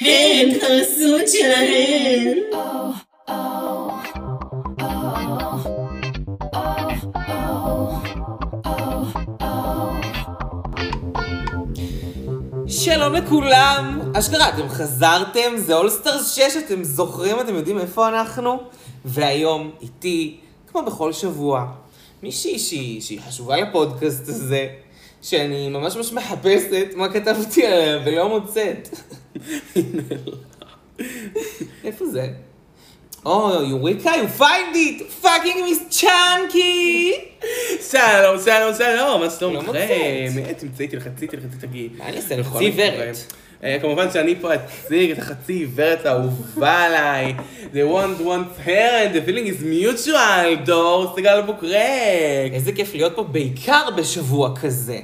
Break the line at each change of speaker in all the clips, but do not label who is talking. הן חרסות שלהן.
שלום לכולם! אשכרה, אתם חזרתם, זה אולסטרס 6, אתם זוכרים, אתם יודעים איפה אנחנו? והיום איתי, כמו בכל שבוע, מישהי שהיא, שהיא חשובה לפודקאסט הזה, שאני ממש ממש מחפשת מה כתבתי עליה ולא מוצאת. איפה זה? או, יוריקה, you find it! fucking miss צ'אנקי!
שלום, שלום, שלום, מה שלומכם?
מוצאת.
אה, תמצאי, תלחצי, תלחצי, תגיעי.
מה אני אעשה לכל
חצי
עיוורת?
ורד. אה, כמובן שאני פה אציג את החצי עיוורת האהובה עליי. The one one parent, the feeling is mutual, דור סגל בוקרק.
איזה כיף להיות פה בעיקר בשבוע כזה.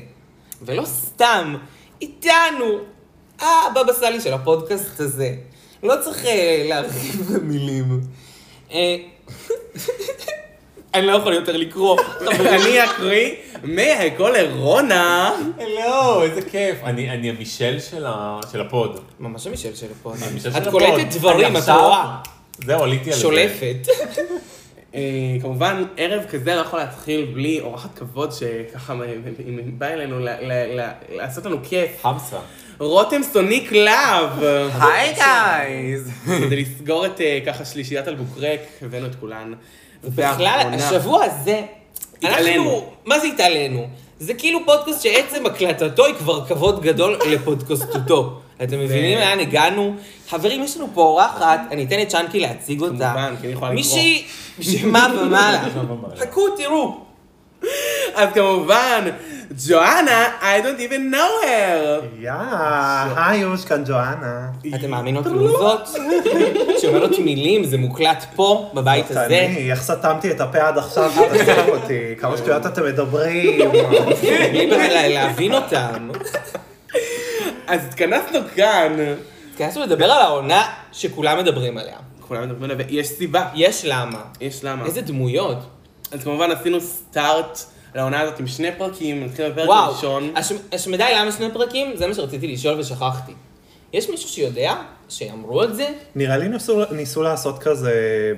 ולא סתם, איתנו, הבבא סאלי של הפודקאסט הזה. לא צריך אה, להרחיב במילים. אה, אני לא יכול יותר לקרוא.
אני אקריא מהקול לרונה.
הלו, איזה כיף. אני אני המישל של ה- של הפוד.
ממש המישל של הפוד.
המישל של
את
הפוד.
קולטת דברים,
אני
את
עכשיו-
רואה.
זהו, עליתי על זה.
שולפת.
אה, כמובן, ערב כזה לא יכול להתחיל בלי אורחת כבוד שככה באה אלינו ל- ל- ל- לעשות לנו כיף.
חמסה.
רותם סוניק לאב.
היי גייז!
כדי לסגור את אה, ככה שלישיית אלבוקרק, הבאנו את כולן.
בכלל,
והאחרונה-
השבוע הזה,
התעלינו.
אנחנו, מה זה התעלינו? זה כאילו פודקאסט שעצם הקלטתו היא כבר כבוד גדול לפודקאסטותו. אתם מבינים לאן הגענו? חברים, יש לנו פה אורחת, אני אתן לצ'אנקי להציג אותה.
כמובן, כי אני יכולה לקרוא.
מישהי שמה ומעלה.
ומעלה.
חכו, תראו.
אז כמובן, ג'ואנה, I don't even know her.
יא, היי, יש כאן ג'ואנה.
אתם מאמינות לזאת? שאומרות מילים, זה מוקלט פה, בבית הזה.
אני, איך סתמתי את הפה עד עכשיו, תעשו אותי, כמה שטויות אתם מדברים.
בלי בכלל להבין אותם.
אז התכנסנו כאן.
התכנסנו לדבר על העונה שכולם מדברים עליה.
כולם מדברים עליה, ויש סיבה.
יש למה.
יש למה.
איזה דמויות.
אז כמובן עשינו סטארט לעונה הזאת עם שני פרקים, נתחיל בפרק
וואו,
הראשון.
הש- השמדה היא למה שני פרקים? זה מה שרציתי לשאול ושכחתי. יש מישהו שיודע שאמרו את זה?
נראה לי ניסו- ניסו לעשות כזה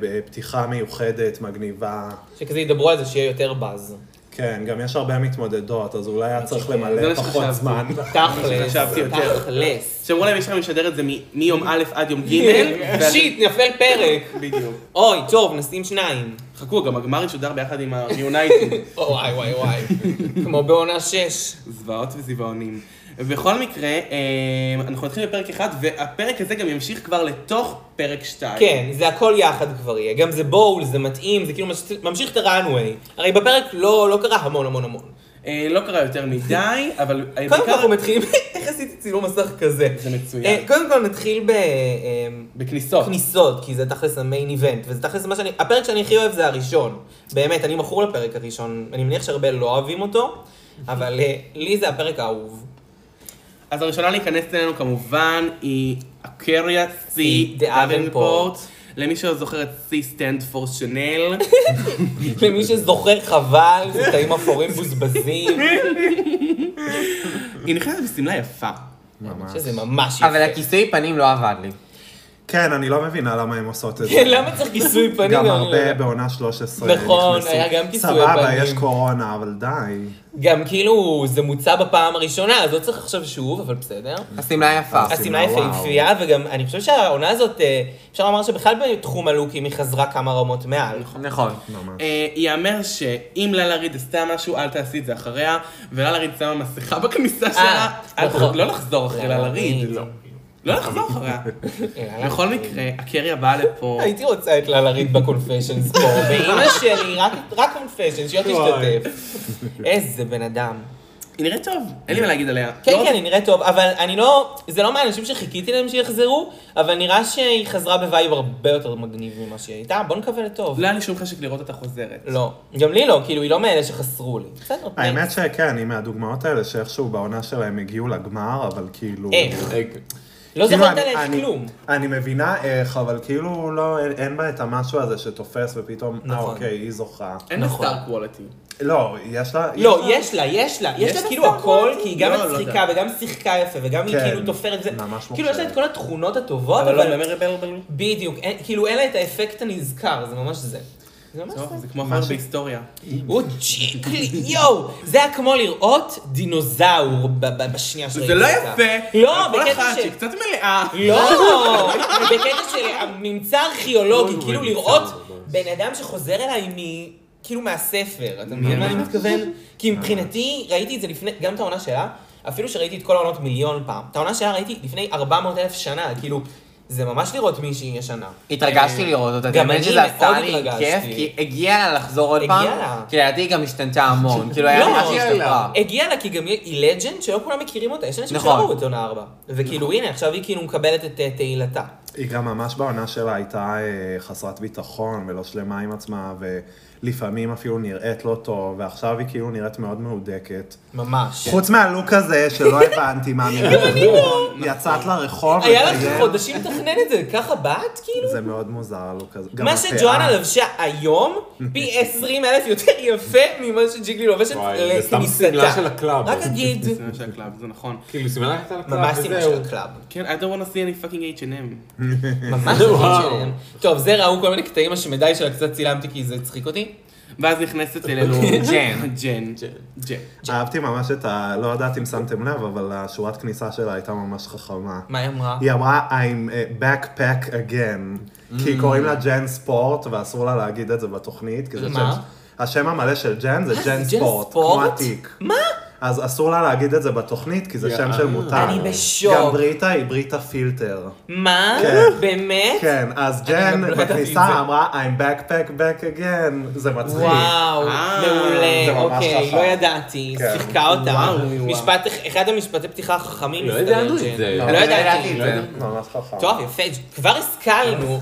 אה, פתיחה מיוחדת, מגניבה.
שכזה ידברו על זה שיהיה יותר באז.
כן, גם יש הרבה מתמודדות, אז אולי היה צריך
זה
למלא
מה
פחות
שחשבתי.
זמן.
תכלס,
שחשבתי יותר.
תכלס.
שאמרו להם, יש לכם לשדר את זה מ- מיום א' עד יום ג'. ואז-
שיט, נפל פרק.
בדיוק.
אוי, טוב, נשים שניים.
חכו, גם הגמר ישודר ביחד עם ה-United.
וואי וואי וואי. כמו בעונה שש.
זוועות וזיוועונים. בכל מקרה, אה, אנחנו נתחיל בפרק אחד, והפרק הזה גם ימשיך כבר לתוך פרק שתיים.
כן, זה הכל יחד כבר יהיה. גם זה בול, זה מתאים, זה כאילו מש- ממשיך את הראנוויי. הרי בפרק לא לא קרה המון המון המון.
אה, לא קרה יותר מדי, אבל...
קודם
אה,
כל
בעיקר
אנחנו מתחילים, איך עשיתי צילום מסך כזה?
זה מצוין.
אה, קודם כל נתחיל ב... אה,
בכניסות.
כניסות, כי זה תכלס המיין איבנט, וזה תכלס מה שאני, הפרק שאני הכי אוהב זה הראשון. באמת, אני מכור לפרק הראשון, אני מניח שהרבה לא אוהבים אותו, אבל אה, לי זה הפרק האהוב.
אז הראשונה להיכנס אלינו כמובן היא אקריה סי
היא דאבנפורט.
דאבנפורט. למי שלא זוכר את סי סטנד פור שנל.
למי שזוכר חבל, זה תאים אפורים בוזבזים,
היא נכנסת בשמלה יפה.
ממש.
שזה ממש יפה.
אבל הכיסוי פנים לא עבד לי.
כן, אני לא מבינה למה הם עושות את
כן,
זה.
למה צריך כיסוי פנים?
גם
אני לא יודע.
הרבה בעונה 13
נכון,
נכנסו.
היה גם כיסויי
סבבה,
פנים.
יש קורונה, אבל די.
גם כאילו, זה מוצע בפעם הראשונה, אז לא צריך עכשיו שוב, אבל בסדר.
אה,
השמלה יפה.
השמלה
וואו.
יפהפייה, וגם אני חושב שהעונה הזאת, אה, אפשר לומר שבכלל בתחום הלוקים היא חזרה כמה רמות מעל.
נכון.
ממש.
אה, ייאמר שאם ללה ריד עשתה משהו, אל תעשי את זה אחריה, וללה ריד שמה מסכה בכניסה שלה. אל
נכון. נכון.
תח- לא לחזור אחרי ללה ריד.
לא.
לא לחזור אחריה.
יאללה.
בכל מקרה, הקריה באה לפה.
הייתי רוצה את ללרית בקונפשנס פה, ואימא שלי, רק- רק קונפשנס, שהיא לא
וואי.
תשתתף. איזה בן אדם.
היא נראית טוב, אין לי מה להגיד עליה.
כן,
לא
כן, היא נראית טוב, אבל אני לא, זה לא מהאנשים שחיכיתי להם שיחזרו, אבל נראה שהיא חזרה בווייב הרבה יותר מגניב ממה שהיא הייתה, בוא נקווה לטוב.
לא היה לי שום חשק לראות אותה חוזרת.
לא, גם לי לא, כאילו, היא לא מאלה שחסרו לי. בסדר,
האמת
thanks. אה,
שכן, היא מהדוגמאות האלה שאיכשהו בעונה שלהם הגיעו לגמר, אבל כאילו...
איך?
רגע.
לא
כאילו,
זכרת
אני-
עליהם
אני-
כלום.
אני מבינה איך, אבל כאילו לא, אין- אין בה את המשהו הזה שתופס ופתאום, אה
נכון.
אוקיי, היא זוכה.
אין לה
נכון.
סטאר קוולטי.
לא, יש לה...
לא, יש לה, יש לה, יש
יש
לה
לה
כאילו הכל, כי היא גם
לא, לא
מצחיקה וגם שיחקה יפה וגם היא
כן,
כאילו תופרת זה,
ממש
כאילו יש לה את
מוכשרת.
כל התכונות הטובות,
אבל לא
אבל
ממרבל.
בדיוק, אין- כאילו אין לה את האפקט הנזכר, זה ממש זה. זה ממש זה.
לא, זה כמו חבר בהיסטוריה.
הוא צ'יקלי, יואו! זה היה כמו לראות דינוזאור ב- ב- בשנייה שראיתי
זה לא
אותה.
יפה.
לא,
כל
בקטע
אחת
של-
שהיא קצת מלאה.
לא, בקטע של הממצא הארכיאולוגי, כאילו לראות
ממש.
בן אדם שחוזר אליי מ... כאילו מהספר, אתה מבין מה אני מתכוון? כי מבחינתי, ראיתי את זה לפני, גם את העונה שלה, אפילו שראיתי את כל העונות מיליון פעם. את העונה שלה ראיתי לפני 400 אלף שנה, כאילו, זה ממש לראות מישהי ישנה.
התרגשתי לראות אותה,
גם
גם אני
אני
שזה עשה
מאוד
לי
התרגשתי.
כיף, כי הגיע לה לחזור עוד
הגיע
פעם,
לה.
כי לדעתי היא גם השתנתה המון, כאילו היה
לא,
נראה שהיא השתפרה.
הגיע לה כי גם היא- היא לג'נד שלא כולם מכירים אותה, יש אנשים
נכון.
שלא ראו את עונה 4. וכאילו הנה עכשיו היא כאילו מקבלת את אה, תהילתה.
היא גם ממש בעונה שלה הייתה אה, חסרת ביטחון ולא שלמה עם עצמה, ולפעמים אפילו נראית לא טוב, ועכשיו היא כאילו נראית מאוד מהודקת.
ממש.
חוץ מהלוק הזה, שלא הבנתי מה מרחוב, יצאת לרחוב,
נכון. היה לך
לטייל.
חודשים לתכנן את זה, ככה באת כאילו?
זה מאוד מוזר הלוק הזה. גם אה.
מה
הפאה.
שג'ואנה לבשה היום, פי 20 אלף יותר יפה ממה שג'יגלי לובשת
וואי, זה סתם סמלה של
לכניסתה.
הקלאב.
רק אגיד,
זה מה שהקלאב, זה נכון.
כן.
כאילו סמלה הייתה לקלאב,
ממש סמלה של
וזהו.
הקלאב.
כן, I don't want to see any fucking H&M.
ממש
וואו.
נכון שלהם. טוב, זה ראו כל מיני קטעים השמדי שלה, קצת צילמתי כי זה הצחיק אותי.
ואז נכנסת אלינו
ג'ן.
ג'ן. ג'ן.
אהבתי ממש את ה... לא יודעת אם שמתם לב, אבל השורת כניסה שלה הייתה ממש חכמה.
מה היא אמרה?
היא אמרה, I'm a backpack again.
Mm.
כי קוראים לה ג'ן ספורט, ואסור לה להגיד את זה בתוכנית, כי זה שם...
מה?
השם המלא של ג'ן זה
אה,
ג'ן
זה ג'ן
ספורט, כמו
ספורט?
התיק.
מה?
אז אסור לה להגיד את זה בתוכנית, כי זה שם של מותר.
אני בשוק.
גם בריטה היא בריטה פילטר.
מה?
כן.
באמת?
כן, אז
גם לא
ג'ן
ידעתי את
בכניסה
זה.
אמרה, I'm backpack back again. זה מצחיק.
וואו,
אה,
זה
מעולה,
ממש
אוקיי,
חכם.
לא ידעתי,
כן.
שיחקה אותה.
וואו, וואו.
משפט, אחד המשפטי פתיחה החכמים.
לא
מסתבר,
ידענו את
ג'ן.
זה.
לא
לא
ידעתי.
ידעתי.
לא יודעת.
ממש חכם.
טוב, יפה, כבר השכלנו.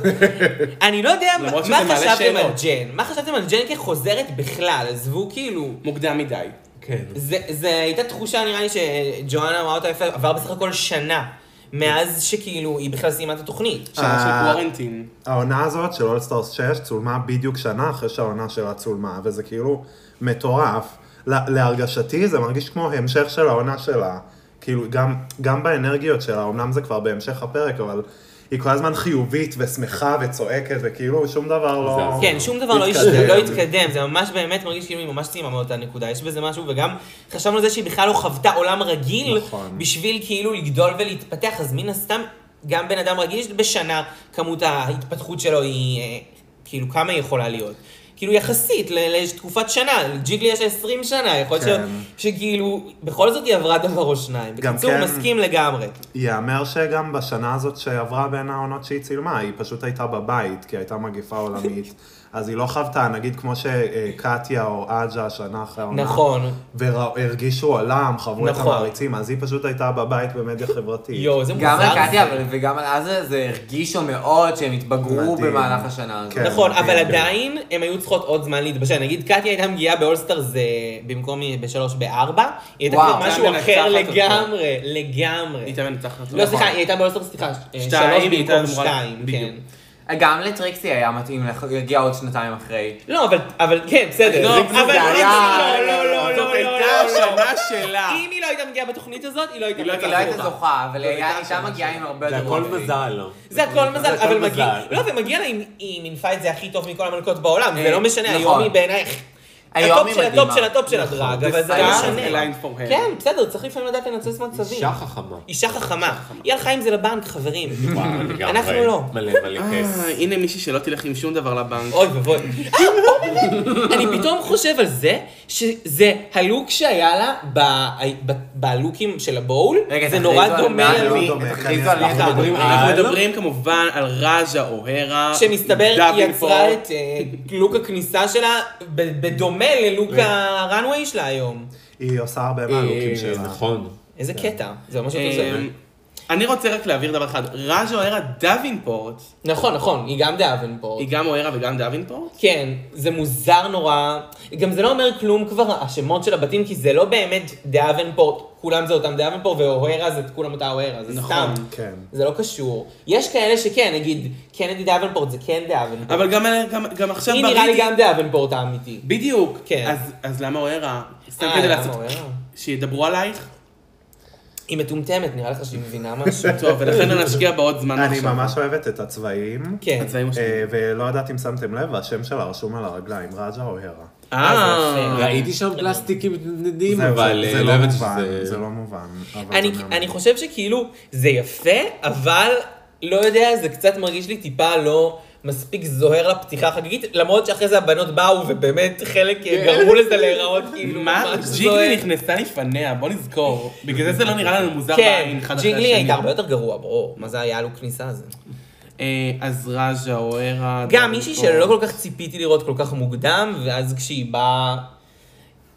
אני לא יודע מה
למרות
מה
שזה מעלה
חשבתם על
שאלות.
ג'ן. מה חשבתם על ג'ן כחוזרת בכלל? עזבו כאילו...
מוקדם מדי.
כן.
זה זה הייתה תחושה, נראה לי, שג'ואנה אמרה אותה יפה, עבר בסך הכל שנה. מאז שכאילו היא בכלל סיימה את התוכנית.
שנה
אה.
של קוורנטין.
העונה הזאת של אולסטארס 6 צולמה בדיוק שנה אחרי שהעונה שלה צולמה, וזה כאילו מטורף. לה- להרגשתי זה מרגיש כמו המשך של העונה שלה. כאילו, גם, גם באנרגיות שלה, אמנם זה כבר בהמשך הפרק, אבל היא כל הזמן חיובית ושמחה וצועקת, וכאילו שום דבר לא...
זה-
כן, שום דבר לא
התקדם.
התקדם. לא התקדם, זה ממש באמת מרגיש כאילו היא ממש סיימה מאותה נקודה, יש בזה משהו, וגם חשבנו על זה שהיא בכלל לא חוותה עולם רגיל,
נכון.
בשביל כאילו לגדול ולהתפתח, אז מן הסתם, גם בן אדם רגיל בשנה, כמות ההתפתחות שלו היא, אה, כאילו, כמה היא יכולה להיות. כאילו יחסית ל- לתקופת שנה, לג'יגלי יש 20 שנה, יכול להיות
כן.
ש- שכאילו, בכל זאת היא עברה דבר או שניים.
גם
בקיצור,
כן.
מסכים לגמרי.
ייאמר שגם בשנה הזאת שעברה בין העונות שהיא צילמה, היא פשוט הייתה בבית, כי הייתה מגפה עולמית. אז היא לא חוותה, נגיד כמו שקטיה או עג'ה שנה אחרי העונה.
נכון.
והרגישו עולם, חברו את
נכון.
המעריצים, אז היא פשוט הייתה בבית במדיה חברתית.
יואו, זה מוזר.
גם על קטיה
זה.
אבל- וגם על עזה, זה הרגישו מאוד שהם התבגרו
מדהים.
במהלך השנה הזאת.
כן.
נכון, אבל
כן.
עדיין הם היו צריכות עוד זמן להתבשל. נגיד, קטיה הייתה מגיעה באולסטאר זה במקום בשלוש בארבע, היא הייתה
וואו,
כבר
זה
משהו
היה
אחר
מנצחת אותו.
לגמרי,
היא
לגמרי.
הייתה מנצחת אותו.
לא, סליחה, היא הייתה באולסטאר, סליחה, אה,
שתיים,
שלוש
היא הייתה
במקום
אמורה-
שתיים, כן.
בדיוק.
גם לטריקסי היה מתאים להגיע עוד שנתיים אחרי.
לא, אבל- אבל כן, בסדר.
לא,
אבל-
זה
אבל-
היה-
לא, לא, לא, לא,
זאת
לא,
הייתה
לא, לא.
השנה שלה.
אם היא לא הייתה מגיעה בתוכנית הזאת, היא לא הייתה
היא לא
היא לא
מגיעה.
הייתה זוכה, אבל היא הייתה מגיעה עם הרבה
זה
יותר
הכל
רובינג.
מזל. לא?
זה הכל מזל,
הכל
אבל מגיע,
מזל.
לא, ומגיע לה, אם- היא מינפה את זה הכי טוב מכל המלכות בעולם, זה
אה,
לא משנה,
נכון.
היום היא בעיניי...
היום
הטופ
היא
של
מדהימה.
הטופ של הטופ של
נכון.
הדרג, אבל זה
היא
לא
שרה,
משנה.
זה
line for her.
כן, בסדר, צריך לפעמים לדעת לנצל מצבים.
אישה חכמה.
אישה חכמה. היא הלכה עם זה לבנק, חברים.
וואו, לגמרי.
אנחנו לא.
מלא מלא כס.
אה, הנה מישהי שלא תלך עם שום דבר לבנק.
אוי ואבוי. אה, אוי, באמת. אני פתאום חושב על זה, שזה הלוק שהיה לה ב- ב- בלוקים של הבול, זה
רגע, תכריזו
נורא
על
דומה
מה?
לא
לי.
דומה,
הכריזו על מי
כנראה.
אנחנו מדברים.
אנחנו
על-
מדברים כמובן על רג'ה אוהרה.
שמסתבר היא
דאבינפורט.
יצרה את אה, לוק הכניסה שלה ב- בדומה ללוק הראנוויי שלה היום.
היא עושה הרבה מהלוקים
אה,
שלה.
נכון.
איזה קטע, זה ממש אותו זה.
אמ, אני רוצה רק להבהיר דבר אחד. רג'ה אוהרה דאבינפורט,
נכון, נכון, היא גם דאבנפורט.
היא גם אוהרה וגם דאבינפורט?
כן, זה מוזר נורא. גם זה לא אומר כלום כבר, השמות של הבתים, כי זה לא באמת דאבנפורט כולם זה אותם דאבנפורט, ואוהרה זה כולם אותה אוהרה, זה
נכון,
סתם.
כן.
זה לא קשור. יש כאלה שכן, נגיד, קנדי דאבנפורט זה כן דאבנפורט.
אבל גם, גם, גם עכשיו
היא נראה לי
בריטי-
גם דאבנפורט האמיתי.
בדיוק.
כן.
אז, אז למה אוהרה? סתם
אה,
כדי
למה
לעשות...
אוהרה?
שידברו עלייך?
היא מטומטמת, נראה לך שהיא מבינה משהו.
טוב, ולכן נשקיע בעוד זמן
אני ממש אוהבת את הצבעים.
כן.
הצבעים
אה, ולא יודעת אם שמתם לב, והשם שלה רשום על הרגליים, רג'ה או הרה.
אה, זה יפה.
אה,
ראיתי שם פלסטיקים מתנדנדים,
זהו,
אבל
זה-
אה,
זה
לא
לא
הבנתי
מובן,
שזה...
זה לא מובן. אבל
אני,
זה נאמר.
אני חושב שכאילו, זה יפה, אבל לא יודע, זה קצת מרגיש לי טיפה לא מספיק זוהר לפתיחה החגיגית, למרות שאחרי זה הבנות באו, ובאמת חלק אה, גרמו לזה להיראות כאילו
מה?
ממש זוהר.
ג'יגלי נכנסה לפניה, בוא נזכור. בגלל זה זה לא נראה לנו מוזר
כן,
בעין אחד אחרי השני.
ג'יגלי הייתה הרבה יותר גרוע, ברור. מה זה היה לו כניסה הזה?
אה, אז רג'ה או ערה...
גם מישהי שלא כל כך ציפיתי לראות כל כך מוקדם, ואז כשהיא באה...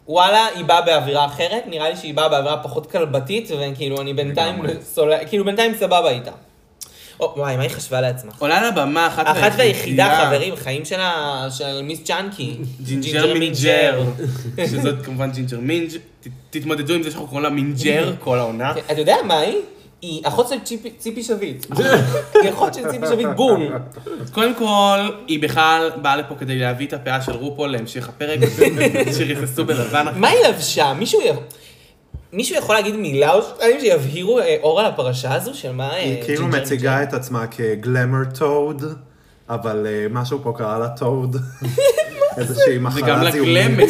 וואלה, היא באה באווירה אחרת, נראה לי שהיא באה באווירה פחות כלבתית, וכאילו אני בינתיים סול... כאילו בינתיים סבבה איתה. או, וואי, מה היא חשבה לעצמה?
עולה לבמה אחת
אחת והיחידה, חברים, חיים שלה, של מיס צ'אנקי.
ג'ינג'ר מינג'ר. שזאת כמובן ג'ינג'ר מינג'. ת- תתמודדו עם זה שאנחנו קוראים לה מינג'ר כל העונה.
כן, אתה יודע מה היא? היא אחות של ציפי- ציפי שביט. היא אחות של ציפי שביט, בול.
קודם כל, היא בכלל באה לפה כדי להביא את הפאה של רופול להמשך הפרק, שריססו בלבן.
מה היא לבשה? מישהו י- מישהו יכול להגיד מילה או שתיים שיבהירו אה, אור על הפרשה הזו של מה... אה,
היא כאילו
ג'ינג'ר
מציגה את עצמה כגלמר טוד, אבל אה, משהו פה קרה לה טוד. איזושהי
זה גם
מחלה זיהומית.
לגלמת.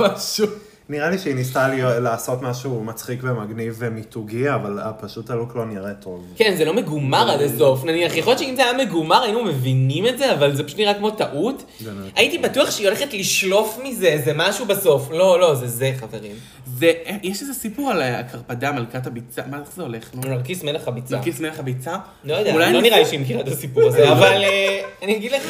משהו.
נראה לי שהיא ניסתה להיות- לעשות משהו מצחיק ומגניב ומיתוגי, אבל אה, פשוט הלוק לא נראה טוב.
כן, זה לא מגומר עד הסוף. נניח, יכול להיות שאם זה היה מגומר היינו מבינים את זה, אבל זה פשוט נראה כמו טעות. הייתי בטוח שהיא הולכת לשלוף מזה איזה משהו בסוף. לא, לא, זה זה, חברים.
זה, יש איזה סיפור על הקרפדה, מלכת הביצה, מה איך זה הולך? נו?
נרקיס מלך הביצה.
נרקיס מלך הביצה?
לא יודע,
אולי
לא
נס-
נראה לי שהיא מכירה את הסיפור הזה, אבל אה, אני אגיד לך,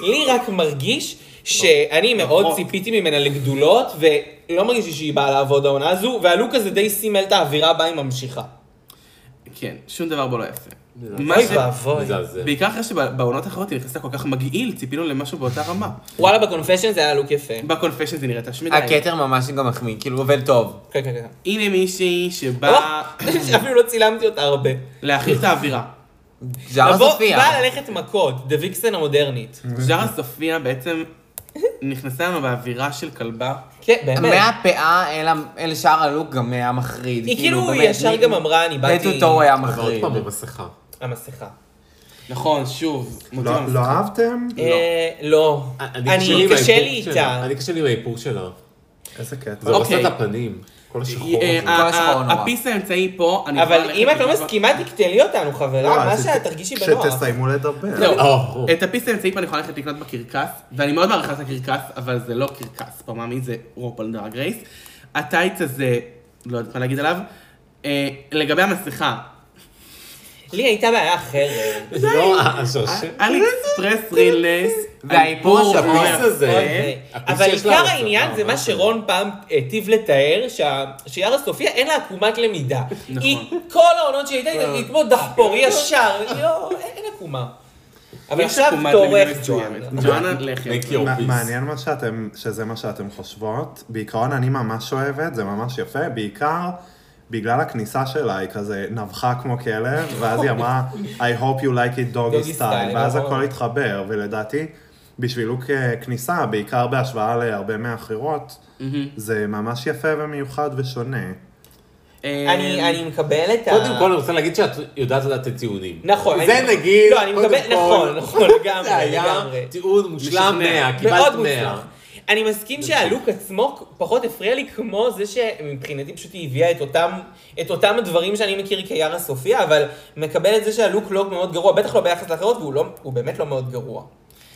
לי רק מרגיש שאני מאוד ציפיתי ממנה לגדולות, ולא מרגיש לי שהיא באה לעבוד העונה הזו, והלוק הזה די סימל את האווירה בה היא ממשיכה.
כן, שום דבר בו לא יפה. מה
אוי
ש-
ואבוי.
מזעזע.
בעיקר אחרי שבעונות האחרות היא נכנסה כל כך מגעיל, ציפינו למשהו באותה רמה.
וואלה, בקונפשן זה היה לוק יפה.
בקונפשן זה נראית השמידה.
הכתר ממש גם מחמיא, כאילו עובד טוב.
כן, כן, כן.
הנה מישהי שבאה
או, אפילו לא צילמתי אותה הרבה.
להכיר את האווירה.
ז'ארה
לבוא-
סופיה.
באה ללכת מכות, דה ויקסן המודרנית.
ז'רה סופיה בעצם נכנסה לנו באווירה של כלבה.
כן, באמת.
מהפאה אל ה- אל שאר הלוק גם היה מחריד.
היא כאילו
באמת,
ישר
מי-
גם אמרה, אני באתי...
בטוטו היה
אבל עוד
מחריד.
פעם במסכה.
המסכה.
נכון, שוב. מוצאים
לא
לנו-
לא אהבתם?
אה, לא. אני,
עם
קשה לי
האיפור שלה.
איתה.
אני קשה לי עם האיפור שלה.
איזה קטע.
זה
לא,
עושה
אוקיי.
את הפנים. כל השחור
אה,
הזה.
אה,
כל השחור
לא
אה,
נורא.
הפיס האמצעי פה, אני
אבל
כבר
אם
הולכת
את לא
לקנות-
מסכימה, תקטלי אותנו, חברה,
לא,
מה
אז
שאת
כש-
תרגישי בנוח. לא,
כשתסיימו לדבר.
זהו.
אה,
את הפיס האמצעי פה אני יכולה ללכת לקנות בקרקס, ואני מאוד מעריכה את הקרקס, אבל זה לא קרקס, פה מאמי זה רופל דרג רייס. הטייץ הזה, לא יודעת מה להגיד עליו. אה, לגבי המסכה,
לי הייתה בעיה אחרת.
לא,
אה,
השרשרת.
אלי אקספרס רילס,
והאיפור השבור.
הפיס הזה. הפיס
אוקיי. אבל
שיש לה
עיקר
על
העניין
הצוואר,
זה מה
מה לא, זה?
שרון פעם היטיב לתאר, שה- שיארה סופיה אין לה עקומת למידה.
נכון.
היא, כל העונות שהיא הייתה,
לא.
היא כמו דחפור ישר, לא, אין עקומה. אבל
יש
עכשיו
עקומת
תורך
למידה
ג'ואן.
מסוימת. ג'ואנה
אה,
לחם.
Make your
מע-
peace.
מעניין מה שאתם, שזה מה שאתם חושבות. בעיקרון אני ממש אוהבת, זה ממש יפה, בעיקר בגלל הכניסה שלה, היא כזה נבחה כמו כלב, ואז היא אמרה, I hope you like
Doggy
it
style,
doggy style, ואז
נכון.
הכל התחבר, ולדעתי, בשביל לוק אה, כניסה, בעיקר בהשוואה להרבה מהאחרות, זה ממש יפה ומיוחד ושונה.
אה,
אני אני מקבל את ה...
קודם כל, אני רוצה להגיד שאת יודעת לדעת את הטיעונים.
נכון,
זה
אני-
נגיד...
לא, אני
קודם
מקבל-
כל,
נכון, נכון, לגמרי,
זה היה
לגמרי.
טיעון מושלם
משכנע.
100, קיבלת
מאוד
100.
מוצלח. אני מסכים שהלוק עצמו פחות הפריע לי כמו זה שמבחינתי פשוט היא הביאה את אותם, את אותם הדברים שאני מכיר כיארה סופיה, אבל מקבל את זה שהלוק לא מאוד גרוע, בטח לא ביחס לאחרות, והוא לא, הוא באמת לא מאוד גרוע.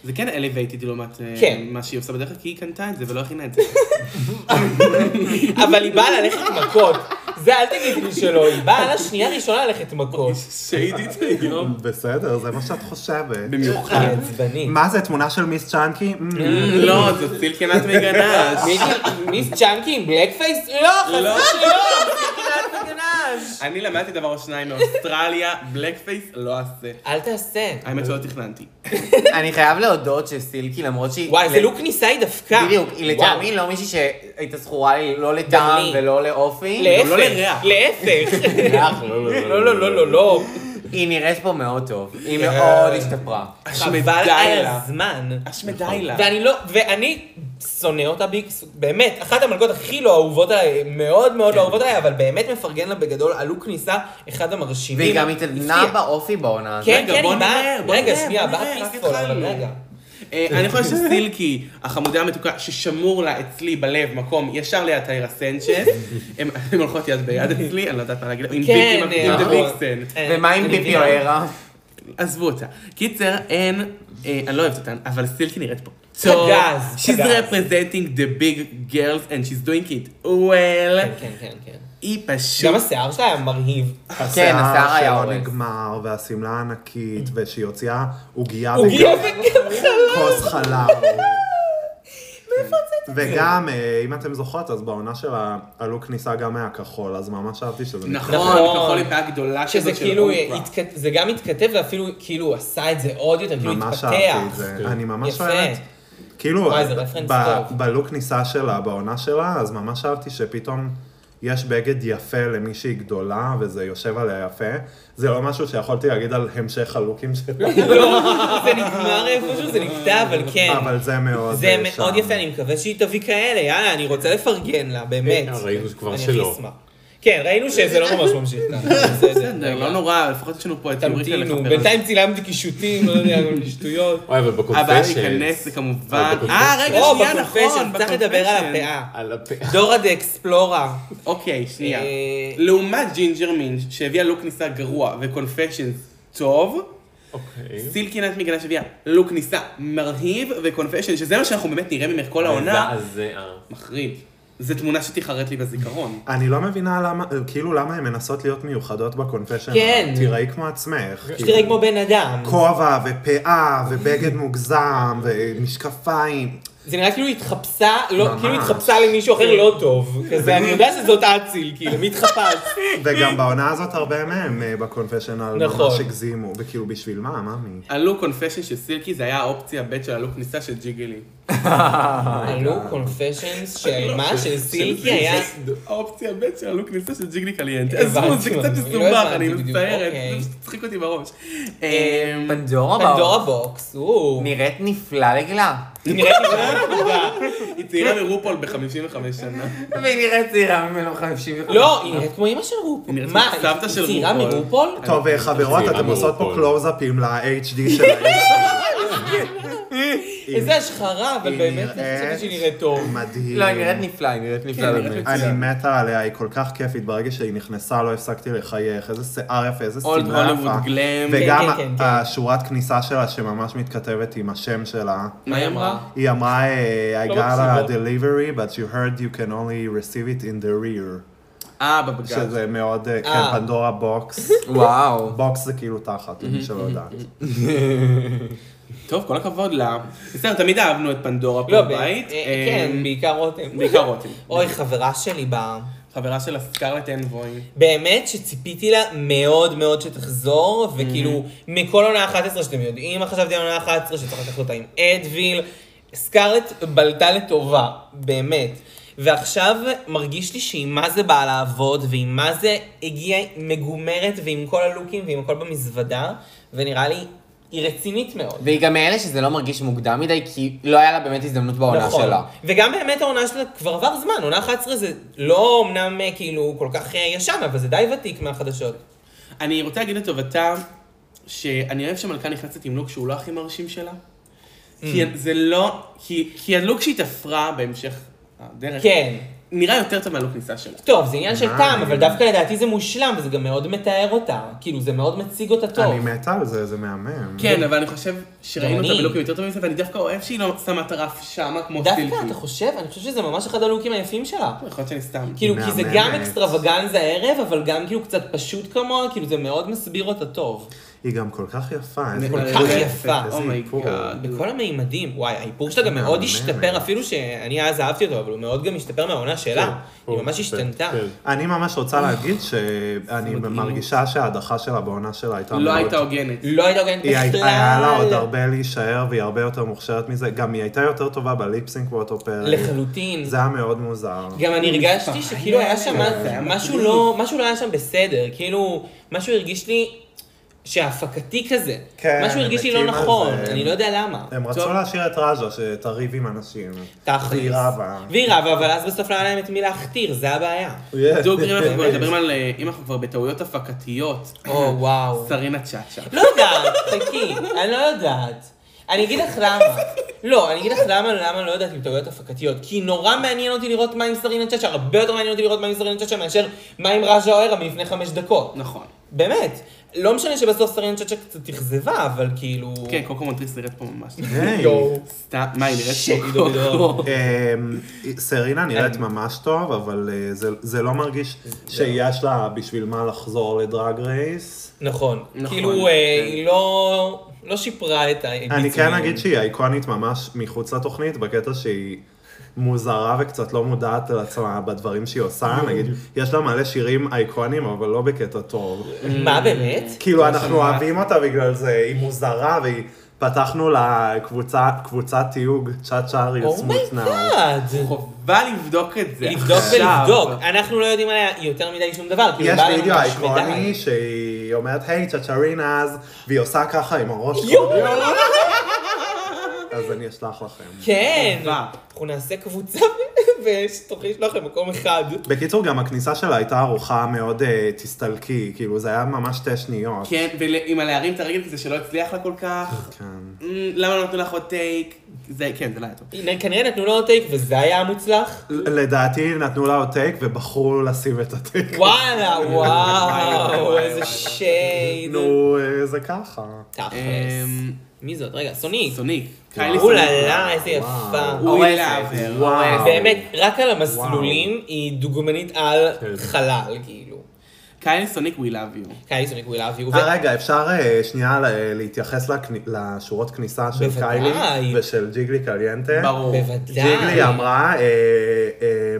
זה כן אלווייטד לעומת אה,
כן.
מה שהיא עושה בדרך כלל, כי היא קנתה את זה ולא הכינה את זה.
אבל היא באה ללכת מכות, זה אל תגיד לי שלא, היא באה על השנייה הראשונה ללכת מכות.
שהידית היום.
בסדר, זה מה שאת חושבת.
במיוחד.
היא עצבנית.
מה זה, תמונה של מיס צ'אנקי? מ,
לא, זאת סילקנת מגנש.
מישהי- מיס צ'אנקי עם בלק פייס? לא, חס
לא.
ושלום, זה גנב וגנב. ממש.
אני למדתי דבר או שניים מאוסטרליה, בלק פייס לא אעשה.
אל תעשה.
האמת שלא תכננתי.
אני חייב להודות שסילקי, למרות שהיא...
וואי, זה לוק כניסה היא דווקא.
בדיוק,
וואו.
היא לטעמי לא מישהי שהייתה זכורה לי, לא לטעם
גם לי.
ולא לאופי.
לא
להפך,
לריח.
להפך.
לא, לא,
לא, לא, לא, לא, לא.
היא נראית פה מאוד טוב. היא מאוד השתפרה.
חבל על הזמן.
אשמדי לה.
ואני לא, ואני שונא אותה ביקס, באמת, אחת המלכות הכי לא אהובות עליי, מאוד מאוד
כן.
לא אהובות עליי, אבל באמת מפרגן לה בגדול, עלו כניסה, אחד המרשימים.
והיא גם התעדנה
הפתיע.
באופי בעונה הזאת.
כן,
רגע,
כן,
בוא
היא באה,
נראה, בוא
רגע,
נראה,
שנייה,
בוא
באה
נראה, רק
פיסטול, אבל
התחלנו.
רגע.
אה, אני חושב שסילקי, החמודה המתוקה, ששמור לה אצלי בלב מקום ישר ליד טיירה סנצ'ס, הן הן הולכות יד ביד אצלי, אני לא יודעת מה להגיד, עם ביגי
כן,
מקביל
נכון.
דוויקסן.
אה,
ומה עם
אני
ביפי
מבינה.
אוהרה?
עזבו אותה. קיצר, אין, אה, אני לא אוהבת אותן, אבל סילקי נראית פה.
פגז,
טוב.
פגז.
She's representing the big girls and she's doing it well.
כן, כן, כן, כן.
היא פשוט...
גם השיער שלה היה מרהיב.
כן, השיער היה
שלא
הורס.
נגמר, והשמלה הענקית, ושהיא הוציאה עוגיה
Mm. עוגיה כן.
וגם
וגם חלב.
כוס חלב. וגם, אה, אם אתם זוכרות, אז בעונה שלה עלו כניסה גם היה כחול, אז ממש אהבתי שזה...
נכון,
נכון.
כחול עם פאה גדולה
שזה
כזאת של
כאילו,
אופרה.
התכת- זה גם התכתב ואפילו כאילו הוא עשה את זה עוד יותר, כאילו
ממש
התפתח.
אהבתי את זה. אני ממש
יפה.
אוהבת. כאילו,
וואי, זה רפרנס
ב-
טוב.
בלוק כניסה שלה, בעונה שלה, אז ממש אהבתי שפתאום יש בגד יפה למישהי גדולה, וזה יושב עליה יפה. זה לא משהו שיכולתי להגיד על המשך הלוקים שלה,
לא, זה נגמר איפשהו, זה נקטע, אבל כן.
אבל זה מאוד...
זה
אה,
מאוד
שם. כן,
יפה, אני מקווה שהיא תביא כאלה, יאללה, אני רוצה לפרגן לה, באמת.
אה, ראינו שכבר
אני
שלא.
הכי אשמח. כן, ראינו שזה לא ממש ממשיך ככה, בסדר.
בסדר, לא נורא, לפחות יש לנו פה את יוריקה
תמתינו,
לחפר.
בינתיים צילמתי קישוטים, לא יודע, כל מיני שטויות.
וואי, אבל
הבעיה
בקונפשן.
להיכנס זה כמובן...
אבל
אה,
בקונפשן.
רגע,
או,
שנייה,
בקונפשן,
נכון,
צריך לדבר על
בקונפשן.
הפאה.
על הפה.
דורה דה אקספלורה.
אוקיי, שנייה.
אה,
לעומת ג'ינג'ר מינג' שהביאה לוק כניסה גרוע וקונפשיינס טוב,
אוקיי.
סילקי נט מגלה שהביאה לוק כניסה מרהיב וקונפשיינס, שזה מה שאנחנו באמת נראה ממך כל העונה.
מזעזע.
מחריד. זו תמונה שתיחרט לי בזיכרון.
אני לא מבינה למה, כאילו למה הן מנסות להיות מיוחדות בקונפשן.
כן.
תיראי כמו עצמך. כאילו.
שתראה כמו בן אדם.
כובע ופאה ובגד מוגזם ומשקפיים.
זה נראה כאילו התחפשה, לא,
ממש.
כאילו התחפשה למישהו אחר לא טוב. כזה, אני יודע שזאת אציל, כאילו, מי התחפש?
וגם בעונה הזאת הרבה מהם אה, בקונפשיונל
כן. נכון.
ממש הגזימו, וכאילו בשביל מה, מאמי?
הלוק קונפשן של סילקי זה היה האופציה ב' של הלוק כניסה של ג'יגלי.
עלו קונפשיונס
לא.
של מה? של סילקי היה...
האופציה ב' של הלוק כניסה של ג'יגלי קליינטה.
הבנתי,
עזבו, זה קצת
אני לא
מסובך, אני
הבנתי בדיוק,
מצטערת.
אוקיי.
זה פשוט צחיק אותי בראש. אמ,
פנדורה
אה, פנדורה
באור.
בוקס, הוא...
נראית נפלא לגילה.
נראה לי מאוד טובה.
היא צעירה מרופול ב-55 שנה.
והיא נראית צעירה ממנו 55.
לא, היא נראית כמו אימא של רופול.
היא נראית
מה,
כמו סבתא של
היא צעירה
רופול.
מרופול?
טוב, אה, חברות,
זה
אתם עושות פה
הכל.
קלוזאפים ל-HD שלהם.
איזה השחרה, אבל
היא
באמת,
נראית-
אני חושבת שהיא נראית טוב.
מדהים.
לא, היא
כאילו-
נראית נפלא, היא נראית
כן,
נפלא
נראית
באמת.
אני מתה עליה, היא כל כך כיפית, ברגע שהיא נכנסה לא הפסקתי לחייך, איזה שיער יפה, איזה
Old
שמלה
Hollywood
יפה.
glam.
וגם
כן, כן, כן.
השורת כניסה שלה שממש מתכתבת עם השם שלה.
מה היא אמרה?
היא אמרה, אה, I
לא
got a
מקשיבות.
delivery, but you heard you can only receive it in the rear.
אה, בבגז.
שזה מאוד, אה,
אה.
כן, פנדורה בוקס.
וואו.
בוקס זה כאילו תחת,
Mm-hmm,
למי שלא יודעת.
טוב, כל הכבוד לה. בסדר, תמיד אהבנו את פנדורה פה
לא, ב-
בבית.
אה, כן,
אמ,
בעיקר רותם.
בעיקר רותם.
אוי, חברה שלי ב...
חברה של הסקרלט אנבוי.
באמת שציפיתי לה מאוד מאוד שתחזור, וכאילו, מכל עונה 11 שאתם יודעים מה חשבתי על עונה 11, שצריך לקחת אותה עם אדוויל, סקארלט בלטה לטובה, באמת. ועכשיו מרגיש לי שהיא מה זה באה לעבוד, והיא מה זה הגיעה מגומרת, ועם כל הלוקים, ועם הכל במזוודה, ונראה לי, היא רצינית מאוד.
והיא גם מאלה שזה לא מרגיש מוקדם מדי, כי לא היה לה באמת הזדמנות בעונה
נכון.
שלה.
וגם באמת העונה שלה כבר עבר זמן, עונה 11 זה לא אמנם אה, כאילו כל כך אה, ישן, אבל זה די ותיק מהחדשות.
אני רוצה להגיד לטובתה, שאני אוהב שמלכה נכנסת עם לוק שהוא לא הכי מרשים שלה. כי
Mm.
זה לא... כי כי הלוק שהיא תפרה בהמשך הדרך,
כן.
נראה יותר טוב מהלוק כניסה שלה.
טוב, זה עניין של
מה?
טעם, אבל דווקא לדעתי זה מושלם, וזה גם מאוד מתאר אותה. כאילו, זה מאוד מציג אותה טוב.
אני מתה על זה, זה מהמם.
כן, אבל אני חושב שראינו
אני.
אותה בלוקים יותר טובים, ואני דווקא אוהב שהיא לא שמה את הרף שמה כמו סילקי.
דווקא, אתה חושב? אני חושב שזה ממש אחד הלוקים היפים שלה.
יכול להיות שאני סתם.
כאילו, כי זה גם
מהממת.
אקסטרווגנזה הערב, אבל גם כאילו קצת פשוט כמוה, כאילו זה מאוד מסביר אותה טוב.
היא גם כל כך יפה. איזה
כל
אה,
כך
איזה
יפה,
איפור.
אומייגאד.
בכל המימדים, וואי, האיפור שלה גם מאוד
מהממת.
השתפר, אפילו שאני אז אהבתי אותו, אבל הוא מאוד גם השתפר מהעונה שלה.
כן,
היא
כן,
ממש
כן,
השתנתה.
כן.
אני ממש רוצה להגיד שאני
מדהים.
מרגישה שההדחה שלה בעונה שלה הייתה
לא
מאוד-
הייתה הוגנת.
לא הייתה הוגנת
היא
בכלל.
הייתה, היה לה עוד הרבה להישאר, והיא הרבה יותר מוכשרת מזה. גם היא הייתה יותר טובה בליפסינק באותו פרק.
לחלוטין.
זה היה מאוד מוזר.
גם אני הרגשתי שכאילו היה שם
זה
משהו לא, משהו לא היה שם בסדר, כאילו, משהו הרגיש לי שהפקתי כזה.
כן,
משהו הרגיש לי לא
מתים על
נכון,
זה.
אני לא יודע למה.
הם
טוב.
רצו להשאיר את רג'ה, שתריב עם אנשים.
תכלס.
והיא רבה.
והיא רבה, אבל אז בסוף לא היה להם את מי להכתיר, זה הבעיה.
דוג, אם אנחנו כבר מדברים על... אה, אם אנחנו כבר בטעויות הפקתיות,
או וואו.
סרינה צ'אצ'ה.
לא יודעת, חכי, אני לא יודעת. אני אגיד לך למה. לא, אני אגיד לך למה, למה לא יודעת עם טעויות הפקתיות. כי נורא מעניין אותי לראות מה עם סרינה צ'אצ'ה, הרבה יותר מעניין אותי לראות מה עם סרינה צ'אצ'ה מאשר מה עם רג'ה אוהרה מלפני חמש דקות.
נכון.
באמת. לא משנה שבסוף סרינה צ'אצ'ה קצת אכזבה, אבל כאילו...
כן, קוקו מונטריס נראית פה ממש.
היי.
יואו.
סתם, מה, היא נראית
שיט,
כאילו פה
דודו.
קוקו?
אמ, סרינה נראית ממש טוב, אבל אה, זה- זה לא מרגיש שיש לה בשביל מה לחזור לדרג רייס.
נכון.
נכון,
כאילו, אה,
כן.
היא לא... לא שיפרה את ה...
אני כן
ביצועים.
אגיד שהיא איקונית ממש מחוץ לתוכנית, בקטע שהיא מוזרה וקצת לא מודעת לעצמה בדברים שהיא עושה, נגיד, יש לה מלא שירים אייקונים, אבל לא בקטע טוב.
מה באמת?
כאילו, אנחנו אוהבים אותה בגלל זה, היא מוזרה, והיא... פתחנו לה קבוצה- קבוצת תיוג, צ'אט
Oh
צ'ארי סמוטנאו.
אומייגאד.
חובה לבדוק את זה.
לבדוק
עכשיו.
ולבדוק. אנחנו לא יודעים עליה יותר מדי שום דבר. כאילו,
יש
בא לנו
וידאו
ממש
איקוני
מדי.
שהיא אומרת, היי צ'צ'רינז, והיא עושה ככה עם הראש.
יואו!
אז אני אשלח לכם.
כן.
חובה.
אנחנו נעשה קבוצה ושתוכלי לשלוח למקום אחד.
בקיצור, גם הכניסה שלה הייתה ארוחה מאוד אה, תסתלקי, כאילו, זה היה ממש שתי שניות.
כן, ועם הלהרים את הרגל כזה שלא הצליח לה כל כך.
כן.
אמ, למה לא נתנו לך עוד טייק? זה, כן, זה לא היה טוב.
הנה, כנראה נתנו לו עוד טייק וזה היה המוצלח.
לדעתי נתנו לה עוד טייק ובחרו לשים את הטייק.
כן.
וואלה, וואו, איזה שייד.
נו, אה, זה ככה.
תכלס.
אמ,
מי זאת? רגע, סוניק.
סוניק. כאילו, קיילי סוניק.
אוללה, איזה יפה.
אורי להבר.
וואו.
באמת, רק על המסלולים היא דוגמנית על
כן.
חלל, כאילו.
קיילי סוניק, we love you.
קיילי סוניק will love you.
אה, רגע, אפשר אה, שנייה ל- להתייחס לכני- לשורות כניסה של
בוודאי.
קיילי ושל ג'יגלי קליינטה?
ברור.
בוודאי.
ג'יגלי אמרה,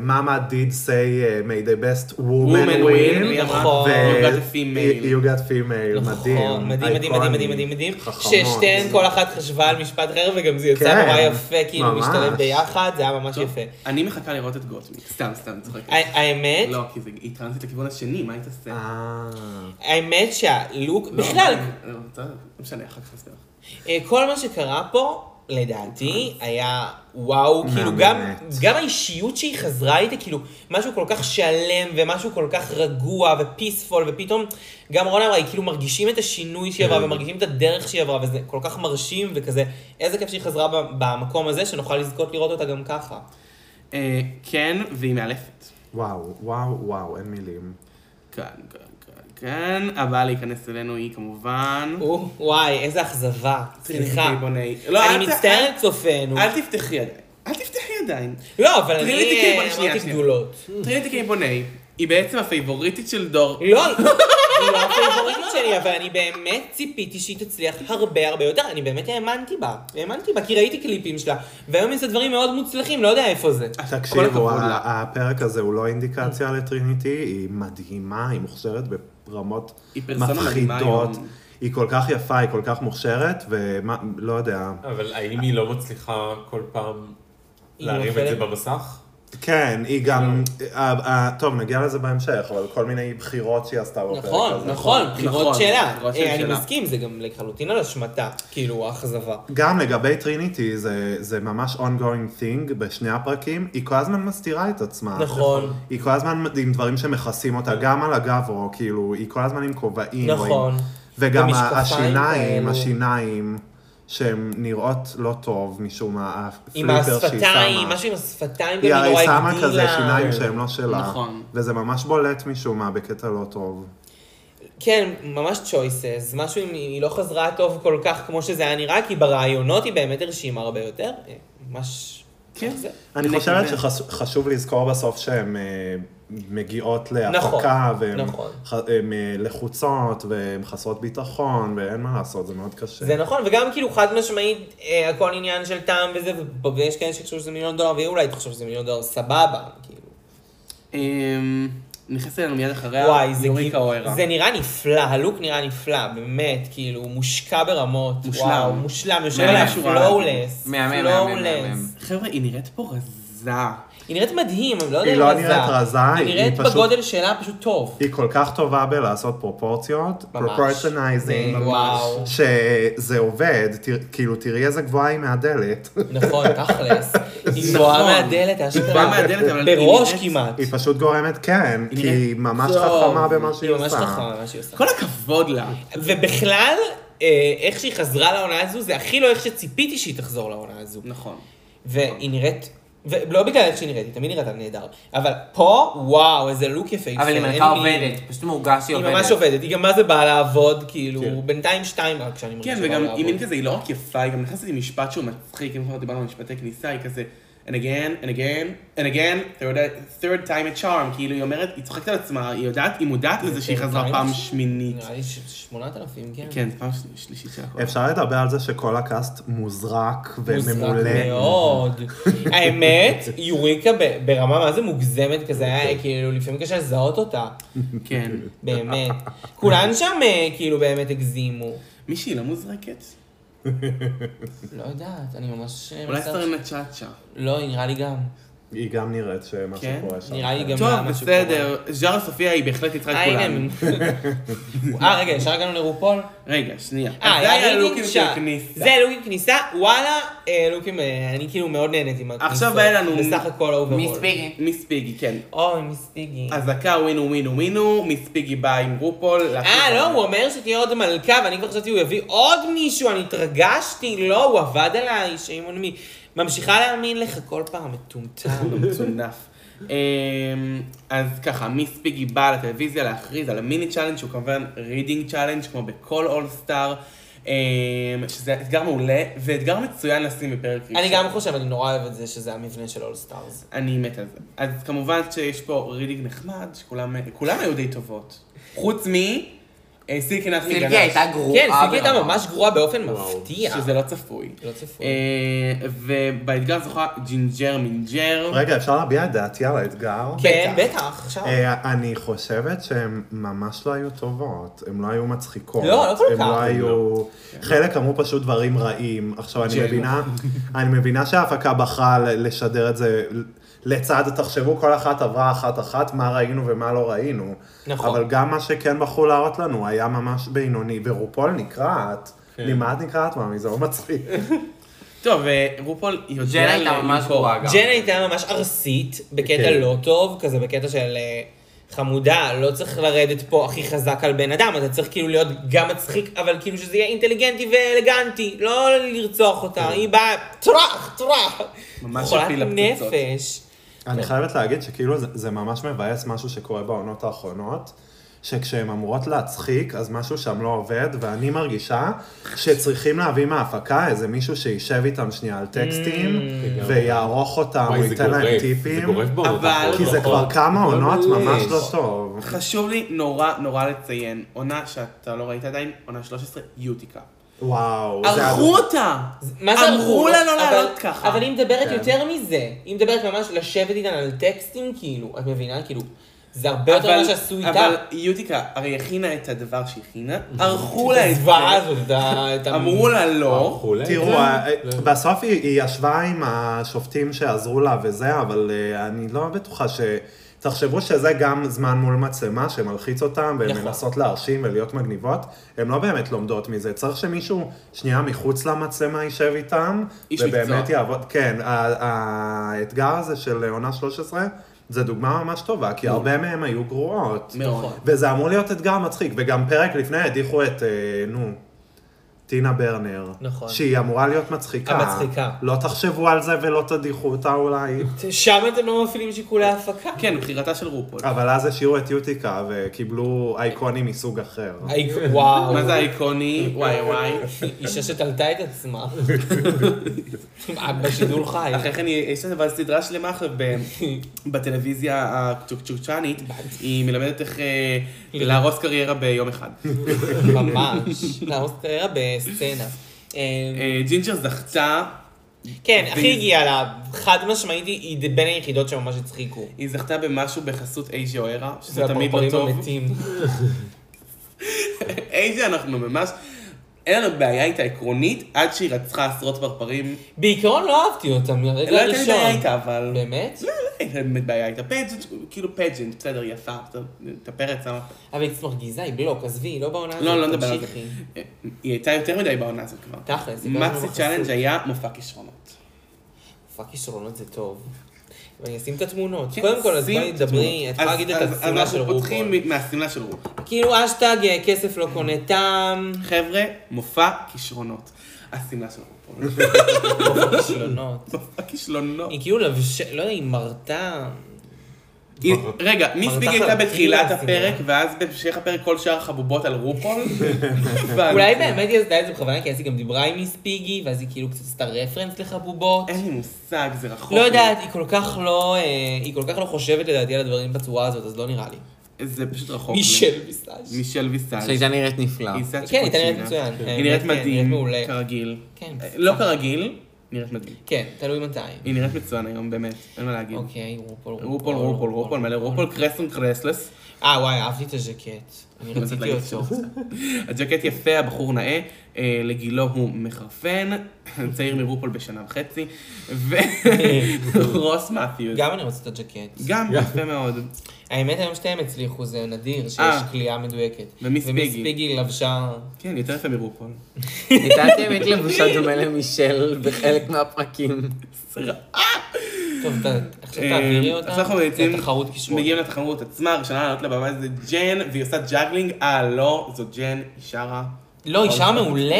מאמה did say uh, may the best woman
Woman win,
win.
היא אמרה,
נכון.
ו-
You got a female.
You got female, מדהים.
נכון, מדהים, מדהים, מדהים,
אייקוני,
מדהים, מדהים, מדהים,
חכמות.
ששתיהן כל אחת חשבה על משפט אחר וגם זה יצא
כן,
נורא יפה, כאילו
ממש.
משתלב ביחד, זה היה ממש יפה.
אני מחכה לראות את גוטמיק. סתם, סתם, צוחק.
ה- אה, האמת,
לא, כי זה- היא טרנסית לכיוון השני, מה היא תעשה?
אה,
האמת שהלוק,
לא,
בכלל,
אני- לא, טוב, לא משנה, אחר כך נסביר לך.
אה, כל מה שקרה פה, לדעתי,
נכון.
היה וואו, כאילו
מהממת.
גם, גם האישיות שהיא חזרה איתה, כאילו, משהו כל כך שלם ומשהו כל כך רגוע ופיספול, ופתאום, גם רונה אמרה, היא כאילו מרגישים את השינוי שהיא
כן.
עברה ומרגישים את הדרך שהיא עברה, וזה כל כך מרשים וכזה, איזה כיף שהיא חזרה ב- במקום הזה, שנוכל לזכות לראות אותה גם ככה.
אה, כן, והיא מאלפת.
וואו, וואו, וואו, אין מילים.
כן, כן, כן, כן. הבאה להיכנס אלינו היא כמובן...
או, וואי, איזה אכזבה, סליחה.
קיבוני. לא, אל
אני
ת-
מצטערת צופינו.
אל- אל תפתחי עדיין. אל תפתחי עדיין.
לא, אבל אני
טריניטי קיבוני,
אה,
שנייה,
אמרתי
שנייה.
גדולות.
טריניטי קיבוני היא בעצם הפייבוריטית של דור.
לא,
אוקיי.
היא לא הפייבוריטית שלי, אבל אני באמת ציפיתי שהיא תצליח הרבה הרבה יותר. אני באמת האמנתי בה. האמנתי בה, כי ראיתי קליפים שלה. והיום היא עושה דברים מאוד מוצלחים, לא יודע איפה זה.
תקשיבו,
הכבוד
ה-
לה.
הפרק הזה הוא לא אינדיקציה לטריניטי, היא מדהימה, היא מוכשרת ברמות
היא פרסונה מדהימה
מפחידות.
היום.
היא כל כך יפה, היא כל כך מוכשרת, ולא יודע.
אבל האם היא לא מצליחה כל פעם
היא
להרים את זה
נופלת.
במסך?
כן, היא גם...
כאילו-
אה, אה, טוב, נגיע לזה בהמשך, אבל כל מיני בחירות שהיא עשתה בפרק הזה.
נכון, נכון,
נכון,
בחירות שלה.
בחירות
אה, אני
שלה.
מסכים, זה גם לחלוטין על אשמתה, כאילו, האכזבה.
גם לגבי טריניטי, זה, זה ממש ongoing thing בשני הפרקים, היא כל הזמן מסתירה את עצמה.
נכון.
היא כל הזמן עם דברים שמכסים אותה, גם על הגברו, כאילו, היא כל הזמן עם כובעים. או עם-
נכון.
וגם
ומשקפיים
השיניים,
כאלו.
השיניים, שהן נראות לא טוב משום מה,
עם
הפליפר שהיא
השפתיים,
שמה.
משהו עם השפתיים,
היא
גם
הרי
נורא
שמה
הגדילה.
כזה שיניים שהם לא שלה.
נכון.
וזה ממש בולט משום מה, בקטע לא טוב.
כן, ממש choices, משהו אם היא לא חזרה טוב כל כך כמו שזה היה נראה, כי ברעיונות היא באמת הרשימה הרבה יותר. אה, ממש...
כן.
זה.
אני
נקווה.
חושבת שחשוב לזכור בסוף שהם אה, מגיעות
נכון,
להפקה, והן
נכון.
ח- הן, אה, לחוצות, והן חסרות ביטחון, ואין מה לעשות, זה מאוד
כן.
קשה.
זה נכון, וגם כאילו חד משמעית, אה, הכל עניין של טעם וזה, ו- ויש כאלה שיחשבו שזה מיליון דולר, והיא אולי תחשוב שזה מיליון דולר, סבבה, כאילו.
אמ, נכנסת אלינו מיד אחריה,
וואי, זה
יוריקה
כאילו,
אוהרה.
זה נראה נפלא, הלוק נראה נפלא, באמת, כאילו, הוא מושקע ברמות.
מושלם.
וואו, מושלם, יושב
מהמם.
עליה
מהמם,
פלואולס.
מהמם, מהמם, מהמם.
פלואולס.
חבר'ה, היא נראית פה רזה.
היא נראית מדהים, אני לא יודע
היא
אם
לא
רזה.
נראית רזה,
היא
היא
נראית
פשוט-
בגודל שלה פשוט טוב.
היא כל כך טובה בלעשות פרופורציות,
ממש.
פרופורציונייזינג,
ממש. וואו.
שזה עובד, תר- כאילו תראי איזה גבוהה היא מהדלת.
נכון, תכלס. היא
נכון.
גבוהה מהדלת, אשכרה.
היא גבוהה מהדלת, אבל היא
בראש
נראית-
כמעט.
היא פשוט גורמת כן,
היא
כי
נראית
היא ממש
טוב.
חכמה במה שהיא
היא ממש חכמה
עושה.
במה שהיא עושה.
כל הכבוד לה.
ובכלל, אה, איך שהיא חזרה לעונה הזו, זה הכי לא איך שציפיתי שהיא תחזור לעונה הזו.
נכון.
והיא נראית, ולא בגלל איך שהיא נראית, היא תמיד נראתה נהדר, אבל פה, וואו, איזה לוק יפהפה.
אבל היא
כן, אין
מלכה
לי-
עובדת, פשוט מורגש
היא
שהיא עובדת.
ממש עובדת, היא גם מה זה באה לעבוד, כאילו,
כן.
בינתיים שתיים רק כשאני מרגישה
כן,
שבאה
וגם
לעבוד.
היא מין כזה, היא לא רק יפה, היא גם נכנסת עם משפט שהוא מצחיק, אם כבר דיברנו על משפטי כניסה, היא כזה, and again, and again, and again, third, third time a charm, כאילו היא אומרת, היא צוחקת על עצמה, היא יודעת, היא מודעת לזה שהיא
third
חזרה
time?
פעם שמינית.
נראה לי ש- שמונת אלפים, כן.
כן, פעם של- שלישית של הכל.
אפשר לדבר על זה שכל הקאסט
מוזרק
מוזרק וממולא.
מאוד. האמת, יוריקה ב- ברמה מה זה מוגזמת כזה, היה כאילו לפעמים קשה לזהות אותה,
כן.
באמת. כולן שם אה, כאילו באמת הגזימו.
מישהי לא מוזרקת?
לא יודעת, אני ממש... אה,
אולי
מצטער.
סטרנה צ'אצ'ה.
לא, נראה לי גם.
היא גם נראית שמה
כן,
שקורה שם.
נראה לי גם
טוב,
מה- מה שקורה.
בסדר, ז'אר סופיה היא בהחלט יצחק
אה, הנה
כולנו.
הם. אה, רגע, ישר הגענו לרופול?
רגע, שנייה.
אה,
אז זה היה
לוקים
לוקים של
שם.
כניסה.
זה לוקים כניסה, וואלה, אה, לוקים, אה, אני כאילו מאוד נהניתי מהכניסות.
עכשיו בא לנו-
בסך הכל אוברול.
מיס פיגי.
מיס פיגי, כן.
אוי, מיס פיגי.
אזעקה ווינו ווינו ווינו, מיס פיגי באה עם רופול.
אה, לא, הוא אומר שתהיה עוד מלכה, ואני כבר חשבתי, הוא יביא עוד מישהו, אני התרגשתי, לא, הוא עבד עליי, שאימון מי. ממשיכה להאמין לך כל פעם, מטומטם.
מצונף. אמ, אז ככה, מיס פיגי באה לטלוויזיה להכריז על המיני צ'אלנג' שהוא כמובן רידינג צ'אלנג' כמו בכל אולסטאר, אמ, שזה אתגר מעולה ואתגר מצוין לשים בפרק ראשון.
אני גם חושב, אני נורא אוהב את זה, שזה המבנה של אול סטארס.
אני מת על זה. אז כמובן שיש פה רידינג נחמד, שכולם כולם היו די טובות. חוץ מ... אה, סילקי נחמי גנש.
סילקי הייתה גרועה.
כן, סילקי הייתה
ברמה.
ממש גרועה באופן מפתיע.
שזה לא צפוי.
לא צפוי.
אה, ובאתגר זוכה ג'ינג'ר מינג'ר.
רגע, אפשר להביע את דעתי על האתגר?
כן, בטח, עכשיו.
אה, אני חושבת שהן ממש לא היו טובות, הן לא היו מצחיקות.
לא, לא כל כך.
הן לא היו... חלק אמרו פשוט דברים רעים. עכשיו, אני
ג'ל.
מבינה, אני מבינה שההפקה בחרה ל- לשדר את זה לצד, תחשבו, כל אחת עברה אחת-אחת, מה ראינו ומה לא ראינו.
נכון.
אבל גם מה שכן בחרו להראות לנו היה ממש בינוני, ורופול נקרעת.
כן.
ממה את נקרעת, מאמי? זה לא מצחיק.
טוב, אה, רופול יודע...
ג'ן הייתה
למכור.
ממש גרועה אה, גם.
ג'ן הייתה ממש ארסית, בקטע
כן.
לא טוב, כזה בקטע של אה, חמודה, לא צריך לרדת פה הכי חזק על בן אדם, אתה צריך כאילו להיות גם מצחיק, אבל כאילו שזה יהיה אינטליגנטי ואלגנטי, לא לרצוח אותה, היא באה טראח, טראח.
ממש
חולת
הפילה פצצות.
נפש.
אני חייבת להגיד שכאילו זה, זה ממש מבאס משהו שקורה בעונות האחרונות, שכשהן אמורות להצחיק, אז משהו שם לא עובד, ואני מרגישה שצריכים להביא מההפקה איזה מישהו שישב איתם שנייה על טקסטים, ויערוך אותם, הוא
וואי, זה
ייתן להם
גורף, זה
טיפים,
גורף לא. בעונות
אבל-
האחרונות.
כי זה כבר כמה
אבל
עונות
מלא.
ממש לא טוב.
חשוב לי נורא נורא לציין, עונה שאתה לא ראית עדיין, עונה 13, יוטיקה.
וואו. זה
ערכו
הדבר-
אותה!
מה זה
אמרו לה לא
אבל-
לעלות ככה.
אבל היא מדברת
כן.
יותר מזה, היא מדברת ממש לשבת איתן על טקסטים, כאילו, את מבינה? כאילו, זה הרבה יותר
אבל-
ממה שעשו איתה.
אבל יוטיקה הרי הכינה את הדבר שהכינה, ערכו לה את
הזוועה
זה,
הזאת, את ה- את ה-
כן. אמרו לה לא,
אכולה את
תראו,
זה?
אה,
לא,
בסוף היא היא ישבה עם השופטים שעזרו לה וזה, אבל אה, אני לא בטוחה ש... תחשבו שזה גם זמן מול מצלמה שמלחיץ אותם, והן
נכון.
מנסות להרשים ולהיות מגניבות, הן לא באמת לומדות מזה. צריך שמישהו שנייה מחוץ למצלמה יישב איתם,
איש
ובאמת
מקצוע.
יעבוד. כן, ה- האתגר הזה של אה, עונה 13, זה דוגמה ממש טובה, כי הרבה מהם היו גרועות.
נכון. מאוד.
וזה אמור להיות אתגר מצחיק, וגם פרק לפני הדיחו את, אה, נו, טינה ברנר.
נכון.
שהיא אמורה להיות מצחיקה.
המצחיקה.
לא תחשבו על זה ולא תדיחו אותה אולי.
שם אתם לא מפעילים שיקולי ההפקה.
כן, בחירתה של רופול.
אבל אז השאירו את יוטיקה וקיבלו אייקונים מסוג אחר.
האיק- וואו.
מה זה האיקוני? וואי וואי.
אישה שתלתה את עצמה. בשידור חי.
אחרי כן היא- יש לנו אבל סדרה שלמה אחרי ב- בטלוויזיה הצ'וקצ'וקצ'נית, היא מלמדת איך אה, להרוס קריירה ביום אחד.
ממש. להרוס קריירה בסצנה. אה,
אה, ג'ינג'ר זכתה,
כן, הכי הגיעה לה, חד משמעית היא היא בין היחידות שממש הצחיקו.
היא זכתה במשהו בחסות אייג'ה אוהרה, שזה
זה
תמיד לא
הפרפרים
טוב.
המתים.
אייג'ה אנחנו ממש, אין לנו בעיה איתה עקרונית, עד שהיא רצחה עשרות פרפרים.
בעיקרון לא אהבתי אותה
לא
מהרגע
הייתה לי בעיה
הראשון.
איתה, אבל...
באמת?
לא, לא הייתה באמת בעיה איתה. פג'נט, כאילו פג'נט, בסדר, היא יפה, את הפרץ שמה...
אבל היא קצת מרגיזה, היא בלוק, עזבי, היא לא בעונה הזאת.
לא, לא נדבר על זה.
תמשיכי.
אה, היא הייתה יותר מדי בעונה הזאת כבר.
תכל'ס, זה גם לא
מקסי
מחסות.
צ'אלנג' היה מופע כישרונות.
פאק כישרונות זה טוב. ואני אשים את התמונות.
כן,
קודם כל, אז
שים
בואי
את
דברי, את
אז-
יכולה להגיד את
אז- אז
השמלה של
אנחנו פותחים
רובול.
מ- מהשמלה של רובול.
כאילו אשטג אה, כסף לא קונה טעם,
חבר'ה, מופע כישרונות. השמלה של רובול.
כישלונות.
מופע כישלונות.
היא כאילו לבשה, לא יודע, היא מרתה.
היא- רגע, מיסביג הייתה
תחת-
בתחילת
היא
הפרק,
השמלה.
ואז בהמשך הפרק כל שאר חבובות על רופול.
אולי
הבנתי.
באמת היא עשתה את זה בכוונה, כי אז היא גם דיברה עם מיס פיגי, ואז היא כאילו קצת עשתה רפרנס לחבובות.
אין לי מושג, זה רחוק.
לא יודעת, היא כל כך לא, אה, היא כל כך לא חושבת לדעתי על הדברים בצורה הזאת, אז לא נראה לי.
זה פשוט רחוק. לי.
מישל ויסאז'.
מישל ויסאז'.
שהייתה נראית נפלא.
היא סאצ'ה
כן, היא הייתה
קוצ'ינה.
נראית מצוין.
היא נראית
כן, נראית
מדהים,
מעולה.
כרגיל.
כן.
אה, לא כרגיל, נראית מדהים.
כן, תלוי מתי.
היא נראית מצוין היום, באמת, אין מה להגיד.
אוקיי, רופול,
רופול, רופול, רופול, מלא רופול, קרסון קרסלס.
אה, וואי, אהבתי את הז'קט. אני רציתי
להגיד
אותו.
הג'קט יפה, הבחור נאה, אה, לגילו הוא מחרפן, צעיר מרופול בשנה וחצי, ורוס מתיוס.
גם אני רוצה את הז'קט.
גם יפה מאוד.
האמת, היום שתיהם הצליחו, זה נדיר שיש
אה.
כליאה מדויקת.
ומיס פיגי.
פיגי לבשה...
כן, יותר יפה מרופול.
הייתה את האמת לבושה דומה למישל בחלק מהפרקים.
טוב, ת- עכשיו
אה,
תעבירי אותה.
אז אנחנו בעצם
לתחרות כישרון.
מגיעים לתחרות עצמה, הראשונה לעלות לבמה זה ג'ן, והיא עושה ג'אגלינג, אה לא, זו ג'ן, היא שרה.
לא, היא שרה מעולה.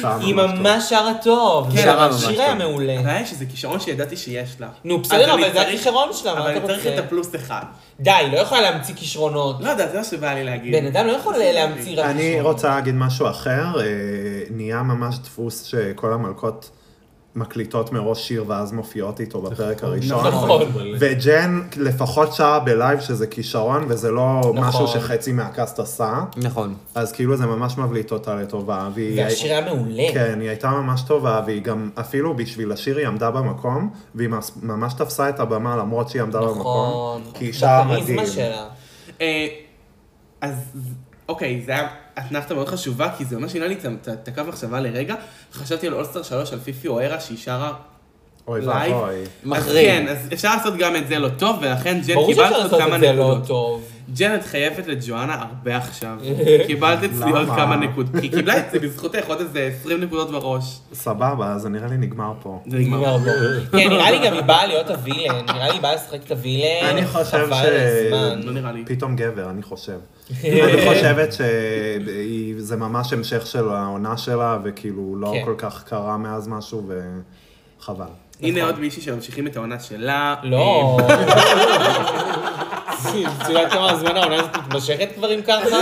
שרה
היא
ממש טוב.
ממש שרה טוב.
כן,
שרה ממש
השיר היה
טוב.
מעולה.
הבעיה שזה כישרון שידעתי שיש לה.
נו, בסדר,
אני
אבל זה
צריך-
הכישרון שלה, מה
אבל
אתה
אני צריך
רוצה?
את הפלוס אחד.
די, היא לא יכולה להמציא כישרונות.
לא יודעת, זה מה שבא לי להגיד.
בן אדם לא יכול להמציא רק
אני
כישרונות.
רוצה להגיד משהו אחר, אה, נהיה ממש דפוס שכל המלכות מקליטות מראש שיר ואז מופיעות איתו בפרק הראשון.
נכון.
לא,
וג'ן לפחות שעה בלייב שזה כישרון וזה לא משהו
נכון.
שחצי מהקאסט עשה,
נכון.
אז כאילו זה ממש מבליט אותה לטובה. והיא-
והשיר היה מעולה.
כן, היא הייתה ממש טובה, והיא גם, אפילו בשביל השיר היא עמדה במקום, והיא מס- ממש תפסה את הבמה למרות שהיא עמדה במקום.
נכון.
כי היא שרה מדהים.
הכריזמה שלה.
אה, אז אוקיי, זה היה אתנחתה מאוד חשובה, כי זה ממש שינה לי את ה- את ה- את הקו מחשבה לרגע. חשבתי על אולסטר 3, על פיפי אוהרה, שהיא שרה
אוי
לייב.
ואבוי.
אז
מחריד.
כן, אז אפשר לעשות גם את זה לא טוב, ולכן ג'ן
ברור
קיבלת
שאפשר
עוד
לעשות
כמה
את זה לא
נקודות.
טוב. אה,
ג'ן, את חייבת לג'ואנה הרבה עכשיו. קיבלת אצלי עוד
למה?
כמה נקודות. כי היא קיבלה את זה בזכותך עוד איזה 20 נקודות בראש.
סבבה, אז נראה לי נגמר פה.
זה נגמר.
נגמר בו. כן, נראה לי גם היא באה להיות הווילן. נראה לי היא באה לשחק את הווילן.
אני חושב
חבל
ש-
על הזמן.
לא נראה לי.
פתאום גבר, אני חושב. אני חושבת שזה ממש המשך של העונה שלה, וכאילו לא
כן.
כל כך קרה מאז משהו, וחבל.
הנה עוד מישהי שממשיכים את העונה שלה. אה,
לא. את יודעת כמה הזמן העונה הזאת מתמשכת כבר אם ככה?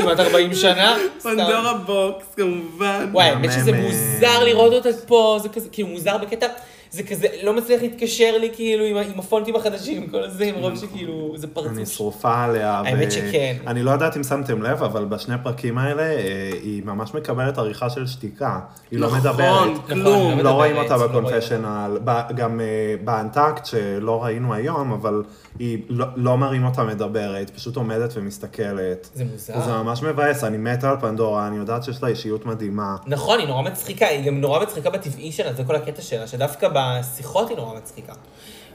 כמעט 40 שנה? סתם.
פנדורה בוקס, כמובן.
וואי, האמת שזה
מהמם.
מוזר לראות אותה פה, זה כזה, כאילו מוזר בקטע, זה כזה, לא מצליח להתקשר לי כאילו עם ה- עם הפונטים החדשים, כל הזה, עם רוב שכאילו, זה
נכון. אני
פרצוף.
שרופה עליה.
האמת שכן.
אני לא יודעת אם שמתם לב, אבל בשני הפרקים האלה, אה, היא ממש מקבלת עריכה של שתיקה. היא לא
נכון,
מדברת.
כלום.
נכון, היא לא
לא רואים
מדברת,
אותה
לא רואים
בקונפשיונל, ב- גם אה, באנטקט שלא ראינו היום, אבל היא לא- לא מראים אותה מדברת, פשוט עומדת ומסתכלת.
זה מוזר.
זה ממש מבאס, אני מתה על פנדורה, אני יודעת שיש לה אישיות מדהימה.
נכון, היא נורא מצחיקה, היא גם נורא מצחיקה בטבעי שלה, זה כל הקטע שלה, שדווקא בשיחות היא נורא מצחיקה.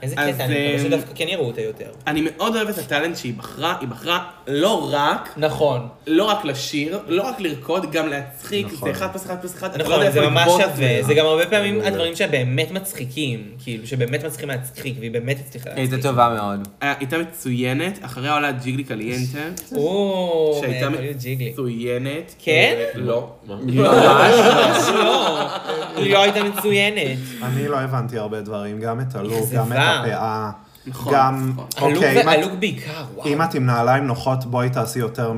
איזה
אז,
קטע, אני מקווה
אמ,
שדווקא כן יראו אותה יותר.
אני מאוד אוהב את הטאלנט שהיא בחרה, היא בחרה לא רק,
נכון.
לא רק לשיר, לא רק לרקוד, גם להצחיק, זה אחד פלוס אחד פלוס אחד, אתה לא יודע
נכון, זה
איפה
ממש
לגבות
שווה,
ממנה.
זה גם הרבה פעמים
אה,
הדברים שהם באמת מצחיקים, כאילו, שבאמת מצליחים להצחיק, והיא באמת הצליחה
היא
להצחיק.
הייתה טובה מאוד.
אה, הייתה מצוינת, אחריה עולה ג'יגלי קליינטה,
או,
שהייתה
אה, ג'יגלי.
מצוינת.
כן?
לא.
ממש לא. ליאו הייתה מצוינת.
אני לא הבנתי הרבה דברים, גם את הלוק,
אכזבה.
גם את הפאה.
נכון,
גם,
נכון.
הלוק
אוקיי, אם את-
והלוק בעיקר, וואו.
אם את עם נעליים נוחות, בואי תעשי יותר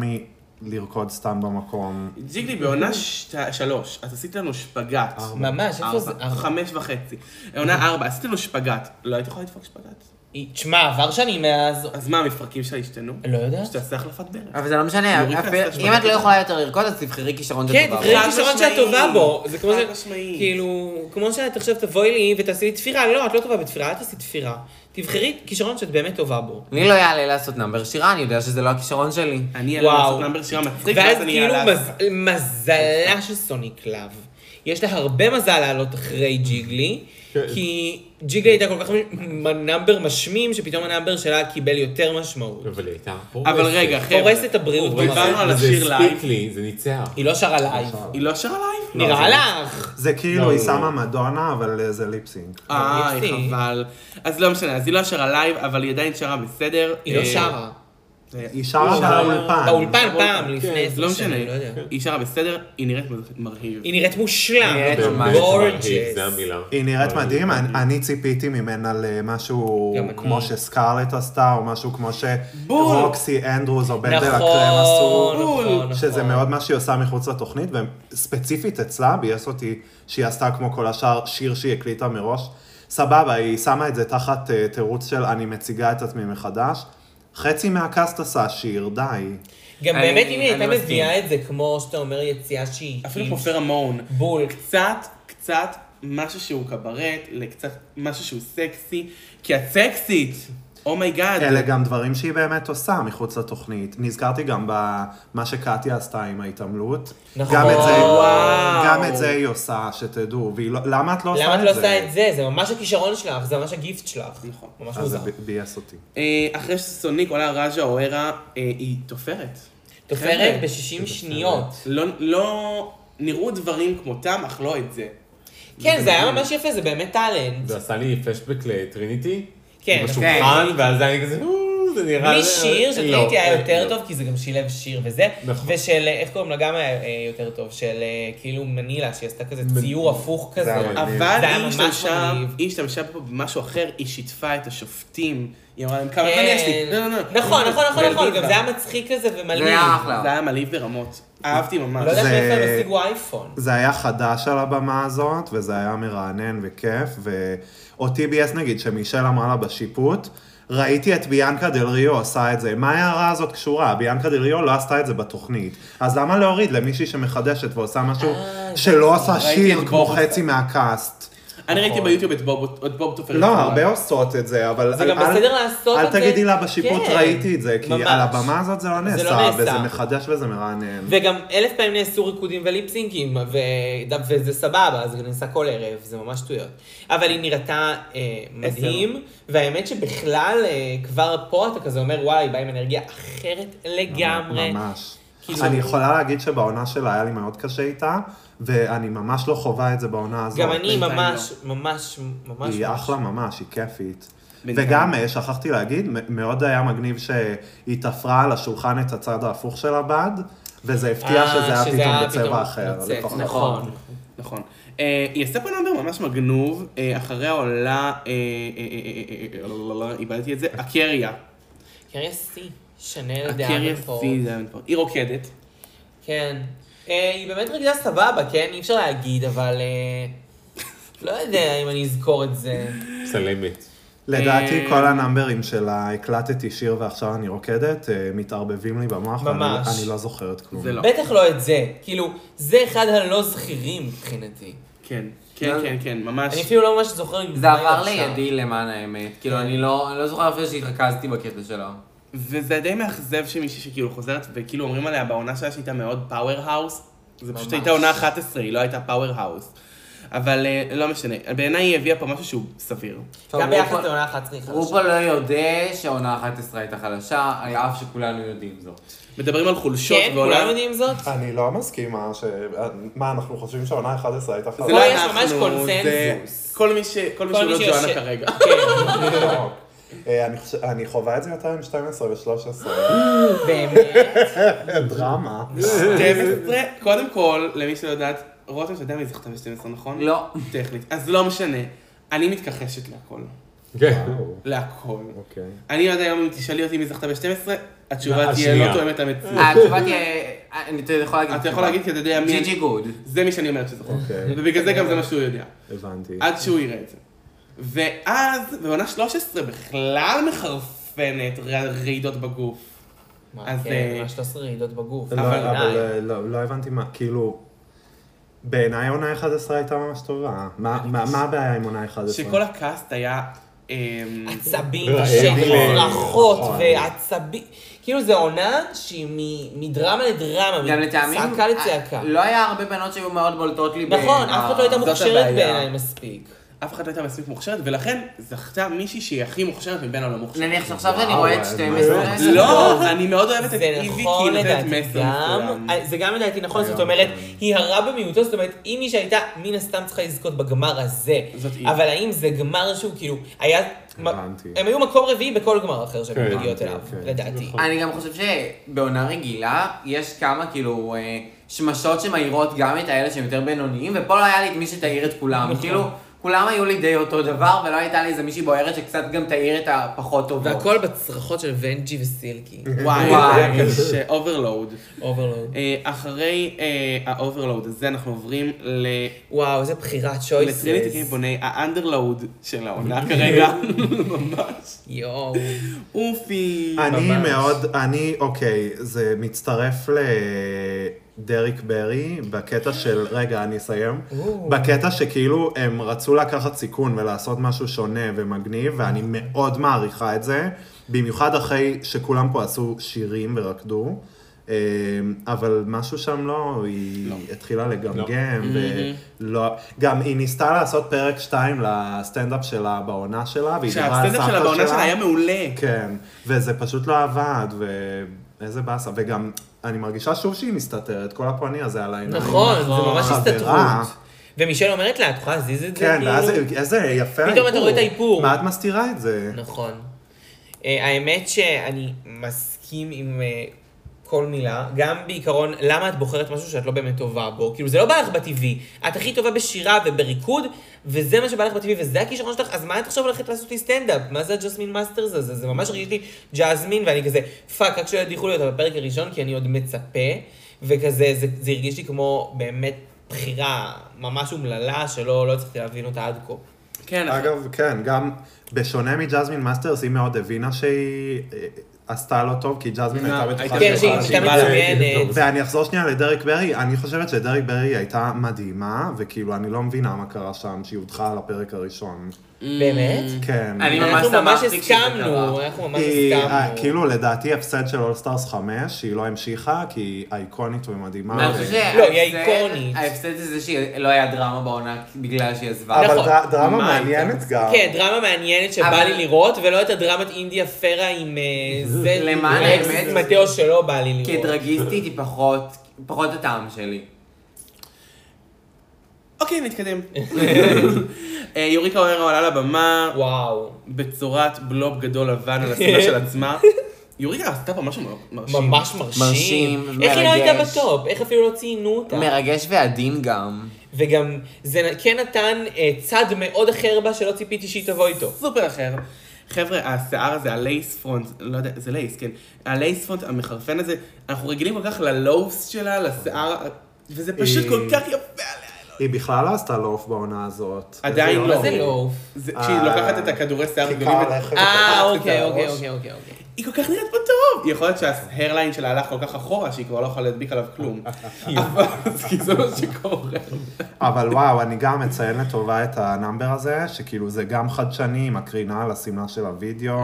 מלרקוד סתם במקום.
ג'יגלי בעונה שת- שלוש, את עשית לנו שפגאט.
ממש, איפה זה? אה,
ארבע, חמש וחצי. עונה ארבע, עשית לנו שפגאט. לא היית יכולה לדפוק שפגאט?
היא- תשמע, עבר שנים מאז...
אז מה, המפרקים שלה השתנו?
לא יודעת.
שתעשה החלפת ברך.
אבל זה לא משנה,
יוריקה
אפילו-
עשתה
אם את לא
שמונה.
יכולה יותר לרקוד, אז תבחרי כישרון של
כן,
דבר.
תבחרי
חד
כישרון שאת טובה
משמעית.
בו. זה כמו
חד
ש...
משמעית.
כאילו, כמו שאת עכשיו תבואי לי ותעשי לי תפירה, לא, את לא טובה בתפירה, אל תעשי תפירה. תבחרי כישרון שאת באמת טובה בו.
לי לא יעלה לעשות נאמבר שירה, אני יודע שזה לא הכישרון שלי.
אני אעלה
וואו.
לעשות נאמבר שירה מצחיק,
ואז
ואז אני
כאילו
אעלה...
מז- מזלה של סוני קלאב. יש לה הרבה מזל לעלות אחרי ג'יגלי,
כן.
כי ג'יגלי הייתה כל כך נאמבר משמים, שפתאום הנאמבר שלה קיבל יותר משמעות.
לא, אבל היא הייתה פורסת.
אבל רגע, חבר'ה.
פורס את הבריאות
אבל
במראה.
דיברנו על
זה
השיר
הספיק
לייב.
לי, זה ניצח.
היא לא שרה לייב.
היא לא שרה לייב?
נראה לך.
זה כאילו, היא שמה מדונה, אבל אה, זה ליפסינג.
אה,
ליפסינג.
חבל. אז לא משנה, אז היא לא שרה לייב, אבל היא עדיין שרה בסדר.
היא לא
אה,
שרה.
זה-
היא שרה
שרה
באולפן.
באולפן פעם, לפני
זה לא
עשר
משנה.
שנים, לא יודע.
היא שרה בסדר, היא נראית מרהיב.
היא נראית מושלם.
היא נראית
באמת, מרהיב, זה
גורג'ס.
המילה.
היא נראית מדהים, אני אני ציפיתי ממנה למשהו
גם אני.
כמו שסקארלט עשתה, או משהו כמו
בול.
שרוקסי אנדרוס או בן דה
נכון,
לקרם עשו.
נכון,
שזה
נכון.
מאוד מה שהיא עושה מחוץ לתוכנית, וספציפית אצלה ביאס אותי שהיא עשתה כמו כל השאר שיר שהיא הקליטה מראש. סבבה, היא שמה את זה תחת אה, תירוץ של אני מציגה את עצמי מחדש. חצי מהקאסט עשה שיר, די.
גם
אני-
באמת אם היא
אני
הייתה
מסכים.
מביאה את זה, כמו שאתה אומר, יציאה שהיא...
אפילו
היא
כמו פרה מון.
בול.
קצת, קצת משהו שהוא קברט, לקצת משהו שהוא סקסי, כי את סקסית! Oh אומייגאד.
כן.
אלה גם דברים שהיא באמת עושה מחוץ לתוכנית. נזכרתי גם במה שקטיה עשתה עם ההתעמלות.
נכון.
גם את זה,
וואו.
גם את זה היא עושה, שתדעו. והיא לא- למה את לא עושה את זה?
למה את לא עושה את זה? זה ממש הכישרון שלך, זה ממש הגיפט שלך.
נכון.
ממש
אז זה
מוזר.
ב- ביאס אותי.
אה, אחרי שסוניק עולה רג'ה או ערה, אה, היא תופרת.
תופרת
חבר'ה,
ב-60 שניות.
לא, לא נראו דברים כמותם, אך לא את זה.
כן, זה היה ממש יפה, זה באמת טאלנט.
זה עשה לי פלשבק לטריניטי.
כן,
בשולחן, ואז היה לי כזה, "או, זה
כן.
נראה...
בלי
לי-"
שיר, של
לא,
טריניטי היה
לא.
יותר טוב, כי זה גם שילב שיר וזה.
נכון.
ושל, איך קוראים לה, גם היה אה, יותר טוב, של אה, כאילו מנילה, שהיא עשתה כזה ציור הפוך כזה.
היה מגניב.
אבל
זה היה
היא
ממש
השתמשה,
מגניב.
היא השתמשה פה במשהו אחר, היא שיתפה את השופטים. היא אמרה להם, כמה זמן יש
כן.
לי? לא, לא, לא.
נכון, נכון, נכון, נכון,
מלהיב
גם
לה.
זה היה מצחיק כזה
זה
ומלאים.
היה
זה
אחלה.
היה מלהיב ברמות. אהבתי ממש.
לא יודעת
זה-
מאיפה הם השיגו אייפון.
זה היה חדש על הבמה הזאת, וזה היה מרענן וכיף, ואותי ביאס נגיד, שמישל אמרה לה בשיפוט, ראיתי את ביאנקה דל ריו עושה את זה. מה ההערה הזאת קשורה? ביאנקה דל ריו לא עשתה את זה בתוכנית. אז למה להוריד למישהי שמחדשת ועושה
אה,
משהו
לא
שלא
נכון.
עשה
ראיתי את
שיר כמו
בוב עושה.
חצי מהקאסט?
אני ראיתי ביוטיוב את בוב את בוב תופרת.
לא, הרבה עושות את זה, אבל...
זה גם
אל-
בסדר לעשות את זה.
אל תגידי לה בשיפוט
כן.
ראיתי את זה, כי
ממש.
על הבמה הזאת זה לא
זה לא
נעשה,
נעשה.
וזה מחדש וזה מרענן.
וגם אלף פעמים נעשו ריקודים וליפסינקים, ו- וזה סבבה, אז זה נעשה כל ערב, זה ממש שטויות. אבל היא נראתה אה, מדהים, והאמת שבכלל, אה, כבר פה אתה כזה אומר, וואלה, היא באה עם אנרגיה אחרת לגמרי.
ממש.
כאילו-
אני יכולה להגיד שבעונה שלה היה לי מאוד קשה איתה, ואני ממש לא חווה את זה בעונה הזאת.
גם אני
בינתיים
ממש, ממש, ממש,
היא
ממש.
אחלה ממש, היא כיפית.
בינתיים.
וגם, אה, שכחתי להגיד, מ- מאוד היה מגניב שהיא תפרה על השולחן את הצד ההפוך של הבד, וזה הפתיע
אה,
שזה היה
שזה
פתאום
היה פתאום
בצבע אחר.
יוצא,
לפחות.
נכון.
נכון. אה, היא עשתה פה נאמבר ממש מגנוב, אה, אחריה עולה... אה, אה, אה, אה, אה, אה, לא, לא, לא, איבדתי את זה, הקריה.
קריה סי, שנל
הקריה
דאמנפורט.
סי דאונפורט. היא רוקדת.
כן. אה, היא באמת רגילה סבבה, כן? אי אפשר להגיד, אבל... אה, לא יודע אם אני אזכור את זה.
צלמת.
לדעתי
אה,
כל הנאמברים שלה, הקלטתי שיר ועכשיו אני רוקדת, אה, מתערבבים לי במוח, ואני
ממש.
אני לא זוכרת כלום.
זה לא.
בטח לא את זה. כאילו, זה אחד הלא זכירים מבחינתי.
כן. כן, כן, כן, ממש.
אני אפילו לא ממש זוכר אם
זה
מה היא
עבר
לבשה.
לידי למען האמת.
כן.
כאילו, אני לא אני לא זוכר אפילו שהתרכזתי בקטע שלו.
וזה די מאכזב שמישהי שכאילו חוזרת, וכאילו אומרים עליה בעונה שלה שהייתה מאוד פאוור האוס, זה פשוט
ממש.
הייתה עונה 11, היא לא הייתה פאוור האוס. אבל אה, לא משנה. בעיניי היא הביאה פה משהו שהוא סביר.
טוב,
גם ביחס
רופא-
לעונה אחת צריכה.
רופה לא יודע שהעונה 11 הייתה חלשה, על אף שכולנו יודעים זאת.
מדברים על חולשות
כן,
ועולם-
כולם יודעים זאת?
אני לא מסכימה ש... מה, אנחנו חושבים שהעונה 11 הייתה
זה
פה
לא
יש
אנחנו,
ממש
זה-
קונצנזוס.
כל מי ש- כל מי
כל
שהוא
מי כן.
לא
שיושב-
ג'ואנה כרגע.
לא. אה, אני חושב- אני חווה את זה יותר עם 12 ו-13.
באמת.
דרמה.
12, קודם כל, למי שלא יודעת, רותם, אתה יודע מי זכתה ב-12, נכון?
לא.
טכנית. אז לא משנה. אני מתכחשת להכל.
כן.
להכל.
אוקיי.
אני עד היום, אם תשאלי אותי מי זכתה ב-12, התשובה תהיה
השנייה.
לא תואמת למציאות.
אה, התשובה תהיה... אה, אני- אתה יכול להגיד.
אתה יכול להגיד כי אתה יודע מי...
ג'י ג'י גוד.
זה מי שאני אומרת שזכור.
אוקיי.
ובגלל זה גם זה מה שהוא יודע.
הבנתי.
עד שהוא יראה את זה. ואז, בעונה 13 בכלל מחרפנת ר- רעידות בגוף. אז,
אז... כן,
אה,
ממש 13 רעידות בגוף.
לא,
אבל
אבל
בעיניי.
אה, לא לא הבנתי מה, כאילו... בעיניי עונה 11 הייתה ממש טובה. מה- מה מה הבעיה עם עונה 11?
שכל הקאסט היה... אמ,
עצבים,
רעבים.
שפרחות
נכון.
ועצבים. כאילו זו עונה שהיא מ- מדרמה לדרמה,
גם לטעמים...
מצעקה
אה,
לצעקה.
לא היה הרבה בנות שהיו מאוד בולטות לי.
נכון,
ב- אה,
אף אחד לא הייתה
זאת
מוכשרת
הבעיה.
בעיניי מספיק.
אף אחת לא הייתה מספיק מוכשרת, ולכן זכתה מישהי שהיא הכי מוכשרת מבין הלא מוכשרת.
נניח שעכשיו אני רואה את
וואו,
12.
לא, אני מאוד אוהבת את
נכון. זה
איבי, כי
נכון
היא נותנת
לדעתי
מסר
גם,
מסוים.
זה גם לדעתי נכון, זאת
היום,
אומרת,
כן.
היא הרע במיעוטו, זאת אומרת, אם מישהי הייתה מן הסתם צריכה לזכות בגמר הזה,
זאת היא.
אבל האם זה גמר שהוא כאילו, היה,
הבנתי.
הם היו מקום רביעי בכל גמר אחר שהן
כן,
מגיעות אליו,
כן.
לדעתי.
אני גם חושב שבעונה רגילה, יש כמה כאילו אה, שמשות שמאירות גם את האלה שהם יותר בינוניים, ופה לא היה לי את מי שתאיר את כולם.
נכון.
כאילו, כולם היו לי די אותו דבר, ולא הייתה לי איזה מישהי בוערת שקצת גם תאיר את הפחות טובות.
והכל בצרחות של ונג'י וסילקי,
וואי, זה היה קשה, אוברלואוד.
אוברלוד.
אחרי אה, האוברלואוד הזה אנחנו עוברים ל-
וואו, איזה בחירת
לא לטריניטי
שויסס.
קייבוני, האנדרלואוד של העונה כרגע, ממש.
יואו.
אופי,
אני
ממש.
מאוד, אני, אוקיי, זה מצטרף לדריק ברי בקטע של, רגע, אני אסיים. בקטע שכאילו הם רצו לקחת סיכון ולעשות משהו שונה ומגניב, ואני מאוד מעריכה את זה, במיוחד אחרי שכולם פה עשו שירים ורקדו. אה, אבל משהו שם לא, היא התחילה לגמגם,
Mm-hmm.
ולא, גם היא ניסתה לעשות פרק 2 לסטנדאפ שלה בעונה שלה, והיא דיברה על סבתא
שהסטנדאפ
שלה.
שלה בעונה שלה היה מעולה.
כן, וזה פשוט לא עבד, ואיזה באסה. וגם, אני מרגישה שוב שהיא מסתתרת, כל הפוני הזה על העיניים.
נכון, זה ממש
חברה.
הסתתרות. ומישל אומרת לה, את יכולה להזיז את זה?
כן, ואז
כאילו?"
איזה יפה האיפור.
פתאום אתה רואה את האיפור.
מה את מסתירה את זה?
נכון. אה, האמת שאני מסכים עם אה, כל מילה, גם בעיקרון, למה את בוחרת משהו שאת לא באמת טובה בו? כאילו, זה לא בא לך בטבעי. את הכי טובה בשירה ובריקוד, וזה מה שבא לך בטבעי, וזה הכישרון שלך, אז מה את עכשיו הולכת לעשות לי סטנדאפ? מה זה הג'סמין מאסטרס הזה? זה ממש הרגיש לי ג'אזמין, ואני כזה, פאק, רק שלא ידיחו לי אותה בפרק הראשון, כי אני עוד מצפה, וכזה, זה, זה הרגיש לי כמו באמת בחירה ממש אומללה, שלא לא הצלחתי להבין אותה עד כה.
כן,
נכון.
אגב, כן, גם בשונה מג'זמין מאסטרס, היא מאוד הבינה שהיא אה, עשתה לא טוב, כי ג'זמין
מה,
הייתה בטוחה
כן, שהיא
יכולה-
הייתה
באה להגיד
מצוינת.
ואני אחזור שנייה לדרק ברי, אני חושבת שדרק ברי הייתה מדהימה, וכאילו, אני לא מבינה מה קרה שם, שהיא הודחה על הפרק הראשון.
באמת?
כן.
אני ממש
אנחנו ממש
שמחתי כשזה
הסכמנו,
קרה.
אנחנו ממש
היא, אה,
הסכמנו.
כאילו, לדעתי, הפסד של אולסטארס 5, שהיא לא המשיכה, כי היא אייקונית ומדהימה.
אני
ו-
חושב
לא, היא
שההפסד-
איקונית.
ההפסד זה זה שלא היה דרמה בעונה בגלל שהיא עזבה.
אבל
נכון.
ד- דרמה
מה,
מעניינת גם.
כן, דרמה מעניינת שבא
אבל-
לי לראות, ולא את הדרמת אינדיה פרה עם אה, זה, עם
למען
אקס
האמת-
מתאו שלא בא לי לראות.
כדרגיסטית היא פחות, פחות הטעם שלי.
אוקיי, נתקדם. אה, יוריקה אוהרה עולה לבמה
וואו,
בצורת בלוב גדול לבן על השמלה של עצמה. יוריקה עשתה פה משהו מרשים.
ממש מרשים.
מרשים,
איך היא לא הייתה
מרגש.
בטופ? איך אפילו לא ציינו אותה?
מרגש ועדין גם.
וגם זה כן נתן אה, צד מאוד אחר בה שלא ציפיתי שהיא תבוא איתו.
סופר אחר. חבר'ה, השיער הזה, הלייס פרונט, לא יודע, זה לייס, כן. הלייס פרונט המחרפן הזה, אנחנו רגילים כל כך ללובס שלה, לשיער, וזה פשוט
אה,
כל כך יפה עליה.
היא בכלל לא עשתה לוף בעונה הזאת.
עדיין
איזה
לא.
מה זה לוף?
זה-
אה,
כשהיא לוקחת את הכדורי שיער
כיכר
הגדולים, ו-
הלחם.
אה,
פתחת את
אוקיי,
הראש.
אוקיי, אוקיי, אוקיי.
היא כל כך נראית בטוב. טוב. יכול להיות שההרליין שלה הלך כל כך אחורה, שהיא כבר לא יכולה להדביק עליו כלום. אבל כי זה מה שקורה.
אבל וואו, אני גם מציין לטובה את הנאמבר הזה, שכאילו זה גם חדשני, עם הקרינה על השמלה של הוידאו,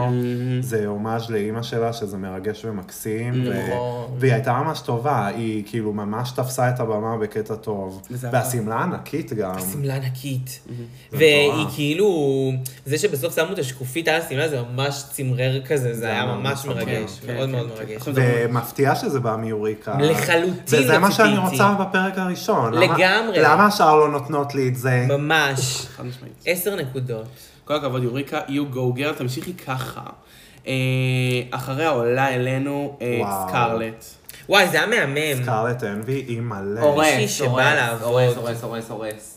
זה הומאז' לאימא שלה, שזה מרגש ומקסים, ו- והיא הייתה ממש טובה, היא כאילו ממש תפסה את הבמה בקטע טוב,
וזה עבר.
והשמלה ענקית גם.
שמלה ענקית.
מטורף.
והיא כאילו, זה שבסוף שמו את השקופית על השמלה זה ממש צמרר כזה, זה היה
היה
ממש
ממש אוקיי,
מרגש, מאוד מאוד מרגש.
ומפתיע שזה בא מיוריקה.
לחלוטין
וזה
לא
מה שאני
ציפיתי.
רוצה בפרק הראשון. למה-
לגמרי.
למה השאר לא נותנות לי את זה?
ממש.
חד משמעית.
עשר נקודות.
כל הכבוד יוריקה, you go girl, תמשיכי ככה. אה, אחריה עולה אלינו אה,
וואו.
סקארלט.
וואי, זה היה מהמם.
סקארלט אנבי היא מלא.
מישהי
הורס,
שבא
הורס,
לעבוד.
הורס, הורס, הורס, הורס.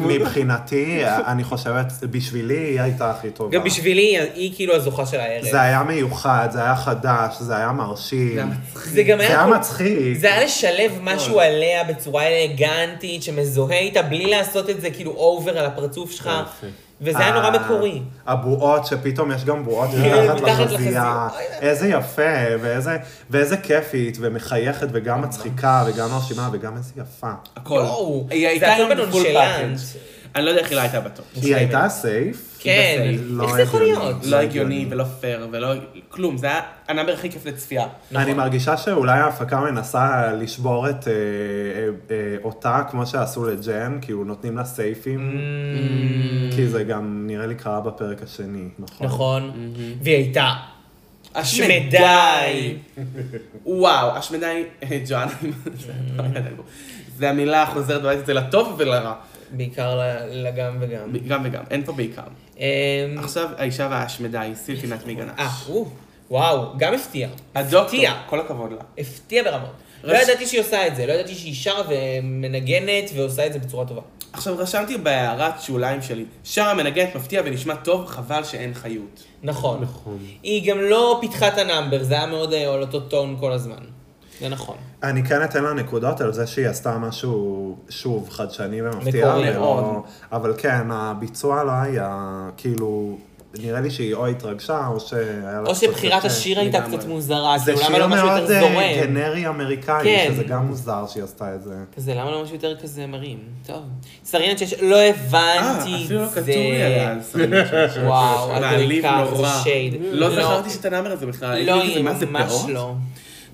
מבחינתי, אני חושבת, בשבילי היא הייתה הכי טובה.
גם בשבילי, היא כאילו הזוכה של הערב.
זה היה מיוחד, זה היה חדש, זה היה מרשים.
זה גם
זה היה
כל-
מצחיק.
זה היה לשלב משהו עליה בצורה אלגנטית, שמזוהה איתה, בלי לעשות את זה כאילו אובר על הפרצוף שלך,
יופי.
וזה היה נורא
ה-
מקורי.
הבועות, שפתאום יש גם בועות
כן,
מתחת
מתחת
לחזייה.
לחזייה.
איזה יפה, ואיזה- ואיזה כיפית, ומחייכת, וגם מצחיקה, וגם מרשימה, וגם איזה יפה.
הכל.
יואו,
היא הייתה
זה הכל
היום בפול
בנונשלנט.
פאקג'. אני לא יודע איך היא לא הייתה בטופ.
היא הייתה סייף?
כן,
לא
איך זה יכול
הגיוני.
להיות?
לא הגיוני ולא פייר ולא כלום, זה היה הנאמבר הכי כיף לצפייה.
אני מרגישה שאולי ההפקה מנסה לשבור את אה, אה, אה, אותה, כמו שעשו לג'ן, כאילו נותנים לה סייפים, כי זה גם נראה לי קרה בפרק השני, נכון?
Mm. נכון, והיא הייתה
השמדי.
שמדי.
וואו, השמדי, ג'ואן, זה לא היה די ברור. זה המילה החוזרת בבית הזה לטוב ולרע.
בעיקר ל- לגם וגם.
גם וגם, אין פה בעיקר.
אמ,
עכשיו האישה וההשמדה היא סילפינת מגנש.
אה, או, וואו, גם הפתיע.
הדוקטור,
הפתיע.
כל הכבוד לה.
הפתיע ברמות. לא
רש-
ידעתי שהיא עושה את זה, לא ידעתי שהיא שרה ומנגנת ועושה את זה בצורה טובה.
עכשיו רשמתי בהערת שוליים שלי, שרה מנגנת מפתיע ונשמע טוב, חבל שאין חיות. אה,
נכון. נכון. היא גם לא פיתחה את הנאמבר, זה היה מאוד אה, על אותו טון כל הזמן. זה נכון.
אני כן אתן לה נקודות על זה שהיא עשתה משהו, שוב, חדשני ומפתיע,
מקורי
ולא-
מאוד.
אבל כן, הביצוע לא היה, כאילו, נראה לי שהיא או התרגשה, או שהיה לה...
או
קצת
שבחירת
קשה.
השיר הייתה
כן, לגמרי.
קצת מוזרה,
זה
כאילו למה לא
שיר
משהו יותר
מאוד אה,
זורם?
גנרי אמריקאי,
כן.
שזה גם מוזר שהיא עשתה את זה.
כזה, למה לא משהו יותר כזה מרים? טוב. סרינת שש, לא הבנתי
אה,
את
אפילו לא
זה.
כתוב לי עליה. סליחה.
וואו, את
מעליב
ריקה,
נורא.
זה שייד.
לא זכרתי שאת הנאמר הזה בכלל.
לא,
הייתי כזה,
היא
מה זה
ממש
פאות?
לא.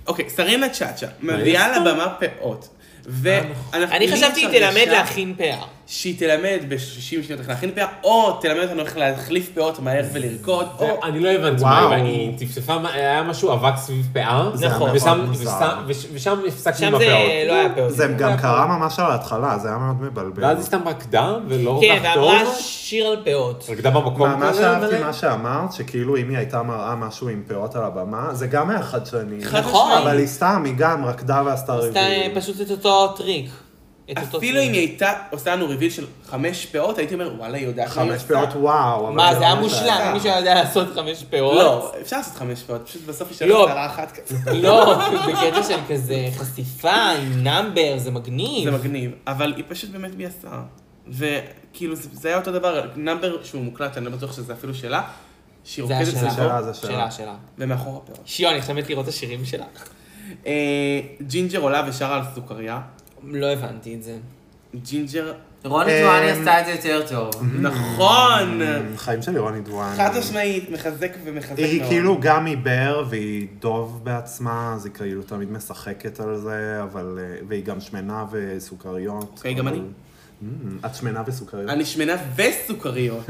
אוקיי, סרינה צ'אצ'ה, מביאה לבמה פאות. ואנחנו...
אני
לי יש
חשבתי היא תלמד
הרגשה
להכין פאה.
שהיא תלמד ב-60 שניות איך להכין פאה, או תלמד אותנו איך להחליף פאות מהר ולרקוד, או...
אני לא הבנתי
וואו.
מה היא טפטפה, מה- היה משהו אבק סביב פאה,
זה היה
נכון.
ושם-
מאוד מוזר.
ושם- וש- ושם הפסקנו
שם
עם
זה
הפאות.
לא היה פאות.
זה גם קרה ממש על ההתחלה, זה היה מאוד מבלבל.
ואז היא סתם רקדה, ולא
כן,
כל כך טוב,
ואמרה שיר על פאות.
רקדה במקום
"אה,
אה,
ממש אהבתי מה שאמרת, שכאילו אם היא הייתה מראה משהו עם פאות על הבמה, זה גם היה חדשני.
חד
נכון.
אבל היא סתם, היא גם רקדה ועשתה
עשתה
ריבים.
אה, פשוט את אותו טריק. את אותו
אפילו
טריק.
אם היא הייתה עושה לנו ריביל של חמש פאות, הייתי אומר, וואלה, היא יודעת מה היא
חמש
עושה.
פאות וואו. אבל לא
מה, זה היה
ממש
מושלם, מי שיודע לעשות חמש פאות.
לא, אפשר לעשות חמש פאות, פשוט בסוף יש
לא.
לנו צרה אחת כזה.
לא, בקטע של כזה חשיפה עם נאמבר, זה מגניב.
זה מגניב, אבל היא פשוט באמת ביאסה. וכאילו, זה זה היה אותו דבר, נאמבר שהוא מוקלט, אני לא בטוח שזה אפילו שלה, שהיא
זה
רוקדת
השאלה.
סביבו,
שאלה, זה שאלה.
שאלה, שאלה.
ומאחור הפאות.
שיו, אני חייבת לראות את השירים שלה.
אה, ג'ינג'ר עולה ושרה על סוכריה.
לא הבנתי את זה.
ג'ינג'ר,
רוני
אמ,
טואני עשתה את זה יותר טוב.
נכון!
Mm, חיים של יוני דואן.
חד משמעית, מחזק ומחזק מאוד.
היא כאילו גם עיוור והיא דוב בעצמה, אז היא כאילו תמיד משחקת על זה, אבל... אה, והיא גם שמנה וסוכריות.
אוקיי, גם
אבל-
אני.
Mm, את שמנה וסוכריות.
אני שמנה וסוכריות.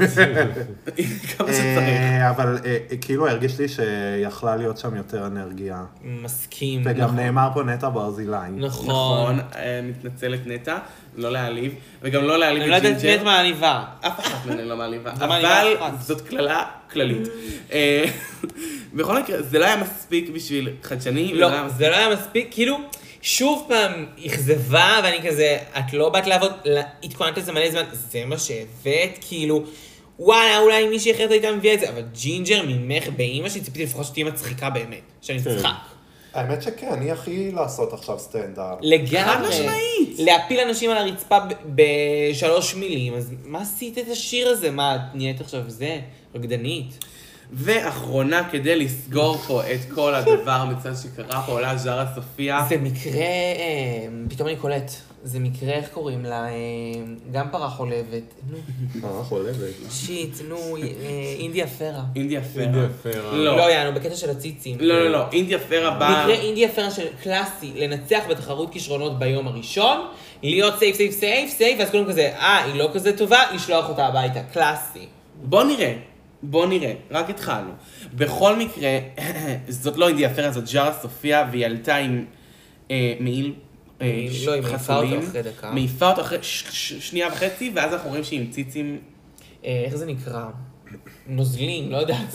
כמה שצריך.
אה, אבל אה, אה, כאילו הרגיש לי שיכלה להיות שם יותר אנרגיה.
מסכים.
וגם
נכון.
נאמר פה נטע ברזילי.
נכון.
נכון, אה, מתנצלת נטע, לא להעליב, וגם לא להעליב
אני לא
את
יודעת מי את
ג'ינג'ר.
מעליבה.
אף אחת מהן לא מעליבה,
מעליבה
אבל
אחת.
זאת קללה כללית. אה, בכל מקרה, זה לא היה מספיק בשביל חדשני, וזה היה
לא,
מספיק-
זה לא היה מספיק, כאילו, שוב פעם אכזבה, ואני כזה, את לא באת לעבוד, לא, התכוננת לזה מלא זמן, זה מה שהבאת, כאילו, וואלה, אולי מישהי אחרת הייתה מביאה את זה, אבל ג'ינג'ר ממך, באימא שלי, ציפיתי לפחות שתהיי מצחיקה באמת, שאני אצחק.
האמת שכן, היא הכי לעשות עכשיו סטנדאפ.
לגמרי.
חד משמעית.
להפיל אנשים על הרצפה ב- בשלוש מילים, אז מה עשית את השיר הזה? מה, את נהיית עכשיו זה? רקדנית?
ואחרונה, כדי לסגור פה את כל הדבר המצוין שקרה פה, עולה ז'ארה סופיה.
זה מקרה, אה, פתאום אני קולט, זה מקרה, איך קוראים לה? אה, גם פרה חולבת. נו,
אה, חולבת.
שיט, נו, אה, אינדיה פרה.
אינדיה פרה.
אינדיה פרה.
לא.
לא, יענו, בקטע של הציצים.
לא, לא, לא, אינדיה פרה באה...
מקרה אינדיה פרה של קלאסי, לנצח בתחרות כישרונות ביום הראשון, להיות סייף, סייף, סייף, סייף, ואז כולם כזה, אה, היא לא כזה טובה, לשלוח אותה הביתה, קלאסי.
בוא נראה, בוא נראה, רק התחלנו. בכל מקרה, זאת לא אינדיה פרה, זאת ג'ארה סופיה, והיא עלתה עם אה, מעיל אה,
מעיל, לא, היא מעיפה
חסולים.
אותו אחרי דקה.
מעיפה אותו אחרי ש- ש- שנייה וחצי, ואז אנחנו רואים שהיא עם ציצים,
אה, איך זה נקרא? נוזלים, לא יודעת.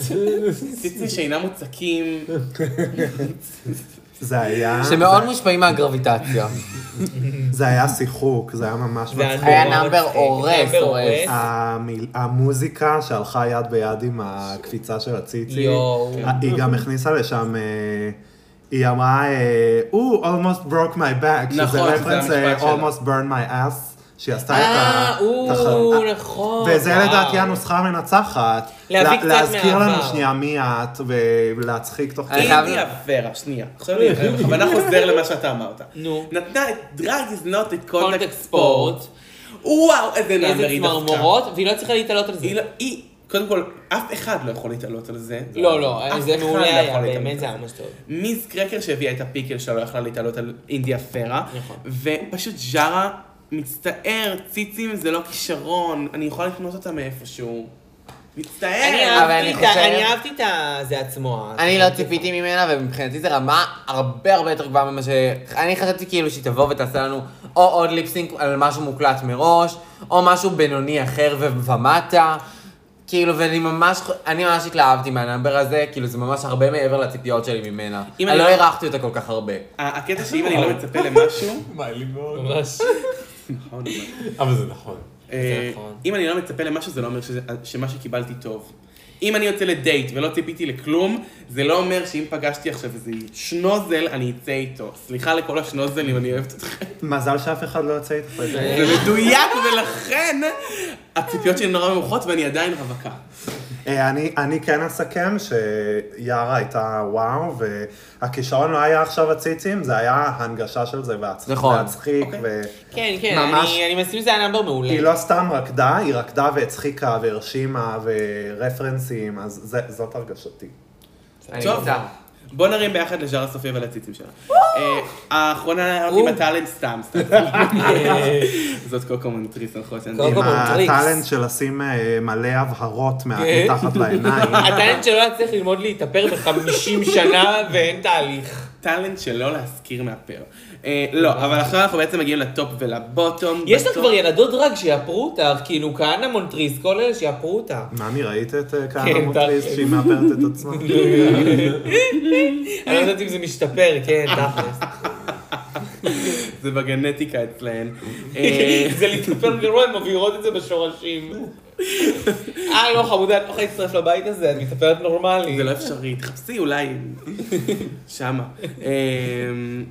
ציצים שאינם מוצקים.
זה
אה,
היה...
שמאוד מושפעים מהגרביטציה.
זה היה שיחוק, זה היה ממש
זה
מצחיק.
היה
נורא
נאמבר
מצחיק.
הורס,
נאמבר
הורס.
אה, המיל- המוזיקה שהלכה יד ביד עם הקפיצה של הציצי,
יואו.
היא גם הכניסה לשם, אה, היא אמרה, אה, הוא almost broke my back, שזה
נכון,
רפרנס
זה המשפט שלה.
almost burn my ass, שהיא עשתה את ה...
אה, או,
תחר-
נכון.
וזה
וואו.
לדעתי הנוסחה המנצחת,
להביא
לה-
קצת
להזכיר לנו
מהעבר.
שנייה מי את ולהצחיק תוך
אני
כדי.
חייב-
אינדיה פרה, שנייה. עכשיו אני בכוונה חוזר למה שאתה אמרת.
נו.
נתנה את דרג is not a
קונטקט
contact
ספורט.
sport. וואו, איזה נאמר
איזה
היא דפקה.
צמרמורות, והיא לא צריכה להתעלות על זה.
היא לא- היא, קודם כל, אף אחד לא יכול להתעלות על זה.
לא, לא,
אף
זה
אחד
מעולה
לא
היה,
יכול להתעלות על
באמת זה היה ממש טוב.
מיס קרקר שהביאה את הפיקל שלה לא יכלה להתעלות על אינדיה פרה.
נכון.
ופשוט ז'ארה, מצטער, ציצים זה לא כישרון, אני יכולה לקנות אותה מאיפשהו.
אני
מצטער.
אהבתי
אני
את
חושב-
ה- אני אהבתי את ה- זה עצמו. אה, כאילו.
אני לא ציפיתי ממנה, ומבחינתי זו רמה הרבה הרבה יותר גבוהה ממה ש... אני חשבתי כאילו שהיא תבוא ותעשה לנו או עוד ליפסינק על משהו מוקלט מראש, או משהו בינוני אחר ו- ומטה. כאילו, ואני ממש, ח- אני ממש התלהבתי מהנאמבר הזה, כאילו זה ממש הרבה מעבר לציפיות שלי ממנה.
אם
אני
אני
לא
לא-
הערכתי אותה כל כך הרבה.
ה- הקטע שאם אני לא מצפה למשהו,
מעלים מאוד.
ממש.
נכון, אבל-
אבל זה נכון.
אה,
נכון.
אם אני לא מצפה למשהו, זה לא אומר שזה- שמה שקיבלתי טוב. אם אני יוצא לדייט ולא ציפיתי לכלום, זה לא אומר שאם פגשתי עכשיו איזה שנוזל, אני אצא איתו. סליחה לכל השנוזלים, אני אוהבת אתכם.
מזל שאף אחד לא יוצא איתך.
אה,
זה מדויק, ולכן הציפיות שלי נורא נמוכות ואני עדיין רווקה.
אה, אני, אני כן אסכם שיארה הייתה וואו, והכישרון לא היה עכשיו הציצים, זה היה ההנגשה של זה והצ-
נכון.
והצחיק,
כן, כן,
ממש.
אני- אני מסכים שזה היה נאמבר מעולה.
והיא לא סתם רקדה, היא רקדה והצחיקה והרשימה ורפרנסים, אז זה, זאת הרגשתי.
אני
טוב.
נמצא.
בוא נרים ביחד לז'אר הסופיה ולציצים שלה. אה, האחרונה עם הטאלנט סתם, סתם. זאת קוקו מונטריס, נכון? שאני-
קוקו.
עם
בונטריקס.
הטאלנט של לשים אה, מלא הבהרות
כן.
מה- מתחת לעיניים.
הטאלנט שלא להצליח ללמוד להתאפר בחמישים שנה ואין תהליך.
טאלנט שלא להזכיר מהפר. אה, לא, אבל עכשיו אנחנו בעצם מגיעים לטופ ולבוטום.
יש לך
בטופ-
כבר ילדות דרג שיאפרו אותך, כאילו כהנא מונטריס, כל אלה שיאפרו אותך.
ממי, ראית את אה,
כן,
כהנא מוטריס
תכלס.
שהיא מאפרת את עצמה?
אני לא יודעת אם זה משתפר, כן, תכלס.
זה בגנטיקה אצלהן. אה,
זה להתאפר גרוע, הן מבהירות את זה בשורשים. אה, לא, חמודה, את לא יכולה להצטרף לבית הזה, את מתאפרת נורמלי.
זה לא אפשרי, תחפשי אולי שמה. אמ,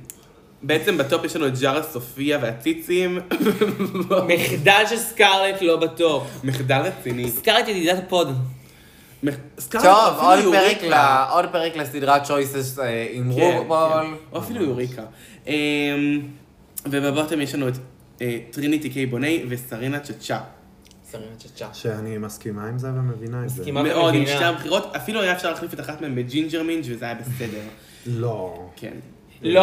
בעצם בטופ יש לנו את ג'ארה סופיה והציצים, לא-
מחדל של סקארלט לא בטופ.
מחדל רציני.
סקארלט ידידת הפוד.
מח- סקארלט,
טוב,
אפילו
עוד
יוריקה.
פרק ל- עוד פרק לסדרת choices אה, עם
כן,
רובול.
כן. או אפילו יוריקה. אמ, ובבוטם יש לנו את אה, טריניטי קיי בוני וסרינה צ'צ'ה.
שמים את צ'צ'ה.
שאני מסכימה עם זה ומבינה את זה.
מסכימה. מה
מאוד, עם
מבינה?
שתי הבחירות, אפילו היה אפשר להחליף את אחת מהן בג'ינג'ר מינג' וזה היה בסדר.
לא.
כן.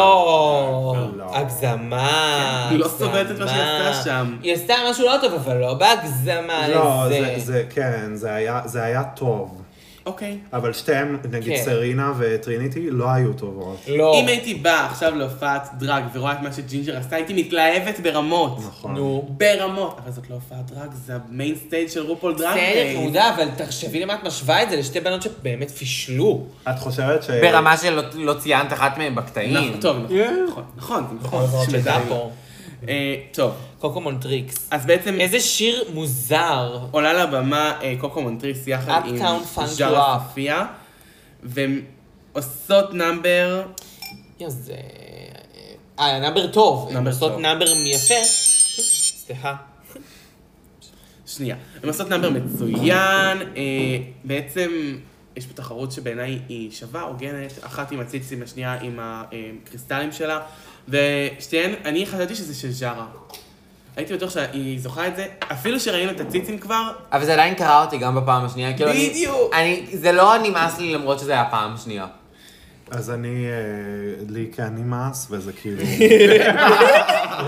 לא,
לא.
הגזמה.
היא לא סובלת את מה שהיא
הגזמה.
עשתה שם.
היא עשתה משהו לא טוב, אבל לא בהגזמה
לא,
לזה.
זה- זה, כן, זה היה- זה היה טוב.
אוקיי.
אבל שתיהן, נגיד
כן.
סרינה וטריניטי, לא היו טובות.
לא.
אם הייתי באה עכשיו להופעת דרג ורואה את מה שג'ינג'ר עשתה, הייתי מתלהבת ברמות.
נכון.
נו.
ברמות. אבל זאת לא הופעת דרג, זה המיינסטייג' של רופול דרג. אה,
בסדר,
רייס.
יהודה, אבל תחשבי למה את משווה את זה, לשתי בנות שבאמת פישלו.
את חושבת ש...
ברמה שלא לא ציינת אחת מהם בקטעים.
כן. נכון, טוב, נכון, נכון, נכון, זה נכון.
שזה
שמדע פה.
פה.
אה, טוב,
קוקומון טריקס.
אז בעצם
איזה שיר מוזר.
עולה לבמה אה, קוקו מונטריס יחד עם
Uptown Funk
ז'ארה
Love.
סופיה, והן עושות נאמבר,
יא, זה... אה, נאמבר טוב.
נאמבר
נאמבר טוב.
טוב.
נאמבר יפה. סליחה.
שנייה, הן עושות נאמבר מצוין, אה, בעצם יש פה תחרות שבעיניי היא שווה, הוגנת, אחת עם הציצים, השנייה עם הקריסטלים שלה, ושתיהן, אני חשבתי שזה של ז'ארה. הייתי בטוח שהיא זוכה את זה, אפילו שראינו את הציצים כבר,
אבל זה עדיין קרה אותי גם בפעם השנייה, כאילו אני...
בדיוק.
אני, זה לא נמאס לי למרות שזה היה פעם שנייה.
אז אני, אה, לי כן נמאס, וזה כאילו...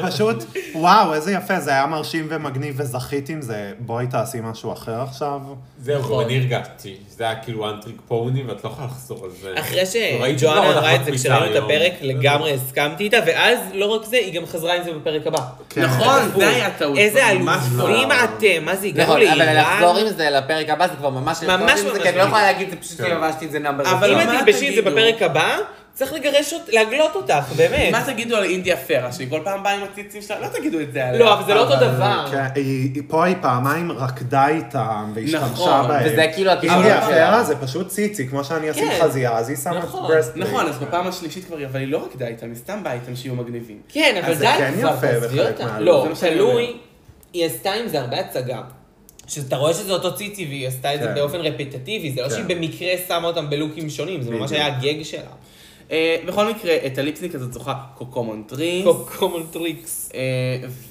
פשוט, וואו, איזה יפה, זה היה מרשים ומגניב וזכית עם זה. בואי תעשי משהו אחר עכשיו.
נכון.
זהו, אני הרגשתי. זה היה כאילו one trick pony ואת לא יכולה לחזור על זה.
אחרי
לא, ראיתי
שג'ואנה
כבר
אמרה את
הדחת
זה
מיטה
כשראינו את
היום.
הפרק, לגמרי הסכמתי איתה, ואז לא רק זה, היא גם חזרה עם זה בפרק הבא.
כן.
נכון, זה היה טעות.
איזה
ממש
אלופים
לא.
אתם, מה זה, הגענו
נכון, אבל
לאיראן?
לחזור עם זה לפרק הבא זה כבר ממש...
ממש
לחזור
ממש
עם זה, כי אני לא
לא.
יכולה להגיד, זה פשוט כי לבשתי את זה נאמבר.
אבל
ראשון.
אם
מה
את תלבשי את זה
תגידו?
בפרק הבא, צריך לגרש אותך, להגלות אותך, באמת.
מה תגידו על אינדיה פרה, שהיא כל פעם באה עם הציצים שלה? לא תגידו את זה עליה.
לא, אבל זה לא אותו דבר.
כן, היא- היא- פה היא פעמיים רקדה איתם והשתמשה
נכון,
בהם.
וזה כאילו הכישלון
אינדיה
שלה.
פרה זה פשוט ציצי, כמו שאני אשים
כן.
חזייה, אז היא שמה את
נכון.
ברסט
נכון, אז בפעם השלישית כבר, אבל היא לא רקדה איתם, היא סתם באה איתם שיהיו מגניבים.
כן, אבל
אז זה
די
כן
כבר,
יפה
תעזבי
בחלק
אותה.
מהלב.
לא,
זה מה שאני אומר.
תלוי, היא עשתה עם זה הרבה הצגה. שאתה רואה שזה אותו ציצי והיא עשתה את זה
כן.
באופן רפטטיבי, זה לא
כן.
שהיא במקרה שמה אותם בלוקים שונים, זה ממש
בדיוק.
היה הגג שלה.
אה, בכל מקרה, את הליפסניק הזאת זוכה קוקו מונטריס,
קומון טריקס.
אה,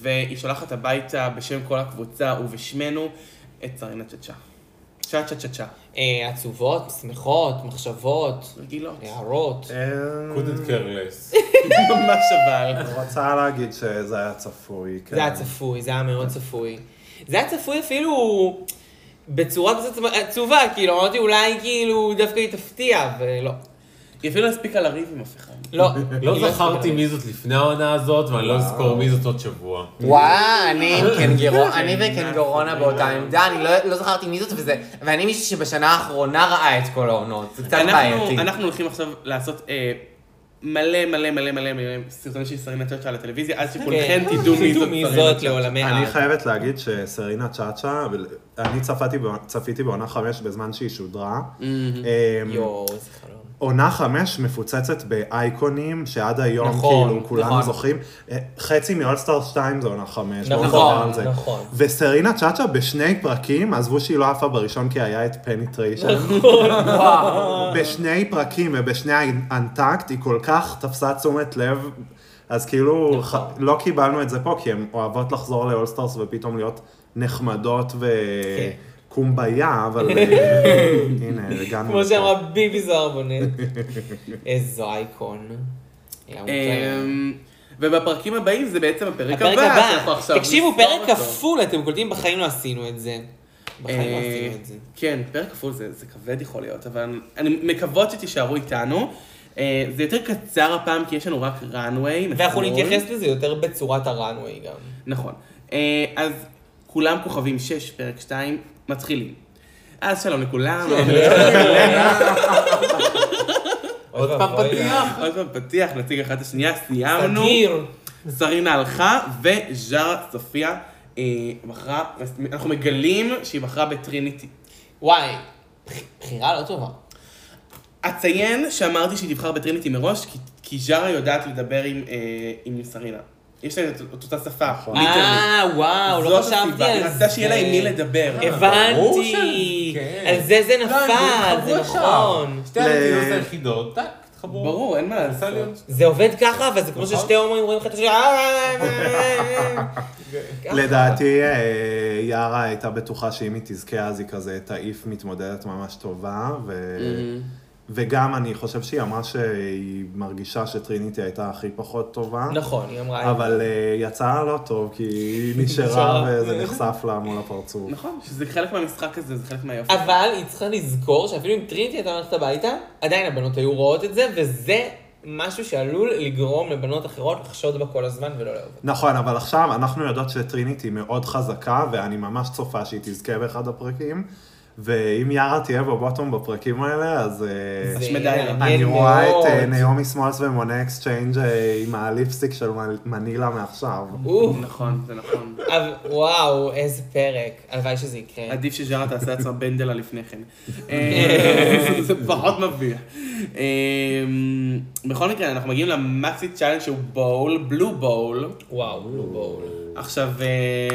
והיא שולחת הביתה בשם כל הקבוצה ובשמנו את שרינה צ'צ'ה. צ'ה צ'ה צ'ה צ'ה.
אה, עצובות, שמחות, מחשבות,
רגילות.
הערות.
כן.
אה,
couldn't care less.
ממש אבל.
רוצה להגיד שזה היה צפוי, כן.
זה היה צפוי, זה היה
כן.
מאוד צפוי. זה היה צפוי אפילו בצורה קצת עצובה, כאילו, אמרתי אולי כאילו דווקא היא תפתיע, ולא.
היא אפילו לא הספיקה לריב עם אף אחד.
לא. היא
לא זכרתי
הספיקה.
מי זאת לפני העונה הזאת, ואני לא אזכור מי זאת עוד שבוע.
וואי, אני עם קנגרו, אני וקנגרונה באותה עמדה, אני לא- לא זכרתי מי זאת, וזה, ואני מישהי שבשנה האחרונה ראה את כל העונות, זה קצת
אנחנו-
בעייתי.
אנחנו הולכים עכשיו לעשות אה, מלא מלא מלא מלא מלא סרטונים של שרינה צ'צ'ה על הטלוויזיה, אז שכולכם
כן.
תדעו מי זאת
מי
שרינה
זאת
צ'צ'ה.
לעולמי
אני
העד.
חייבת להגיד שסרינה צ'אצ'ה, אבל אני צפיתי, בעונה- צפיתי בעונה חמש בזמן שהיא שודרה. אמ,
יואו, איזה חלום.
עונה חמש מפוצצת באייקונים, שעד היום
נכון,
כאילו כולנו
נכון.
זוכרים. אה, חצי מאולסטאר 2 זה עונה חמש. בואו
נכון,
נדבר על זה.
נכון.
וסרינה צ'אצ'ה בשני פרקים, עזבו שהיא לא עפה בראשון כי היה את פניטריישן.
נכון.
בשני פרקים ובשני האנטקט היא כל כך תפסה תשומת לב. אז
נכון.
כאילו, ח... לא קיבלנו את זה פה, כי הן אוהבות לחזור לאולסטארס ופתאום להיות נחמדות
כן.
וקומביה, אבל אה, הנה, הגענו.
כמו
לפה.
שאמרה ביבי זוהר בונט. איזו אייקון. היה מוכר.
אמ, ובפרקים הבאים זה בעצם הפרק הבא.
הפרק
שאנחנו
הבא,
עכשיו
תקשיבו,
נסגור
פרק
אותו.
כפול, אתם קולטים, בחיים לא עשינו את זה. בחיים לא
אה,
עשינו את זה.
כן, פרק כפול זה, זה כבד יכול להיות, אבל אני מקוות שתישארו איתנו. אה, זה יותר קצר הפעם, כי יש לנו רק runway.
ואנחנו
נכון?
נתייחס לזה יותר בצורת הראנווי גם.
נכון. אה, אז כולם כוכבים 6, פרק 2, מתחילים. אז שלום לכולם.
עוד פעם
ואבוי אה,
פתיח.
עוד פעם פתיח, נציג אחת את השנייה, סיימנו.
סגיר.
שרינה הלכה, וז'ארה סופיה אה, בחרה, אנחנו מגלים שהיא בחרה בטריניטי.
וואי, בח- בחירה לא טובה.
אציין שאמרתי שהיא תבחר בטריניטי מראש, כי, כי ז'ארה יודעת לדבר עם, אה, עם שרינה. יש להם את, את אותה שפה, ליטרלי.
אה, וואו, לא חשבתי על
היא
זה. כן. אה.
רצתה שיהיה לה עם מי לדבר.
ברור
הבנתי.
שאני- כן.
על זה זה
לא, הם
נפל,
התחברו
זה
ישר.
נכון.
שתי
ל-
המדינות היחידות, טאק, התחברו.
ברור, אין מה
עשה
לעשות.
לי עוד-
זה עובד ככה, אבל זה כמו
נכון.
ששתי הומואים רואים אחד את השני, "אה, אה, אה, אה."
לדעתי, אה, יארה הייתה בטוחה שאם היא תזכה אז היא כזה תעיף מתמודדת ממש טובה, ו...
Mm-hmm. אה.
וגם אני חושב שהיא אמרה שהיא מרגישה שטריניטי הייתה הכי פחות טובה.
נכון, היא אמרה.
אבל אה, יצא לא טוב, כי היא נשארה
נשארה.
וזה נחשף לה מול הפרצוף.
נכון, שזה חלק מהמשחק הזה, זה חלק מהיופי.
אבל היא צריכה לזכור שאפילו אם טריניטי הייתה הולכת הביתה, עדיין הבנות היו רואות את זה, וזה משהו שעלול לגרום לבנות אחרות לחשוד בה כל הזמן ולא לאהוב. אותה.
נכון, אבל עכשיו אנחנו יודעות שטריניטי מאוד חזקה, ואני ממש צופה שהיא תזכה באחד הפרקים, ואם יארה תהיה בבוטום בפרקים האלה, אז... אה,
זה
השמדה אלה.
מעניין
אני רואה את אה,
מאוד.
נעמי סמולס ומונה אקסצ'יינג' אה, עם הליפסטיק של מ- מנילה מעכשיו.
אוף,
נכון, זה נכון.
אבל- וואו, איזה פרק. הלוואי שזה יקרה.
עדיף שז'ארה תעשה עצמה בנדלה לפני כן. אה, זה פחות מביך. אה, בכל מקרה, אנחנו מגיעים למקסי צ'אלנג' שהוא בול, בלו בול.
וואו, לא בואו.
עכשיו,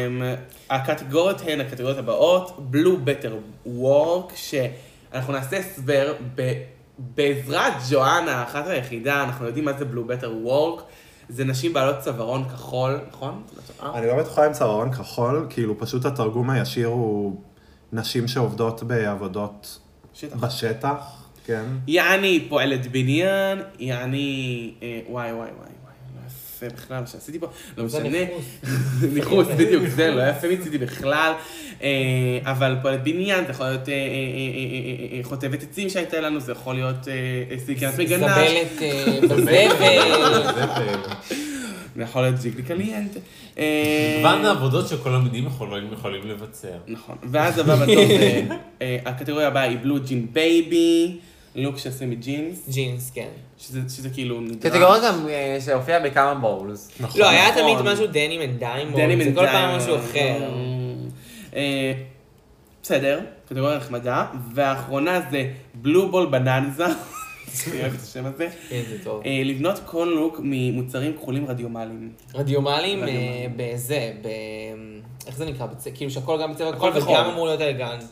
אמ, הקטגוריות הן הקטגוריות הבאות, בלו בטר וורק, אנחנו נעשה הסבר ב- בעזרת ג'ואנה, האחת והיחידה, אנחנו יודעים מה זה בלו בטר וורק. זה נשים בעלות צווארון כחול, נכון? אה,
אני לא בטוחה אם צווארון כחול, כאילו פשוט התרגום הישיר הוא נשים שעובדות בעבודות
שטח.
בשטח, כן?
יעני פועלת בניין, יעני... אה, וואי וואי וואי וואי, לא יפה בכלל מה שעשיתי פה, לא משנה. ניחוס, בדיוק, זה לא יפה מצידי בכלל. אה, אבל פועלת בניין, זה יכול להיות אה, אה, אה, אה, אה, אה, חוטבת עצים שהייתה לנו, זה יכול להיות אה, אה, סילקנת מגנש,
זבלת אה, בזבל.
אה,
זה יכול להיות זיגלי קליינט. אה,
מגוון העבודות שכל המינים יכולים יכולים לבצע.
נכון. ואז הבא בתור, זה, אה, הקטגוריה הבאה היא בלו ג'ין בייבי, לוק שעשוי מג'ינס,
ג'ינס, כן.
שזה שזה כאילו נדרש.
קטגוריה גם אה, שהופיעה בכמה בולס.
לא, היה
נכון.
תמיד משהו דנים אנד דיימונד, זה
דני מנדיימון.
כל פעם משהו אחר.
אה, בסדר, קטגוריה נחמדה. והאחרונה זה בלובול בננזה. אני אוהב את השם הזה.
איזה כן, טוב.
אה, לבנות כל לוק ממוצרים כחולים רדיומליים.
רדיומלים אה,
רדיומלים.
בזה, ב... איך זה נקרא? בצ- כאילו שהכל גם בצבע
הכל
כחול
כחול.
וגם אמור להיות אלגנט.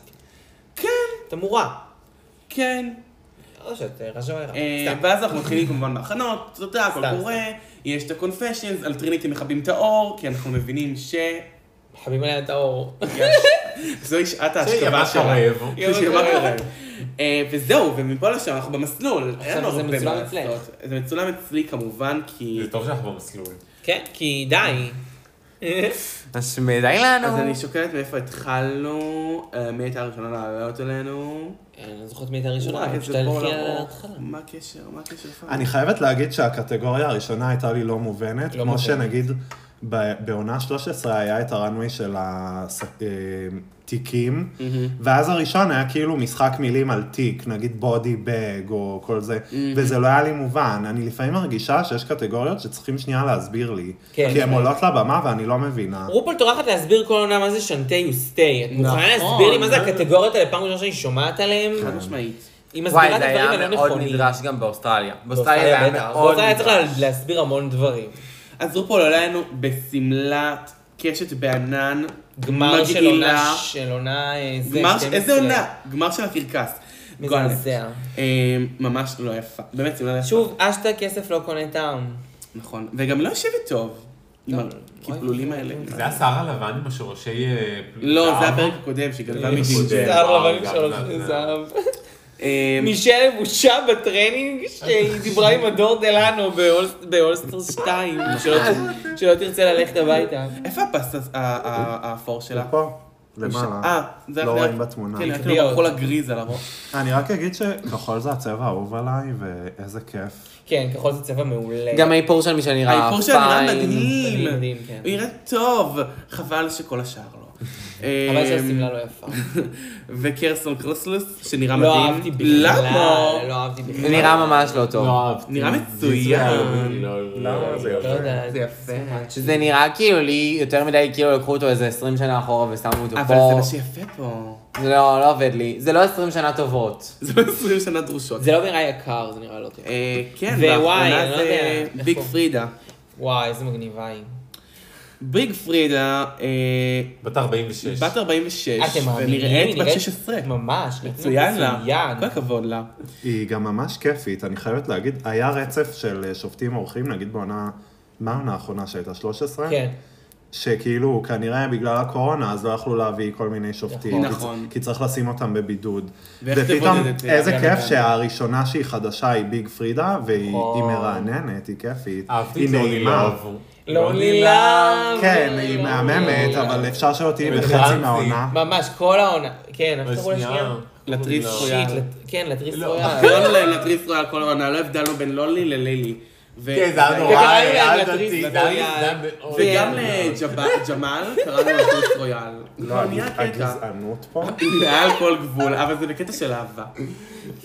כן.
תמורה.
כן.
לא שאת אה, רז'ו עליך.
אה,
סתם.
ואז אנחנו מתחילים כמובן בהכנות, אתה יודע, הכל
סתם,
קורה, יש את ה-confessions, על טריניטי מכבים את האור, כי אנחנו מבינים ש...
חבים עליה את האור.
זוהי שעת
זה
ההשכבה
יבש
שלה.
הרעב.
כאילו
יום
שיבוא
הקרב.
קרב. אה, וזהו, ומפה לשם אנחנו במסלול. אין לנו
זה
הרבה
מצולם
מה
אצלך.
לעשות. זה מצולם אצלי כמובן, כי...
זה טוב שאנחנו במסלול.
כן, כי די.
השמדי לנו.
אז אני שוקלת מאיפה התחלנו, אה, מי הייתה הראשונה לעלות אלינו.
אני לא זוכרת מי הייתה הראשונה,
וואי,
אבל
איזה
פשוט הלכי
בור
על
ארוך.
ההתחלה.
מה הקשר? מה הקשר? לפעמים?
אני חייבת להגיד שהקטגוריה הראשונה הייתה לי לא מובנת, כמו שנגיד ב- בעונה 13 היה את הראנווי של התיקים,
Mm-hmm.
ואז הראשון היה כאילו משחק מילים על תיק, נגיד בודי בג או כל זה,
Mm-hmm.
וזה לא היה לי מובן. אני לפעמים מרגישה שיש קטגוריות שצריכים שנייה להסביר לי,
כן,
כי הן
כן.
עולות לבמה ואני לא מבינה.
רופול טורחת להסביר כל עונה מה זה שנטי יוסטי. את
נכון.
מוכנה להסביר לי מה זה הקטגוריות האלה פעם ראשונה שאני שומעת עליהן?
חד משמעית.
היא
וואי,
מסבירה את
זה
הדברים
היה
הלא
מאוד
נכונים.
נדרש גם באוסטרליה. באוסטרליה זה
באוסטרליה
היה
בטח.
מאוד
באוסטרליה היה צריך
נדרש.
לה- להסביר המון דברים.
אז רופול עולה לנו בשמלת קשת בענן.
גמר של
מגעילה.
עונה, של עונה... אה, זה,
גמר,
12.
איזה עונה? גמר של הקרקס.
מזעזע.
גועלת. אה, ממש לא יפה. באמת, שמלה לא יפה.
שוב, אשתה כסף לא קונה טעם.
נכון. וגם לא יושבת טוב. עם
לא,
הכפלולים האלה.
זה השר הלבן עם השורשי... אה,
לא,
זהב?
זה הפרק הקודם שגנבה מג'ינג'י.
הקודם.
זהב
וואו,
לבן עם
גם
שלוש
זה.
זהב.
אה,
מישל בושה בטרנינג שהיא דיברה עם הדור דלנו באול- באולסטרס 2, שלא- שלא תרצה ללכת הביתה.
איפה הפס ה- ה- ה- האפור שלה?
פה, למעלה.
אה, זה
לא
אחרי-
רואים בתמונה.
כן, רק
הקביעות.
הכחול הגריז על הראש.
אני רק אגיד שכחול זה הצבע האהוב עליי, ואיזה כיף.
כן, כחול זה צבע מעולה.
גם האיפור של מי שנראה
האיפור שלה נראה
פיין.
מדהים.
מדהים, כן.
הוא נראה טוב, חבל שכל השאר לא. אמ,
חבל שהשמלה לא יפה.
וקרסון קרוסלוס, שנראה מדהים.
לא אהבתי בכלל.
למה?
לא אהבתי בכלל.
זה נראה ממש לא טוב.
לא אהבתי. לא
נראה מצוין.
למה זה
לא יודעת.
זה יפה.
שזה נראה כאילו לי יותר מדי, כאילו לקחו אותו איזה 20 שנה אחורה ושמו אותו
אבל זה
פה.
מה שיפה פה.
זה לא, לא עובד לי. זה לא 20 שנה טובות.
זה לא 20 שנה דרושות.
זה לא נראה יקר, זה נראה לא טוב.
אה, כן,
ווואי, אני
והאחרונה
לא
זה
יודע.
ביג
איפה?
פרידה.
וואי, איזה מגניבה היא.
ביג פרידה, אה,
בת 46.
בת 46,
אה, אתם מאמינים?
ונראית
היא
בת
נראית
16.
ממש,
מצוין לה.
מצוין.
כל הכבוד לה.
היא גם ממש כיפית, אני חייבת להגיד, היה רצף של אה, שופטים אורחים, נגיד בעונה, מה העונה האחרונה שהייתה? 13?
כן.
שכאילו, כנראה בגלל הקורונה, אז לא יכלו להביא כל מיני שופטים.
נכון.
כי צ-
נכון.
כי צריך לשים אותם בבידוד.
ואיך תבודד
ופתאום,
את, אה,
איזה
אביאל
כיף
גן?
שהראשונה שהיא חדשה היא ביג פרידה, והיא
נכון.
היא מרעננת, היא כיפית.
אהבתי
היא
את לא לוני
נעימה.
לאב.
לא
לונלי לאב.
כן, היא מהממת, אבל אפשר שלא תהיי בחצי
וטרנסי.
מהעונה.
כן. ממש, כל העונה. כן, איך קראו
בשנייה.
לשנייה?
לטריס
לא.
רויאל.
שיט, לט- כן, לטריס
לא.
רויאל.
קראנו להם לטריס רויאל כל העונה, לא הבדלנו בין לולי ללילי. ו-
כן, זה היה נורא,
וגם
היה
להם
דתי,
לטריס,
זה היה
לטריס.
זה היה מאוד...
וגם
אה,
אה,
מאוד.
לג'מאל קראנו לטריס רויאל.
לא,
כבר נהיה קטע.
הגזענות פה.
כאילו- מעל כל גבול, אבל זה בקטע של אהבה.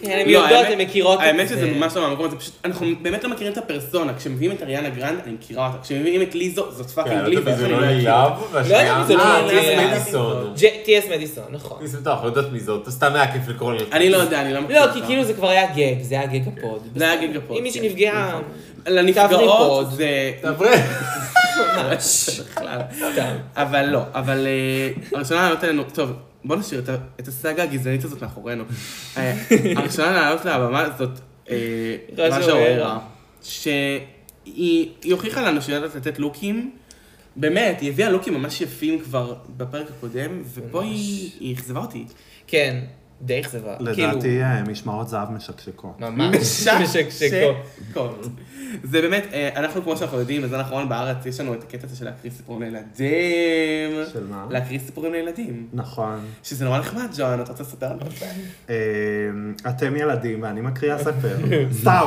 כן, הן
לא,
יודעות,
האמת-
הן מכירות את זה.
האמת שזה ממש לא מהמקום הזה, פשוט אנחנו באמת לא מכירים את הפרסונה, כשמביאים את אריאנה גרנד, אני מכירה אותה, כשמביאים את ליזו, זאת
כן,
פאקינג
לא יודעת
ליזו,
אם
איך
זה
אני
לא
לא אכיר אותה?
לילב, והשנייה...
יודעת אם זה לא
אה,
לילב.
זה
אה,
מדיסון.
טי.אס מדיסון, נכון.
ניסית אותך, לא יודעת מי זאת, סתם היה כיף לקרוא לזה.
אני לא יודע, אני לא מכיר
לא,
אותה.
כי כאילו זה כבר היה גג, זה היה גג הפוד.
זה היה גג הפוד,
אם מישהי
כן.
נפגעה... תעברי
לנפגעות
פוד.
זה...
דברי.
ממש בכלל. אבל לא, אבל אה, הראשונה לעלות עלינו, טוב, בוא נשאיר את, ה- את הסאגה הגזענית הזאת מאחורינו. אה, הראשונה לעלות לבמה הזאת, אה,
רג'ה
רג'ה אוררה,
אוררה.
שהיא היא הוכיחה לנו שהיא יודעת לתת לוקים. באמת, היא הביאה לוקים ממש יפים כבר בפרק הקודם, ופה היא היא אכזבה אותי.
כן, די אכזבה. כאילו,
לדעתי אה, משמרות זהב
נכון.
משקשקות.
ממש משקשקות.
שקשקות. זה באמת, אה, אנחנו כמו שאנחנו יודעים, בזמן האחרון בארץ, יש לנו את הקטע הזה של להקריא סיפורים לילדים.
של מה?
להקריא סיפורים לילדים.
נכון.
שזה נורא נחמד, ג'ואן, את רוצה לספר לנו?
אה, אתם ילדים ואני מקריאה ספר, סתם.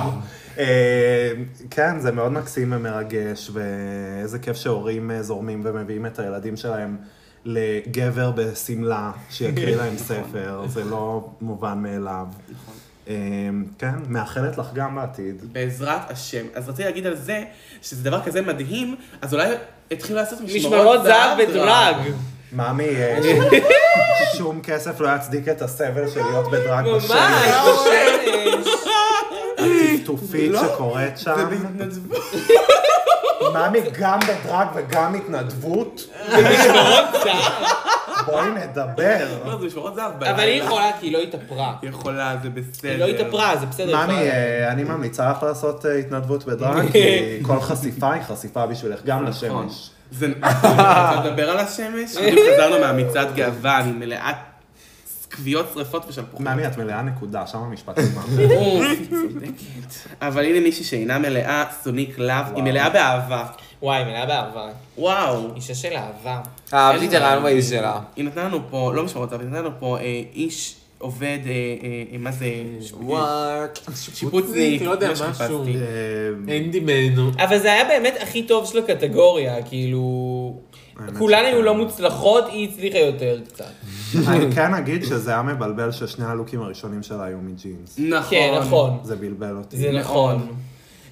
אה, כן, זה מאוד מקסים ומרגש, ואיזה כיף שהורים אה, זורמים ומביאים את הילדים שלהם לגבר בשמלה שיקריא להם ספר, זה לא מובן מאליו. אה, כן, מאחלת לך גם בעתיד.
בעזרת השם. אז רציתי להגיד על זה, שזה דבר כזה מדהים, אז אולי התחילו לעשות
משמרות זהב ודרג.
מאמי, אה, שום כסף לא יצדיק את הסבל של להיות בדרג
ממש,
בשמש,
בשמש.
הטפטופית
לא,
שקורית שם.
זה בהתנדבות.
מאמי גם בדרג וגם התנדבות? בואי נדבר.
לא, זה משמרות זהב.
אבל היא
בלילה.
יכולה כי היא לא התאפרה.
היא יכולה, זה בסדר.
היא לא התאפרה,
כן.
זה בסדר.
מאמי,
אפשר.
אה, אני ממליצה לך לעשות אה, התנדבות בדרג, כי כל חשיפה היא חשיפה בשבילך, גם
אוקיי. נכון.
לשמש.
זה... אתה מדבר על השמש? בדיוק חזרנו מהמצעד גאווה, אני מלאת כוויות שרפות ושלפוחים.
מאמי, את מלאה נקודה, שם המשפט הזמן.
אוף, היא צודקת. אבל הנה מישהי שאינה מלאה, סוניק לאב, היא מלאה באהבה.
וואי, מלאה באהבה.
וואו.
אישה של אהבה.
אהבתי את הרעיון באיש שלה.
היא נתנה לנו פה, לא משמעות, אבל היא נתנה לנו פה אה, איש עובד, אה, אה, אה, מה זה?
וואט.
שיפוצניק,
לא יודע,
מה שחיפשתי.
משהו.
אה,
אין דימנו.
אבל זה היה באמת הכי טוב של הקטגוריה, כאילו... כולן היו לא מוצלחות, היא הצליחה יותר קצת.
אני כן אגיד שזה היה מבלבל ששני הלוקים הראשונים שלה היו מג'ינס.
נכון.
כן, נכון.
זה בלבל אותי.
לא
זה נכון.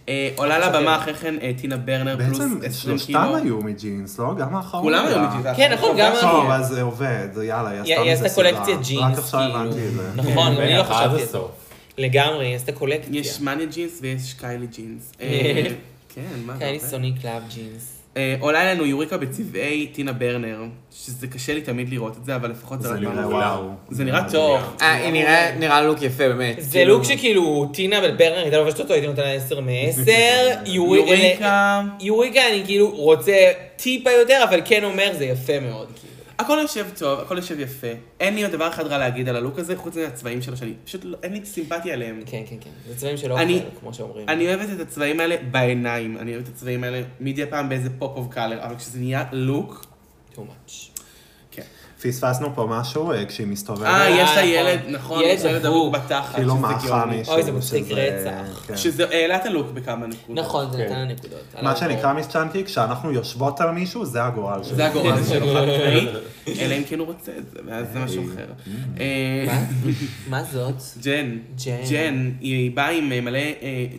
אה, עולה לבמה אחרי כן אה, טינה ברנר פלוס
בעצם
20
שלושתם
קילו.
היו מג'ינס, לא? גם האחרון.
כולם היו
היה.
מג'ינס.
כן, נכון, גם
האחרון.
טוב, אז זה עובד, יאללה, היא עשתה
היא
מזה
עשתה
סדרה.
קולקציית
רק
ג'ינס,
עכשיו הבנתי את
כאילו.
זה.
נכון, גם אני לא
בין אחד
חשבתי. על זה.
לסוף.
לגמרי, היא עשתה קולקציה.
יש מניה ג'ינס ויש קיילי ג'ינס. אה, כן, מה
קיילי
זה?
סוני קלאב ג'ינס.
אה, עולה אלינו יוריקה בצבעי טינה ברנר, שזה קשה לי תמיד לראות את זה, אבל לפחות
זה
על
נראה
הבמה.
וואו.
זה נראה טוב.
אה, היא נראה- נראה לוק יפה, באמת.
זה
כאילו,
לוק שכאילו טינה וברנר הייתה לובשת אותו, הייתי נותן לה 10 מ-10.
יוריקה,
יוריקה אני כאילו רוצה טיפה יותר, אבל כן אומר זה יפה מאוד. כאילו.
הכל יושב טוב, הכל יושב יפה. אין לי עוד דבר אחד רע להגיד על הלוק הזה, חוץ מהצבעים שלו, שאני פשוט, לא- אין לי סימפתיה עליהם.
כן, כן, כן. זה צבעים שלא
אני-
אוכל, כמו שאומרים.
אני אוהבת את הצבעים האלה בעיניים, אני אוהבת את הצבעים האלה מדי פעם באיזה פופ אוף קאלר, אבל כשזה נהיה לוק...
too much.
פספסנו פה משהו אה, כשהיא מסתובבת.
אה, יש לה
נכון.
ילד, נכון,
ילד
יש לה ילד
דבוק.
דבוק בתחת,
כאילו
אה, שזה
מאכל
גאוני.
מישהו.
אוי, זה מצחיק
שזה-
רצח.
כן.
שזה העלה את הלוק בכמה נקודות.
נכון, זה
כן.
נתן לה נקודות.
מה שנקרא מיסצ'אנקי, כשאנחנו יושבות על מישהו, זה הגורל שלו.
זה הגורל שלו, חד משמעית, אלא אם כן הוא רוצה את זה, ואז זה משהו אחר. אה,
מה זאת?
ג'ן,
ג'ן.
ג'ן, היא באה עם אה, מלא אה,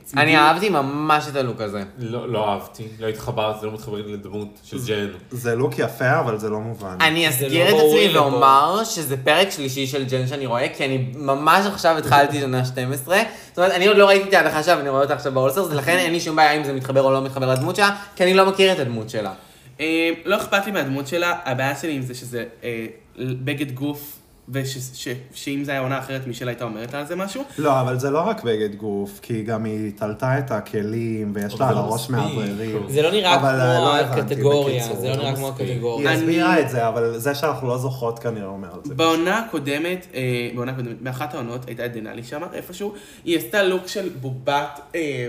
צמידים.
אני אהבתי ממש את הלוק הזה.
לא לא אהבתי, לא התחברתי, לא מתחבר לדמות
Mm.
של ג'ן.
זה לוק יפה, אבל זה לא מובן.
אני
לא
אסגיר את
ראוי
עצמי
לפה.
ואומר שזה פרק שלישי של ג'ן שאני רואה, כי אני ממש עכשיו התחלתי את עונה 12. זאת אומרת, אני עוד לא ראיתי את ההדחה שלה ואני רואה אותה עכשיו באולסרס, ולכן אין לי שום בעיה אם זה מתחבר או לא מתחבר לדמות שלה, כי אני לא מכיר את הדמות שלה.
אה, לא אכפת לי מהדמות שלה, הבעיה שלי עם זה שזה אה, בגד גוף, ושאם זה היה עונה אחרת, מישל הייתה אומרת על זה משהו.
לא, אבל זה לא רק בגד גוף, כי גם היא תלתה את הכלים, ויש לה על
אבל זה
הראש
מספיק.
מאווררים.
זה לא נראה
אבל, אה,
כמו
לא הבנתי,
הקטגוריה,
בקיצור,
זה לא
לא
נראה כמו
מספיק.
הקטגוריה.
היא
אני-
הסבירה את זה, אבל זה שאנחנו לא זוכרות כנראה אומר על זה.
בעונה הקודמת, אה, בעונה הקודמת, באחת העונות הייתה את דנאלי שם איפשהו, היא עשתה לוק של בובת, אה,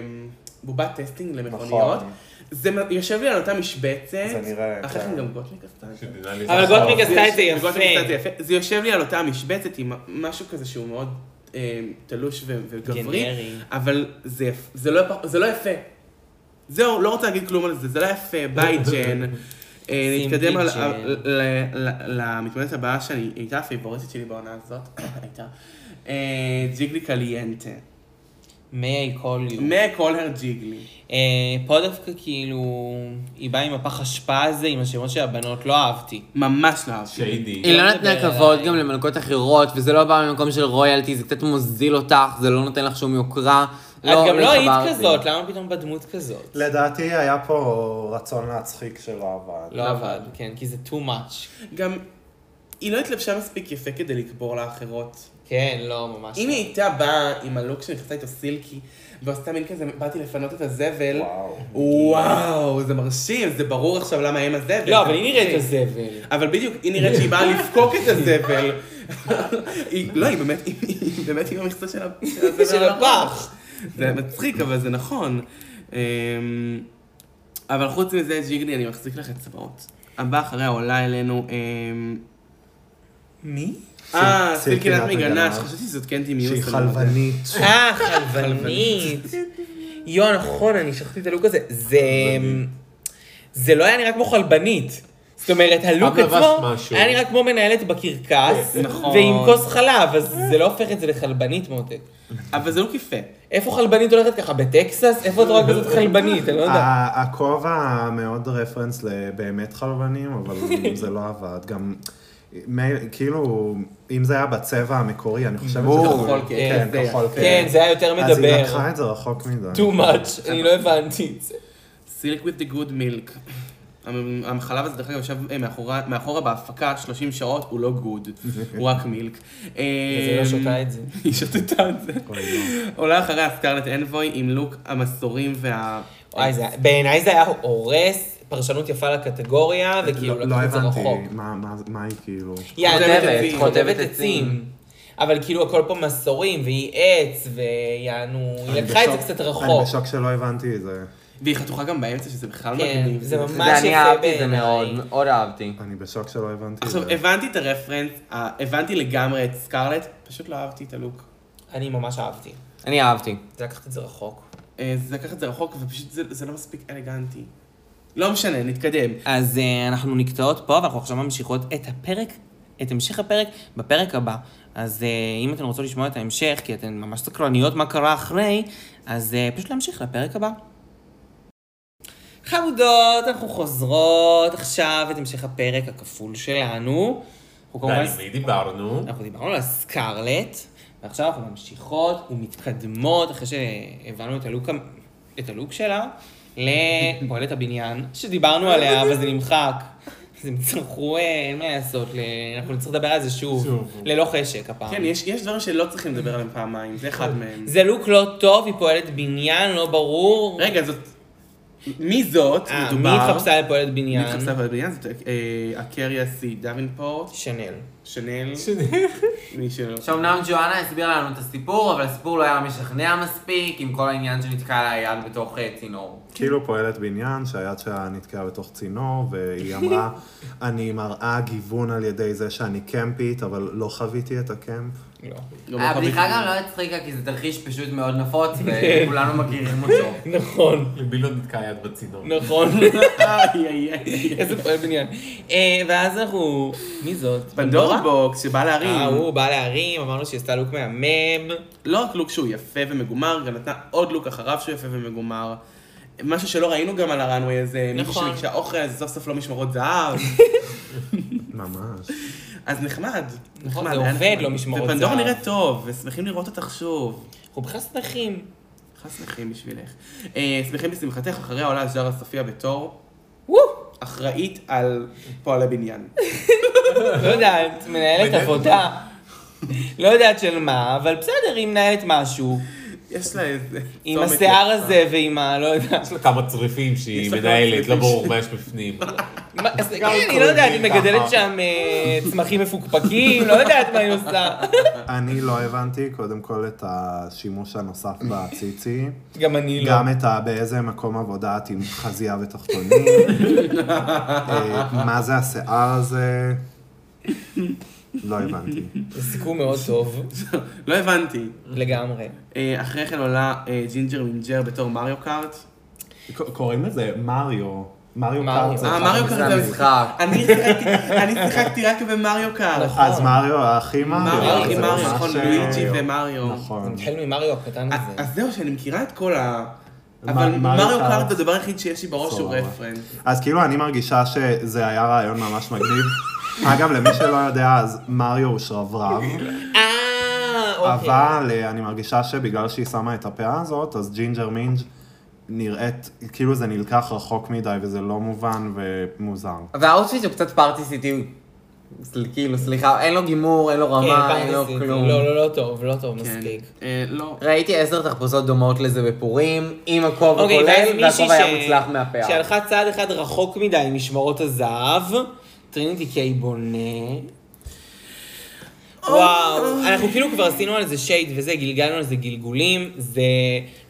בובת טסטינג למכוניות.
נכון.
זה מ- יושב לי על אותה משבצת.
זה נראה,
אחרי
כן.
כן גם גוטליק עשתה את זה.
שדינה לי
אבל
זכר.
גוטליק עשתה את זה
יושב- גוטליק עשתה את זה
יפה.
יפה. זה יושב לי על אותה משבצת עם משהו כזה שהוא מאוד אה, תלוש ו- וגברי,
גנרי.
אבל זה יפ- זה לא יפ- זה לא יפה. זהו, לא רוצה להגיד כלום על זה, זה לא יפה, ביי ג'ן. אה,
שים
נתקדם
בי
על-
ג'ן.
על- ל- ל- למתמודדת הבאה שאני הייתה הפייבוריטית שלי בעונה הזאת, הייתה אה, ג'יגלי קליינטה.
may I call you.
מכל הר ג'יגלי.
אה, פה דווקא כאילו, היא באה עם הפח אשפה הזה, עם השמות של הבנות, לא אהבתי.
ממש לא אהבתי.
שיידי.
היא
לא
לא
נדבר
נתנה כבוד
עליי.
גם למלכות אחרות, וזה לא בא ממקום של רויאלטי, זה קצת מוזיל אותך, זה לא נותן לך שום יוקרה.
את גם לא היית
התחברתי.
כזאת, למה פתאום בדמות כזאת?
לא.
לדעתי היה פה רצון להצחיק שלא עבד.
לא עבד, כן, כי זה too much.
גם היא לא התלבשה מספיק יפה כדי לקבור לאחרות.
כן, לא, ממש.
אם
לא.
היא הייתה באה עם הלוק שנכנסה איתו סילקי, ועשתה מין כזה, באתי לפנות את הזבל, וואו, זה מרשים, זה ברור עכשיו למה הם הזבל. אוקיי.
לא, אבל היא נראית הזבל.
אבל בדיוק, היא נראית שהיא באה לפקוק את הזבל. היא- לא, היא באמת, היא- היא באמת עם המכסה של ה- הזבל
של
על הראש.
הפח.
זה מצחיק, אבל זה נכון. אמ, אבל חוץ מזה, ג'יגלי, אני מחזיק לך אצבעות. הבאה אחריה עולה אלינו... אמ, מי? אה,
סילקי
סילקינת
נת
מגנש,
מגנש.
חשבתי שזאת קנטי מיוס.
שהיא
אני לא יודע.
חלבנית.
אה, חלבנית. יואו, נכון, אני שכחתי את הלוק הזה. זה... זה לא היה נראה כמו חלבנית. זאת אומרת, הלוק
אבל לבשת
עצמו
משהו.
היה נראה כמו מנהלת בקרקס,
נכון.
ועם כוס חלב, אז זה לא הופך את זה לחלבנית מותק.
אבל זה לא לוק יפה.
איפה חלבנית הולכת ככה? בטקסס? איפה את רואה
אה,
כזאת חלבנית? אני לא יודע.
ה- הכובע מאוד רפרנס לבאמת חלבנים, אבל זה לא עבד. גם, מי- כאילו, אם זה היה בצבע המקורי, אני חושבת שזה...
כחול,
כן,
כן,
כחול,
כן, זה היה יותר
אז היא
מדבר.
לקחה את זה רחוק מדי.
too much, אני לא הבנתי את זה.
סילק with the good milk. המ- החלב הזה, דרך אגב, יושב אה, מאחורה- מאחורה בהפקה 30 שעות, הוא לא גוד, הוא רק מילק. אה,
אז היא לא שותה את זה.
היא שתתה את זה. עולה אחריה סקרלט אנבוי עם לוק המסורים וה...
וואי, זה- בעיניי זה היה הורס פרשנות יפה לקטגוריה, וכאילו
לא לא
לקח את זה
הבנתי
רחוק.
מה- מה- מה היא כאילו.
היא
חוטבת
ענבת,
עצים.
חוטבת
חוטבת
עצים.
עצים.
אבל כאילו הכל פה מסורים, והיא עץ, ויענו, היא לקחה את זה
בשוק-
קצת
אני
רחוק.
בשוק שלא הבנתי את זה.
והיא חתוכה גם באמצע, שזה בכלל
כן,
מגניב.
זה ממש-
זה אני
יפה
אהבתי את זה
בעיניי.
מאוד, מאוד אהבתי.
אני בשוק שלא הבנתי את זה.
עכשיו, הבנתי את הרפרנס, אה, הבנתי לגמרי את סקרלט, פשוט לא אהבתי את הלוק.
אני ממש אהבתי.
אני אהבתי.
זה לקחת את זה רחוק.
אה, זה לקח את זה רחוק, ופשוט זה- זה לא מספיק אלגנטי. לא משנה, נתקדם.
אז אה, אנחנו נקטעות פה, ואנחנו עכשיו ממשיכות את הפרק, את המשך הפרק, בפרק הבא. אז אה, אם אתן רוצות לשמוע את ההמשך, כי אתן ממש סקרניות מה קרה אחרי, אז אה, פשוט להמשיך לפרק הבא. חמודות, אנחנו חוזרות עכשיו את המשך הפרק הכפול שלנו. אנחנו
די,
כמובן...
עם מי דיברנו?
אנחנו דיברנו על הסקארלט, ועכשיו אנחנו ממשיכות ומתקדמות, אחרי שהבנו את הלוק, המ- את הלוק שלה, לפועלת הבניין, שדיברנו עליה, אבל זה נמחק. אז הם צרכו, אה, אין מה לעשות, ל- אנחנו נצטרך לדבר על זה שוב,
שוב.
ללא חשק הפעם.
כן, יש יש דברים שלא צריכים לדבר עליהם פעמיים, זה אחד מהם.
זה לוק לא טוב, היא פועלת בניין, לא ברור.
רגע, זאת... מי זאת?
אה, מי
מדובר?
התחפשה לפועלת
מי
בניין?
התחפשה בבניין? זאת אה, הקריה סי דווינפורט,
שנל.
שנל, מי שלא.
אה,
שאומנם ג'ואנה הסבירה לנו את הסיפור, אבל הסיפור לא היה משכנע מספיק, עם כל העניין שנתקע לה יד בתוך אה, צינור.
כאילו פועלת בניין שהיד שלה נתקעה בתוך צינור, והיא אמרה, אני מראה גיוון על ידי זה שאני קמפית, אבל לא חוויתי את הקמפ.
גם לא
הבדיחה
חוויתי.
גם לא הצחיקה, כי זה תרחיש פשוט מאוד נפוץ,
כן.
וכולנו מכירים אותו.
נכון,
לבילו נתקע יד בצינור.
נכון.
איי, איי, איי.
איזה פועל בניין. אה, ואז אנחנו... מי זאת?
פנדורה בוקס שבא
אה,
להרים.
הוא בא להרים, אמרנו שהיא עשתה לוק מהמם.
לא רק לוק שהוא יפה ומגומר, גם נתנה עוד לוק אחריו שהוא יפה ומגומר. משהו שלא ראינו גם על הראנווי הזה, מישהו
נכון.
שביקשה אוכל, אז סוף סוף לא משמרות זהב.
ממש.
אז נחמד.
נכון,
נחמד,
זה
היה
עובד,
נחמד.
לא משמרות
ופנדורה
זהב.
נראית טוב, ושמחים לראות אותך שוב.
אנחנו בכלל שמחים.
בכלל שמחים בשבילך. אה, שמחים בשמחתך, אחריה עולה ז'רה סופיה בתור
וואו,
אחראית על פועל הבניין.
לא יודעת, מנהלת עבודה. לא יודעת של מה, אבל בסדר, היא מנהלת משהו.
יש לה איזה...
עם
צומת
השיער
יפה.
הזה ועם ה... לא יודעת.
יש לה כמה צריפים שהיא
יש לה כמה
מנהלת, לא
צריפים
ברור
ש-
מה יש בפנים.
מה, אז- כן,
גם
אני לא יודעת, היא
קרובים ככה.
מגדלת שם אה, צמחים מפוקפקים, לא יודעת מה היא עושה.
אני לא הבנתי, קודם כל, את השימוש הנוסף בציצי.
גם אני לא.
גם את ה... באיזה מקום עבודה את עם חזייה ותחתונים. אה, מה זה השיער הזה? לא הבנתי.
זה סיכום מאוד טוב,
לא הבנתי.
לגמרי.
אה, אחרי כן עולה אה, ג'ינג'ר מינג'ר בתור מריו קארט.
ק- קוראים לזה מריו. מריו
מריו.
קארט נכון, זה...
אה,
אחד
מריו
מזה.
קארט זה
המשחק.
אני שיחקתי- אני שיחקתי רק במריו קארט.
נכון.
אז מריו, האחי מריו.
מריו,
זה
אחי מריו,
ממש,
נכון,
אה,
לואיג'י ומריו.
זה
נכון.
מתחיל ממריו הקטן
אז
הזה.
אז זהו, שאני מכירה את כל ה...
מ-
אבל
מריו
מריו
קארט.
קארט זה הדבר היחיד שיש לי בראש שהוא
סבבה.
רפרנס.
אז כאילו אני מרגישה שזה היה רעיון ממש מגניב. אגב, למי שלא יודע, אז מריו הוא שרברב,
אוקיי.
אה, אוקיי.
אבל אה, אני מרגישה שבגלל שהיא שמה את הפאה הזאת, אז ג'ינג'ר מינג' נראית, כאילו זה נלקח רחוק מדי וזה לא מובן ומוזר.
אה.
והאוטפיט הוא קצת פארטי סיטי סל- כאילו, סליחה, אין לו גימור, אין לו
כן,
רמה,
פעם
אין לו
ניסיתי.
כלום.
לא, לא, לא טוב, לא טוב
כן.
מספיק.
אה, לא.
ראיתי עשר תחפושות דומות לזה בפורים, עם הכובע
אוקיי, ואז
כולל,
מישהי
והכובע היה
ש...
מוצלח מהפאה.
שהלכה צעד אחד רחוק מדי עם משמרות הזהב, טריניטי קיי בונה. וואו, אנחנו כאילו כבר עשינו על זה שייד וזה, גלגלנו על זה גלגולים, זה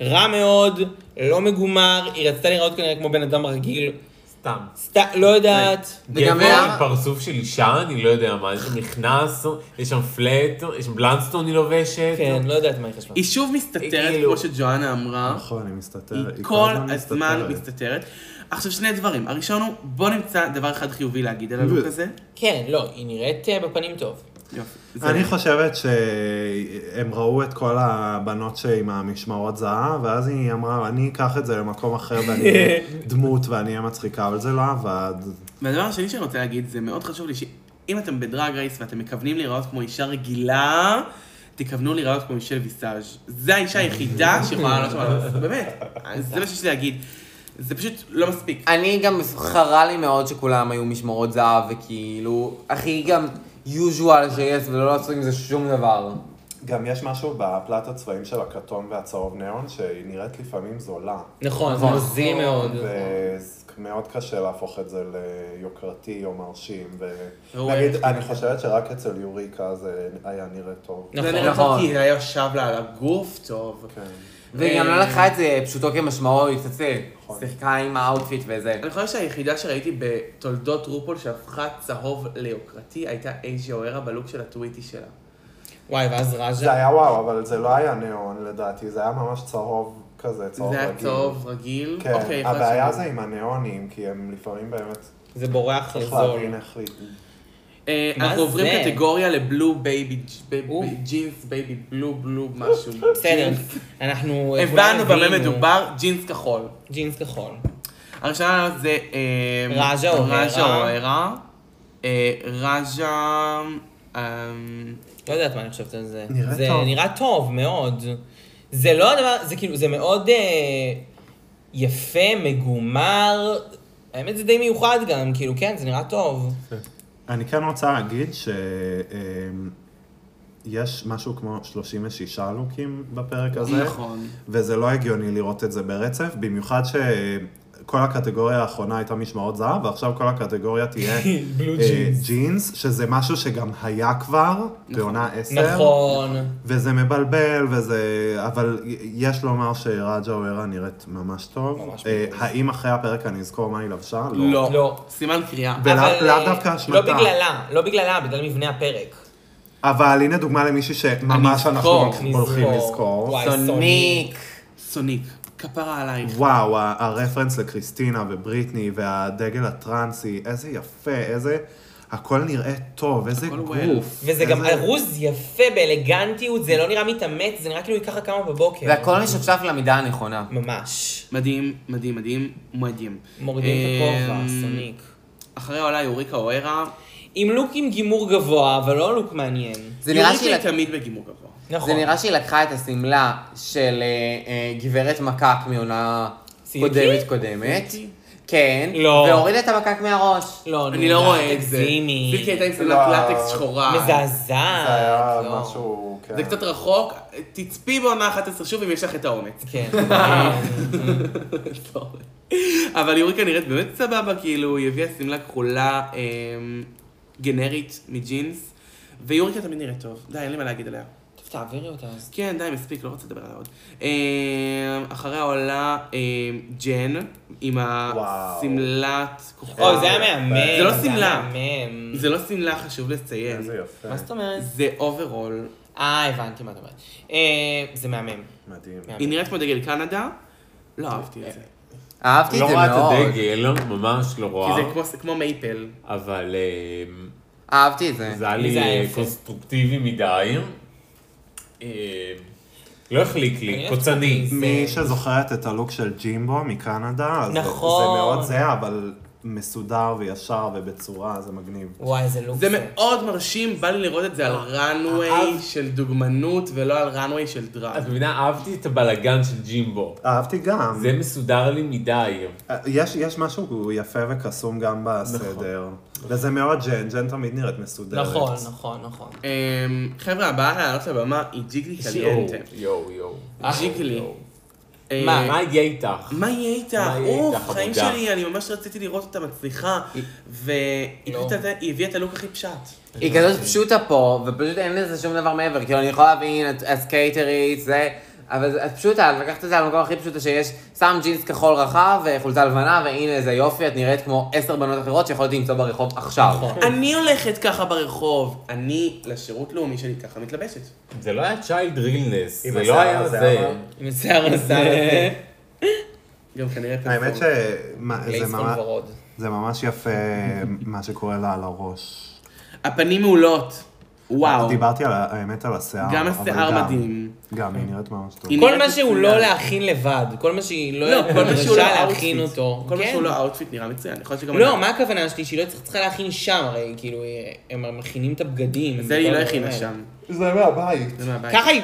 רע מאוד, לא מגומר, היא רצתה להיראות כנראה כמו בן אדם רגיל,
סתם.
סתם, לא יודעת.
וגם
גבר
היה-
עם פרצוף של אישה, אני לא יודע מה, נכנס, יש שם פלט, יש שם בלנסטון היא לובשת.
כן, לא יודעת מה היא חשבה.
היא שוב מסתתרת, כמו
כאילו-
שג'ואנה אמרה.
נכון, היא מסתתרת.
היא כל
הזמן
הזמן
מסתתרת.
מסתתרת. עכשיו, שני דברים. הראשון הוא, בוא נמצא דבר אחד חיובי להגיד על הלוק
ו-
הזה.
כן, לא, היא נראית אה, בפנים טוב.
יופי. זה-
אני חושבת שהם ראו את כל הבנות שעם המשמרות זהב, ואז היא אמרה, אני אקח את זה למקום אחר ואני אהיה דמות ואני אהיה מצחיקה, אבל זה לא עבד.
והדבר השני שאני רוצה להגיד, זה מאוד חשוב לי שאם אתם בדרג רייס ואתם מכוונים להיראות כמו אישה רגילה, תכוונו להיראות כמו מישל ויסאז'. זה האישה היחידה שיכולה לעלות שם על המסך, באמת. זה מה שיש לי להגיד. זה פשוט לא מספיק.
אני גם, חרה לי מאוד שכולם היו משמרות זהב, וכאילו, הכי גם usual שיש, ולא לעשות עם זה שום דבר.
גם יש משהו בפלט הצבעים של הכתום והצהוב ניאון, שהיא נראית לפעמים זולה.
נכון, זה
נכון.
מוזיא מאוד.
ומאוד קשה להפוך את זה ליוקרתי או מרשים. ו-
ראו,
נגיד,
איך-
אני חושבת שרק אצל יוריקה זה היה נראה טוב.
נכון.
זה נראה
נכון.
טוב כי זה היה ישב לה על הגוף טוב.
כן.
והיא גם לא
אה.
לקחה את זה פשוטו כמשמעו, היא קצת אה, שיחקה עם האוטפיט וזה.
אני חושב שהיחידה שראיתי בתולדות רופול שהפכה צהוב ליוקרתי הייתה אייג'י אוהרה בלוק של הטוויטי שלה.
וואי, ואז
זה
ראז'ה.
היה וואו, אבל זה לא היה ניאון לדעתי, זה היה ממש צהוב כזה, צהוב
זה
רגיל.
היה צהוב רגיל. אוקיי,
כן,
יכול להיות
הבעיה
שאני-
זה עם הניאונים, כי הם לפעמים באמת
זה בורח
צריך
לזול.
להבין איך... ל-
אה,
מה
אנחנו עוברים
זה?
קטגוריה לבלו בייבי
אוף.
ג'ינס בייבי בלו בלו משהו.
בסדר, לא
ג'ינס.
אנחנו... אה, כולנו
הבנו במה
הבינו.
מדובר, ג'ינס כחול.
ג'ינס כחול.
הראשונה זה... אה,
ראז'ה אוהרה.
ראז'ה אוהרה. אה, ראז'ה... אה,
לא יודעת מה אני חושבת על זה.
נראה
זה
טוב.
נראה טוב, מאוד. זה לא הדבר, זה כאילו, זה מאוד אה, יפה, מגומר. האמת זה די מיוחד גם, כאילו, כן, זה נראה טוב.
אני כן רוצה להגיד ש... אמ, יש משהו כמו 36 לוקים בפרק הזה,
נכון.
וזה לא הגיוני לראות את זה ברצף, במיוחד שכל הקטגוריה האחרונה הייתה משמרות זהב, ועכשיו כל הקטגוריה תהיה
בלו
אה, ג'ינס, שזה משהו שגם היה כבר בעונה 10.
נכון.
וזה מבלבל, וזה... אבל יש לומר שראג'ה אוהרה נראית ממש טוב.
ממש
אה, האם אחרי הפרק אני אזכור מה היא לבשה?
לא.
לא.
סימן קריאה.
ולאו
אבל,
לאו
אה,
דווקא
לא
אשמתה.
בגללה, לא בגללה, בגלל מבנה הפרק.
אבל הנה דוגמה למישהי שממש
אני
אנחנו
אזכור,
הולכים- הולכים לזכור.
וואי, סוניק.
סוניק.
סוניק, כפרה עלייך.
וואו, ה- הרפרנס לקריסטינה ובריטני והדגל הטרנסי, איזה יפה, איזה... הכל נראה טוב, איזה
הכל
גוף.
וזה גם
איזה-
ארוז יפה באלגנטיות, זה לא נראה מתאמץ, זה נראה כאילו היא ככה קמה בבוקר.
והכל משפשף למידה הנכונה.
ממש.
מדהים, מדהים, מדהים, מדהים.
מורידים את הכובע,
אמ,
סוניק.
אחריה עולה יוריקה אוהרה.
עם לוק עם גימור גבוה, אבל לא לוק מעניין.
זה נראה
יוריקה
שהיא
היא תמיד בגימור גבוה.
נכון.
זה נראה שהיא לקחה את השמלה של אה, אה, גברת מקק מעונה
סילקי?
קודמת קודמת.
סילקי?
כן.
לא.
והורידה את המקק מהראש.
לא, נו,
אני לא
די,
רואה את זה.
תגזימי.
סילקי הייתה עם סמלת
לא.
לטקס שחורה.
מזעזעת.
זה היה
לא.
משהו, כן.
זה קצת רחוק, תצפי בעונה 11 שוב אם יש לך את האומץ.
כן.
סורי. אבל יוריקה נראית באמת סבבה, כאילו, היא הביאה שמלה כחולה אמ, גנרית מג'ינס, ויוריקה תמיד נראית טוב. די, אין לי מה להגיד עליה.
טוב, תעבירי אותה אז.
כן, די, מספיק, לא רוצה לדבר עליה עוד. אמ, אחריה עולה אמ, ג'ן, עם השמלת כוכב.
אוי, אה, זה היה מהמם.
זה לא
היה
שמלה.
מהמם.
זה לא שמלה, חשוב לציין.
איזה יפה,
מה זאת אומרת?
זה אוברול.
אה, הבנתי מה את אומרת. אה, זה מהמם.
מדהים.
מהמם.
היא נראית כמו דגל קנדה, לא אהבתי את זה.
אהבתי את
לא
זה
רואה את
מאוד.
הדגל, ממש לא
כי
רואה,
זה כמו- כמו מייפל.
אבל אמ,
אהבתי את זה.
זה היה
זה
לי
היה
אה,
יפה.
קונסטרוקטיבי מדי. אמ, לא החליק לי,
אני
קוצני.
אוהבת
מי שזוכרת את הלוק של ג'ימבו מקנדה, אז זה-
נכון.
זה מאוד זה, אבל מסודר וישר ובצורה, זה מגניב.
וואי, זה לוק.
זה
זה.
מאוד מרשים, בא לי לראות את זה על ראנוויי
אהב-
של דוגמנות ולא על ראנוויי של דראג.
את מבינה, אהבתי את הבלגן של ג'ימבו.
אהבתי גם.
זה מסודר לי מדי.
יש, יש משהו יפה וקסום גם בסדר.
נכון.
וזה מאוד ג'ן, ג'ן תמיד נראית מסודרת.
נכון, נכון, נכון.
אמ, חבר'ה, הבאה לעלות לבמה היא ג'יגלי קליאנטה.
יואו, יואו.
ג'יגלי. אה,
מה, מה יהיה איתך?
מה יהיה איתה?
מה יהיה
אוף,
איתך,
חיים
עבודה?
שלי, אני ממש רציתי לראות אותה מצליחה, והיא
לא.
פשוט הייתה- היא הביאה את הלוק הכי פשט.
היא כזאת פשוטה פה, ופשוט אין לזה שום דבר מעבר. כאילו, אני יכולה להבין, את את סקייטרית, זה... אבל זה- את פשוטה, את לקחת את זה למקום הכי פשוטה שיש, שם ג'ינס כחול רחב וחולצה לבנה, והנה איזה יופי, את נראית כמו עשר בנות אחרות שיכולתי למצוא ברחוב עכשיו.
אני הולכת ככה ברחוב. אני לשירות לאומי שלי ככה מתלבשת.
זה לא היה צ'יילד רילנס,
עם
זה
השיער
לא היה
הזה,
זה.
אבל-
עם השיער הזה,
גם כנראה
האמת
פרסום.
שזה
לייסון ורוד.
ממש יפה מה שקורה לה על הראש.
הפנים מעולות. וואו.
דיברתי על, ה- האמת על השיער.
גם
אבל
השיער
גם-
מדהים.
גם, היא נראית ממש טוב.
היא
כל
נראית
מה שהוא
מצוין.
לא להכין לבד, כל מה שהיא
לא,
לא
כל מה שהוא לא
נדרשה להכין
outfit.
אותו.
כל מה
כן.
שהוא לא אאוטפיט נראה מצוין. יכול להיות שגם...
לא,
אני-
מה הכוונה שלי? שהיא לא צריכה- צריכה להכין שם, הרי כאילו, היא- הם מכינים את הבגדים.
זה היא
וכל
לא
הדברים
הכינה
האלה.
שם.
זה מהבית.
זה מהבית.
ככה היא...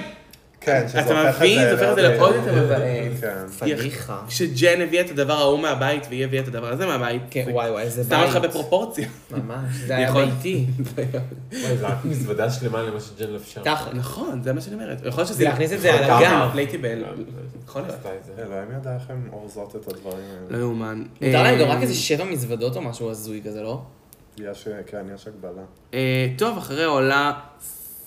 כן,
אתה מבין? זה הופך את זה לעוד יותר מבאס.
כן.
היא-
פדיחה.
כשג'ן הביאה את הדבר ההוא מהבית, והיא הביאה את הדבר הזה מהבית.
כן,
זה
וואי וואי, איזה בית.
שם אותך בפרופורציה.
ממש, זה היה
יכול-
ביתי.
וואי, זה רק מזוודה שלמה למה שג'ן לבשה.
תחת.
נכון, זה מה שאני אומרת. יכול להיות שזה...
להכניס את זה על
אה,
הגב.
פלייטיבל. יכול להיות.
עשתה את זה.
לא
אלוהים יודע איך הם אורזות את הדברים האלה.
לא יאומן.
מותר להם גם
אה,
רק איזה שבע מזוודות או משהו הזוי כזה, לא?
יש, כן, יש הגבלה.
אה, טוב, אחרי עולה...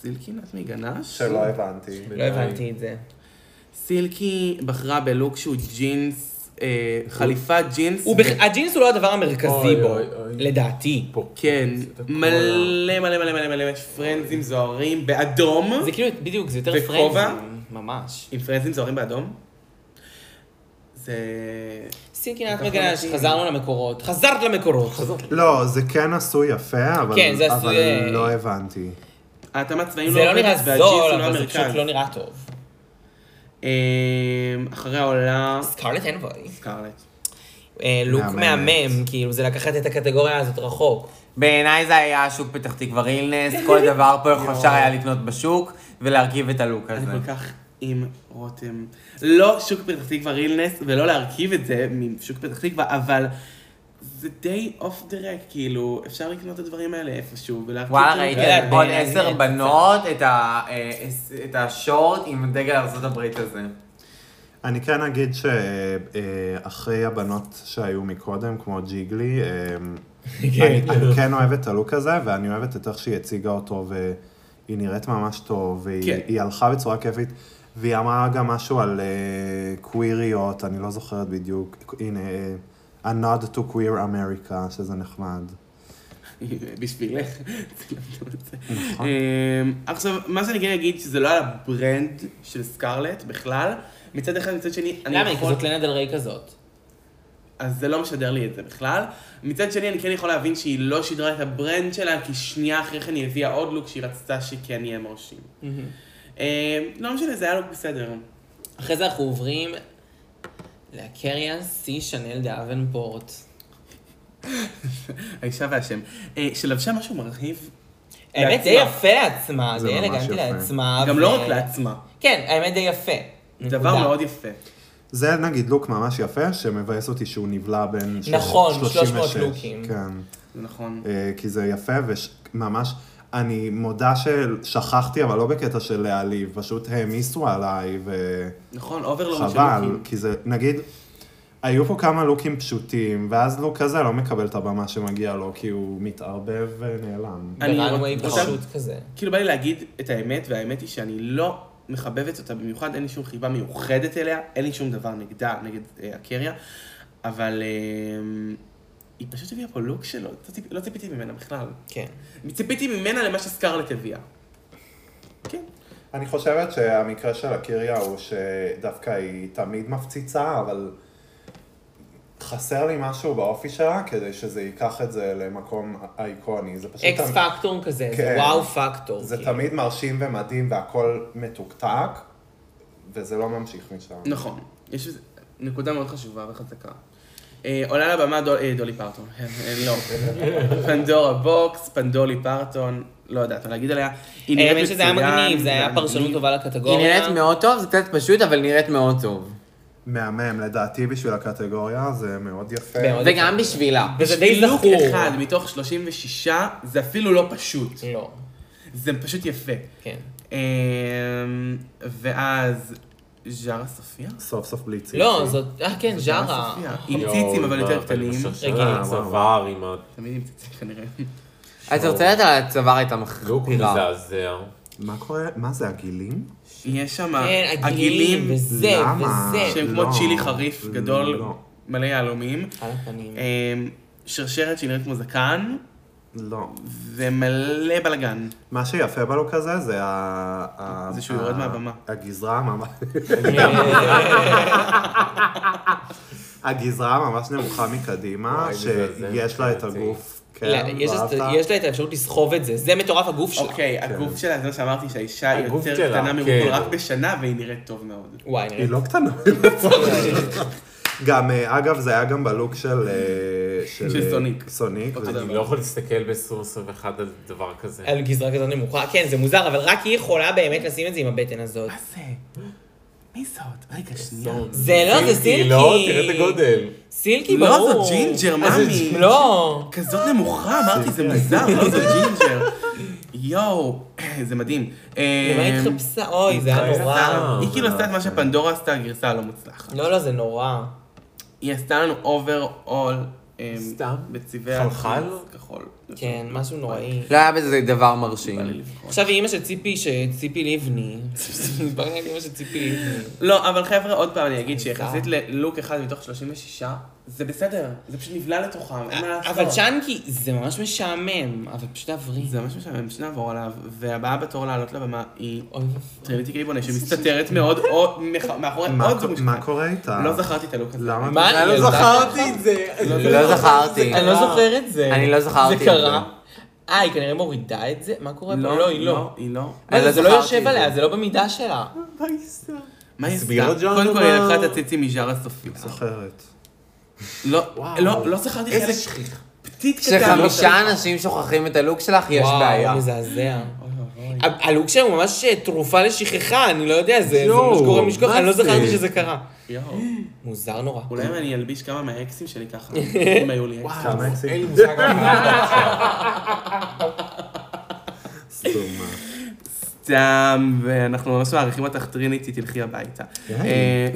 סילקי נתמי גנש?
שלא הבנתי.
אה,
לא
אה,
הבנתי את זה.
סילקי בחרה בלוק שהוא ג'ינס, אה, חליפת ג'ינס.
הוא בכ- הג'ינס הוא לא הדבר המרכזי
אוי,
בו,
אוי, אוי.
לדעתי.
פה.
כן,
את הכל
מלא מלא מלא מלא מלא פרנזים זוהרים באדום.
זה כאילו, בדיוק, זה יותר
וכובע?
פרנזים. ממש.
עם פרנזים זוהרים באדום? זה...
סינקין את מגנש, חזרנו למקורות. חזרת למקורות.
לא, זה כן עשוי יפה, אבל
כן, זה
אבל
עשוי, אה,
לא הבנתי.
ההתאמת צבעים
זה לא
עובדת,
נראה
והג'ינס הוא
זול,
לא
אבל זה
המרכז.
פשוט לא נראה טוב.
אמ, אחרי העולה...
סקארלט אנבוי. אה,
סקארלט. אה,
לוק
מהממת.
מהמם, כאילו, זה לקחת את הקטגוריה הזאת רחוק.
בעיניי זה היה שוק פתח תקווה רילנס, כל דבר פה איך אפשר היה לקנות בשוק ולהרכיב את הלוק הזה.
אני כל כך עם רותם. לא שוק פתח תקווה רילנס, ולא להרכיב את זה משוק פתח תקווה, אבל זה די אוף דה רק, כאילו, אפשר לקנות את הדברים האלה איפשהו, ולהרכיב
וואלה
את זה. אה,
ראיתי
יודעת,
על עוד
בעיניי
עשר
זה-
בנות את ה- אה, את השורט עם דגל ארה"ב הזה.
אני כן אגיד שאחרי הבנות שהיו מקודם, כמו ג'יגלי, אה, אני אני כן אוהב את הלוק הזה, ואני אוהבת את איך שהיא הציגה אותו, והיא נראית ממש טוב, והיא
כן.
היא הלכה בצורה כיפית, והיא אמרה גם משהו על אה, קוויריות, אני לא זוכרת בדיוק, הנה, אה, a nod to queer America, שזה נחמד.
בשבילך. צילמנו את זה.
נכון.
אמ, עכשיו, מה שאני כן אגיד, שזה לא על הברנד של סקארלט בכלל. מצד אחד, מצד שני, אני
למה היא
יכול...
כזאת לנה דל ריי כזאת?
אז זה לא משדר לי את זה בכלל. מצד שני, אני כן יכול להבין שהיא לא שידרה את הברנד שלה, כי שנייה אחרי כן היא הביאה עוד לוק שהיא רצתה שכן יהיה מרשים. אה, לא משנה, זה היה לוק בסדר.
אחרי זה אנחנו עוברים לקריאן סי שנל דה אבנפורט.
האישה והשם. אה, שלבשה משהו מרהיב,
האמת די
לעצמה.
יפה לעצמה,
זה
די
ממש
אלגנטי
יפה.
לעצמה.
גם
ו-
לא רק לעצמה.
כן, האמת די יפה.
דבר
נקודה.
מאוד יפה.
זה נגיד לוק ממש יפה, שמבאס אותי שהוא נבלע בין שלוש-
נכון, 300
36.
לוקים.
כן.
זה נכון.
אה, כי זה יפה וממש, אני מודה ששכחתי, אבל לא בקטע של להעליב, פשוט העמיסו עליי,
נכון, אוברלורד של
וחבל,
לוקים.
כי זה, נגיד, היו פה כמה לוקים פשוטים, ואז לוק כזה לא מקבל את הבמה שמגיע לו, כי הוא מתערבב ונעלם.
אני
ברנווי
רוצה-
פשוט כזה.
כאילו בא לי להגיד את האמת, והאמת היא שאני לא מחבבת אותה במיוחד, אין לי שום חיבה מיוחדת אליה, אין לי שום דבר נגדה, נגד אה, הקריה, אבל אה, היא פשוט הביאה פה לוק שלא לא ציפ, לא ציפיתי ממנה בכלל.
כן.
ציפיתי ממנה למה שסקרלט הביאה. כן.
אני חושבת שהמקרה של הקיריה הוא שדווקא היא תמיד מפציצה, אבל חסר לי משהו באופי שלה כדי שזה ייקח את זה למקום איקוני. זה פשוט...
אקס
תמ-
פקטור כזה, זה
כן.
וואו פקטור.
זה
אוקיי.
כאילו.
תמיד מרשים ומדהים והכל מתוקתק, וזה לא ממשיך משם.
נכון, יש איזה נקודה מאוד חשובה וחזקה. אה, עולה לבמה דול, אה, דולי פרטון, אה, אה, לא, פנדורה בוקס, פנדולי פרטון, לא יודעת מה להגיד עליה. היא נראית
אה, האמת שזה היה
מצוין,
מגניב, זה היה
מגניב.
פרשנות טובה
היא
לקטגוריה.
נראית מאוד טוב, זה קצת פשוט, אבל נראית מאוד טוב.
מהמם, לדעתי בשביל הקטגוריה זה מאוד יפה.
מאוד.
וגם בשבילה.
וזה
די
לוק
זכור.
אחד מתוך 36, זה אפילו לא פשוט.
לא,
זה פשוט יפה.
כן.
אמ, ואז ז'ארה סופיה?
סוף סוף בלי ציצי.
לא, זאת, אה כן, ז'ארה.
סופיה. עם ציצים אבל יותר קטנים.
רגילים. הצוואר עם
תמיד עם ציצים כנראה.
הצרצלת על הצוואר הייתה
הלוק
מחרירה.
מזעזע.
מה קורה? מה זה, הגילים?
יש שם
כן,
עגילים
הגילים, וזה,
למה?
וזה.
שהם
לא.
כמו צ'ילי חריף גדול,
לא.
מלא יהלומים.
על הפנים.
אמ, שרשרת שנראית כמו זקן,
לא.
ומלא בלאגן.
מה שיפה בלוק הזה זה ה... ה-
זה שהוא יורד
ה-
מהבמה.
הגזרה ממש... הגזרה ממש נמוכה מקדימה,
וואי, מזעזע,
שיש לה את
מבחינתי.
הגוף.
לא,
כן,
יש
ואהבת?
לה- יש לה את האפשרות לסחוב את זה, זה מטורף הגוף שלה.
אוקיי, הגוף שלה, זה מה שאמרתי, שהאישה היא
כן. הגוף
יותר
שלה,
קטנה
כן.
מרוקול רק בשנה, והיא נראית טוב מאוד.
וואי,
היא
נראה.
לא קטנה. גם, אה, אגב, זה היה גם בלוק של... אה,
של סוניק.
סוניק.
אותו
וזה-
דבר.
אני לא יכול להסתכל ב-2021 על דבר כזה.
על גזרה כזאת נמוכה. כן, זה מוזר, אבל רק היא יכולה באמת לשים את זה עם הבטן הזאת.
מה זה? מי זאת? רגע, שנייה.
זה לא, זה סילקי.
לא, תראה את הגודל.
סילקי, ברור.
לא, זאת ג'ינג'ר, מאמי.
לא.
כזאת נמוכה, אמרתי, זה מוזר, לא זאת ג'ינג'ר. יואו, זה מדהים.
למה היא
אמ,
התחפשה? אוי, זה היה נורא.
אה,
היא כאילו עשתה את מה שפנדורה עשתה, הגרסה הלא מוצלחת.
לא, לא, זה נורא.
היא עשתה לנו אובר אול.
סתם?
בצבעי
חלחל?
הלחץ כחול.
כן, משהו נוראי.
לא היה בזה דבר
בא לי
מרשים.
לבחור.
עכשיו היא אימא של ציפי, ציפי לבני. דיברנו על אימא של ציפי לבני.
לא, אבל חבר'ה, עוד פעם אני אגיד שיחסית ללוק אחד מתוך 36, זה בסדר, זה פשוט נבלע לתוכם, אין מה לעשות.
אה, אבל צ'אנקי, זה ממש משעמם, אבל פשוט עברי.
זה ממש משעמם, שנעבור עליו, והבאה בתור לעלות לבמה היא
אוי ואבוי.
טריניטי קייבונה, שמסתתרת מאוד, או מח- מאחורי
לא- מה
עוד
קו-
זוג
מה
משפט.
קורה איתה?
לא זכרתי את הלוק הזה.
למה?
מה?
אני לא
ילדה
זכרתי את זה.
לא זכרתי.
אני לא זוכרת את זה.
אני לא זכרתי את
זה קרה. אה, היא כנראה מורידה את זה? מה קורה פה?
לא, היא לא. היא לא.
מה
אני
זה,
לא
זה לא
זכרתי את
יושב
זה.
עליה, זה לא במידה שלה.
מה היא עשתה?
הסבירה ג'ון
קודם כל
מה?
היא לקחה את הציצי מז'אר הסופי.
זוכרת.
לא,
וואו.
לא, לא זכרתי חלק.
איזה שכיח.
פתית קטן. לא
כשחמישה אנשים שוכחים את הלוק שלך, יש בעיה.
וואו, מזעזע. ה- הלוק שם הוא ממש אה, תרופה לשכחה, אני לא יודע, זה זה
יואו,
ממש גורם לשכוח,
מה
אני לא
זה?
זכרתי שזה קרה.
יואו.
מוזר נורא.
אולי אם אני אלביש כמה מהאקסים שלי ככה, אם היו לי אקסים.
כמה
אין לי
אקסים?
מושג על מה.
סתומה.
סתם, ואנחנו ממש מעריכים אותך טריניטי, תלכי הביתה. אה,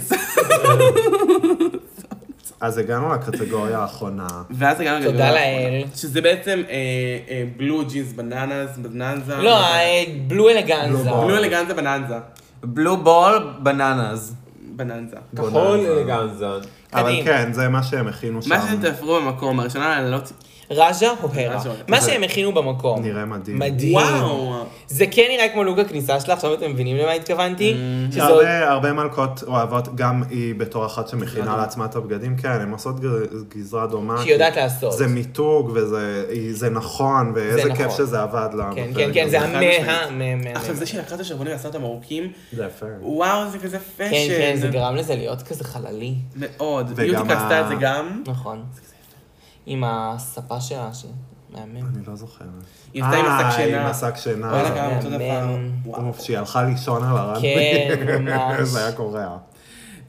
אז הגענו לקטגוריה האחרונה.
ואז הגענו
תודה
לגדולה
לאל.
האחרונה, שזה בעצם אה, בלו ג'ינס בננז, בננזה.
לא, אה, בלו אלגנזה.
בלו אלגנזה בננזה.
בלו בול בננז.
בננזה.
כחול אלגנזן.
אבל
קדימה.
כן, זה מה שהם הכינו שם.
מה שאתם תעברו במקום, הראשונה לא לעלות,
כן. רג'ה או הרה.
רג'ה.
מה שהם הכינו במקום.
נראה מדהים.
מדהים.
וואו.
זה כן נראה כמו לוג הכניסה שלה, עכשיו אתם מבינים למה התכוונתי? שזו-
Mm, הרבה, הרבה מלכות אוהבות, גם היא בתור אחת שמכינה לעצמה את הבגדים, כן, הן עושות גר- גזרה דומה.
שהיא
כי
יודעת לעשות.
זה מיתוג וזה היא- זה נכון,
זה
ואיזה
נכון.
כיף שזה עבד לה.
כן,
בפרק
כן, כן, זה
הזה.
חד
המאה,
משמעית.
המאה.
עכשיו זה שלקחה את השרוולים ועשה אותם ארוכים,
זה יפה.
וואו, זה כזה פשן.
כן, כן, זה גרם לזה להיות כזה חללי.
מאוד.
וגם
ביוטיקה
ה-
עשתה את זה גם.
נכון. עם הספה שלה, שמהמם.
אני לא זוכרת.
היא עשתה עם
אה,
השק שינה.
עם השק שינה.
וואלה, גם אותו דבר.
מהמם.
וואו.
אוף, שהיא הלכה לישון על הרדיו.
כן, ממש.
זה היה קורע.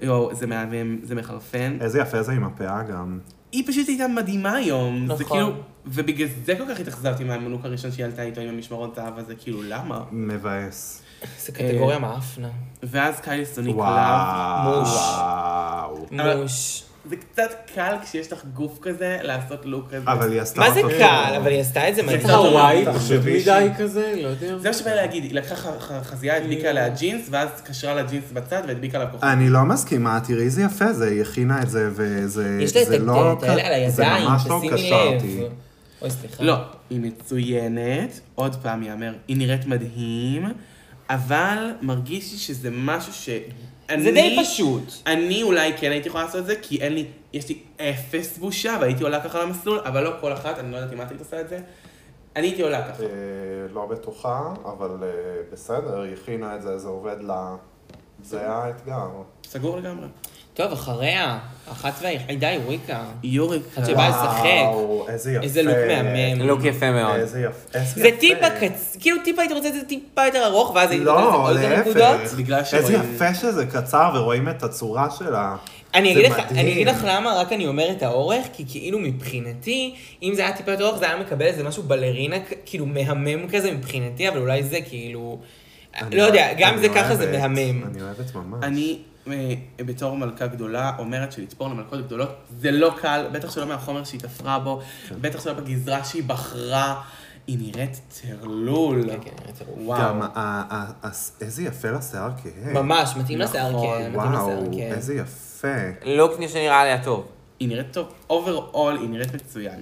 יואו, זה מהמם, זה מחרפן.
איזה יפה זה עם הפאה גם.
היא פשוט הייתה מדהימה היום. זה
נכון.
כאילו, ובגלל זה כל כך התאכזבתי מהמנוק הראשון שהיא עלתה איתו עם המשמרות זהב הזה, כאילו, למה?
מבאס.
זה קטגוריה מאפנה.
ואז קיילי סוניק לאב.
וואו.
מוש.
וואו.
מוש.
זה קצת קל כשיש לך גוף כזה לעשות לוק כזה.
אבל היא עשתה
מה זה
אותו
קל?
טוב.
אבל היא עשתה את זה
זה
מדהים.
הוואי פשוט
תחשבי ש-
מדי כזה, לא יודע.
זה מה שבא לי להגיד, היא לקחה ח- ח- חזייה, הדביקה עליה ג'ינס, ואז קשרה לה ג'ינס בצד והדביקה עליו
אה,
כוכב.
אני לא מסכימה, תראי איזה יפה זה, היא הכינה את זה, וזה
יש לה את
זה לא...
הגדלת האלה על
ק- זה
הידיים,
ממש לא
תשימי
קשרתי.
לב. אוי, סליחה.
לא, היא מצוינת, עוד פעם יאמר, היא נראית מדהים, אבל מרגיש לי שזה משהו ש...
זה
אני-
די פשוט.
אני אולי כן הייתי יכולה לעשות את זה, כי אין לי, יש לי אפס בושה, והייתי עולה ככה למסלול, אבל לא כל אחת, אני לא יודעת אם את היית עושה את זה. אני הייתי עולה ככה.
לא בטוחה, אבל אה, בסדר, היא הכינה את זה, זה עובד לה. זה האתגר.
סגור לגמרי.
טוב, אחריה, אחת והיחידה היא ריקה.
יורק.
עד שבא לשחק.
איזה יפה.
איזה לוק מהמם.
לוק יפה מאוד.
איזה יפה. איזה
זה
יפה.
טיפה קצ... כאילו טיפה היית רוצה את זה טיפה יותר ארוך, ואז היית רוצה את זה
לא,
עוד
להפך.
נקודות.
בגלל
איזה
שרואים-
יפה שזה קצר, ורואים את הצורה שלה.
אני
זה
אגיד, לך,
מדהים.
אני אגיד לך למה רק אני אומר את האורך, כי כאילו מבחינתי, אם זה היה טיפה יותר אורך זה היה מקבל איזה משהו בלרינה כ- כאילו מהמם כזה מבחינתי, אבל אולי זה כאילו...
אני
לא יודע,
אוהב-
גם
אני
זה ככה זה
אוהבת,
מהמם.
אני אוהבת ממש.
אני, אה, בתור מלכה גדולה, אומרת שלצפור למלכות גדולות זה לא קל, בטח שלא מהחומר שהיא תפרה בו, בטח שלא בגזרה שהיא בחרה. היא נראית טרלול.
כן, כן, נראית טרלול.
וואו.
גם ה- ה- ה- איזה יפה לשיער כהה.
ממש, מתאים לשיער,
נכון,
כן, מתאים
וואו,
לשיער, כן.
איזה יפה.
לוק שנראה עליה טוב.
היא נראית טוב. אוברול, היא נראית מצוין.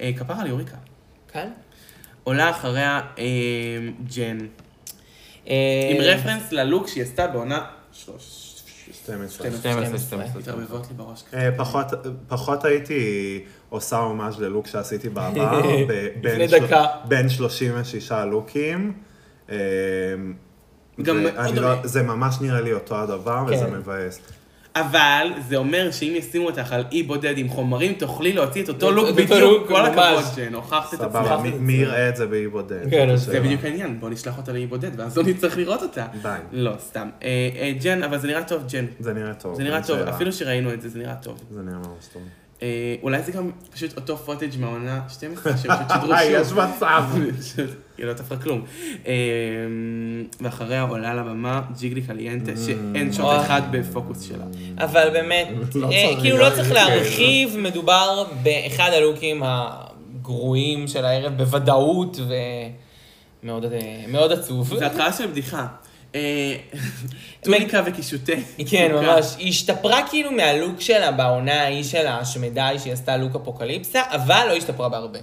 אה, כפרה על יוריקה.
כאן?
עולה אחריה אה, ג'ן.
אה,
עם רפרנס ללוק שהיא עשתה בעונה שלוש...
12.
12, 12.
מתערבבות לי בראש. כזה.
אה, פחות- פחות הייתי עושה הומאז' ללוק שעשיתי בעבר, ב- בין
לפני
של-
דקה.
בין 36 לוקים. אה,
גם
זה-
מאוד
אני
דומה.
לא- זה ממש נראה לי אותו הדבר, וזה
כן.
מבאס.
אבל זה אומר שאם ישימו אותך על אי בודד עם חומרים, תוכלי להוציא את אותו
את
לוק
אותו
בדיוק.
לוק,
כל הכבוד,
ממש.
ג'ן, הוכחת את
סבבה,
עצמך.
מי- מי יראה את זה באי בודד?
כן, אז
זאת
זה
השאלה.
בדיוק העניין, בוא נשלח אותה לאי בודד, ואז לא נצטרך לראות אותה.
די.
לא, סתם. אה, אה, ג'ן, אבל זה נראה טוב, ג'ן.
זה נראה טוב.
לא, זה נראה
אין
טוב,
שאלה.
אפילו שראינו את זה, זה נראה טוב.
זה נראה ממש טוב.
אה, אולי זה גם פשוט אותו פוטג' מהעונה 12, שפשוט שידרו שוב.
אה, יש מצב.
היא לא תפרה כלום. אה, ואחריה עולה לבמה ג'יגלי קליינטה, שאין שוט אחד בפוקוס שלה.
אבל באמת,
לא
אה,
צריך
כאילו לא
להרחיב,
צריך להרחיב, מדובר באחד הלוקים הגרועים של הערב בוודאות, ומאוד אה, מאוד עצוב.
זה התחלה של בדיחה. אה, טוניקה וקישוטי.
כן, ממש. היא השתפרה כאילו מהלוק שלה בעונה ההיא של ההשמדה, שהיא עשתה לוק אפוקליפסה, אבל לא השתפרה בהרבה.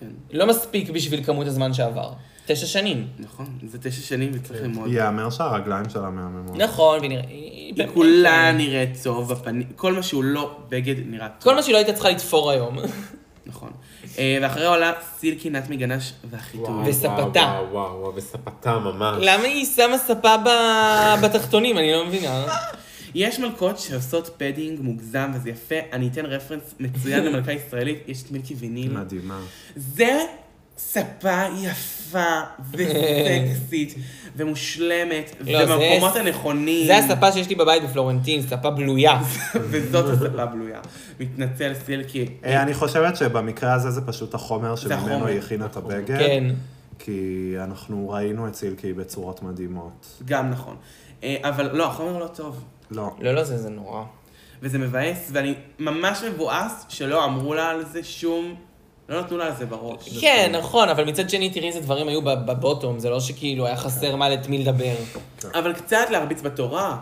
כן.
לא מספיק בשביל כמות הזמן שעבר. תשע שנים.
נכון, זה תשע שנים וצריך ללמוד.
ייאמר שהרגליים שלה מהממות.
נכון, ונראה... היא- אה,
היא כולה נראית טוב, בפנים, כל מה שהוא לא בגד נראה טוב.
כל מה שהיא לא הייתה צריכה לתפור היום.
נכון. אה, ואחריה עולה סילקי נת מגנש והחיתול.
וס- וספתה.
וואו, וואו, וואו, וספתה ממש.
למה היא שמה ספה ב- בתחתונים? אני לא מבינה.
יש מלכות שעושות פדינג מוגזם וזה יפה, אני אתן רפרנס מצוין למלכה ישראלית, יש את מילקי ויניל.
מדהימה.
זה ספה יפה וסקסית ומושלמת,
לא, זה-
ובמקומות הנכונים.
זה הספה שיש לי בבית בפלורנטין, ספה בלויה.
וזאת הספה בלויה. מתנצל סילקי.
אה, אני חושבת שבמקרה הזה זה פשוט החומר שממנו
החומר.
היא הכינה את הבגד.
כן.
כי אנחנו ראינו את סילקי בצורות מדהימות.
גם נכון. אה, אבל לא, החומר לא טוב.
לא.
לא, לא, זה זה נורא.
וזה מבאס, ואני ממש מבואס שלא אמרו לה על זה שום... לא נתנו לה על זה בראש.
כן, נכון, אבל מצד שני, תראי איזה דברים היו בב- בבוטום, זה לא שכאילו היה חסר מה לת- מי לדבר.
כן.
אבל קצת להרביץ בתורה.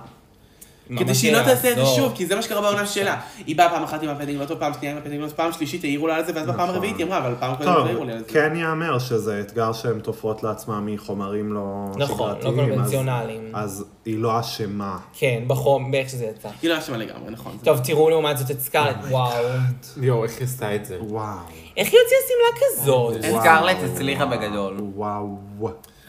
ממש
כדי שהיא לא תעשה את זה
לעזור.
שוב, כי זה מה שקרה בעונה שלה. היא באה פעם אחת עם הפדינג לא טוב, פעם שנייה עם הפדינג לא טוב, פעם שלישית העירו לה על זה, ואז בפעם
נכון.
הרביעית היא אמרה, אבל פעם קודם לא
טוב,
העירו לי על זה.
כן ייאמר שזה אתגר שהן תופרות לעצמם מחומרים לא
נכון, לא
שגרתיים, אז-
קונבנציונליים.
אז היא לא אשמה.
כן, בחום, באיך שזה יצא.
היא לא אשמה לגמרי, נכון. זה-
טוב, תראו לעומת זאת את סקארלט, וואו.
יואו, איך היא עשתה את זה?
וואו.
איך היא הוציאה שמלה כזאת?
וואו,
סקרלט הצליחה בגדול.
וואו.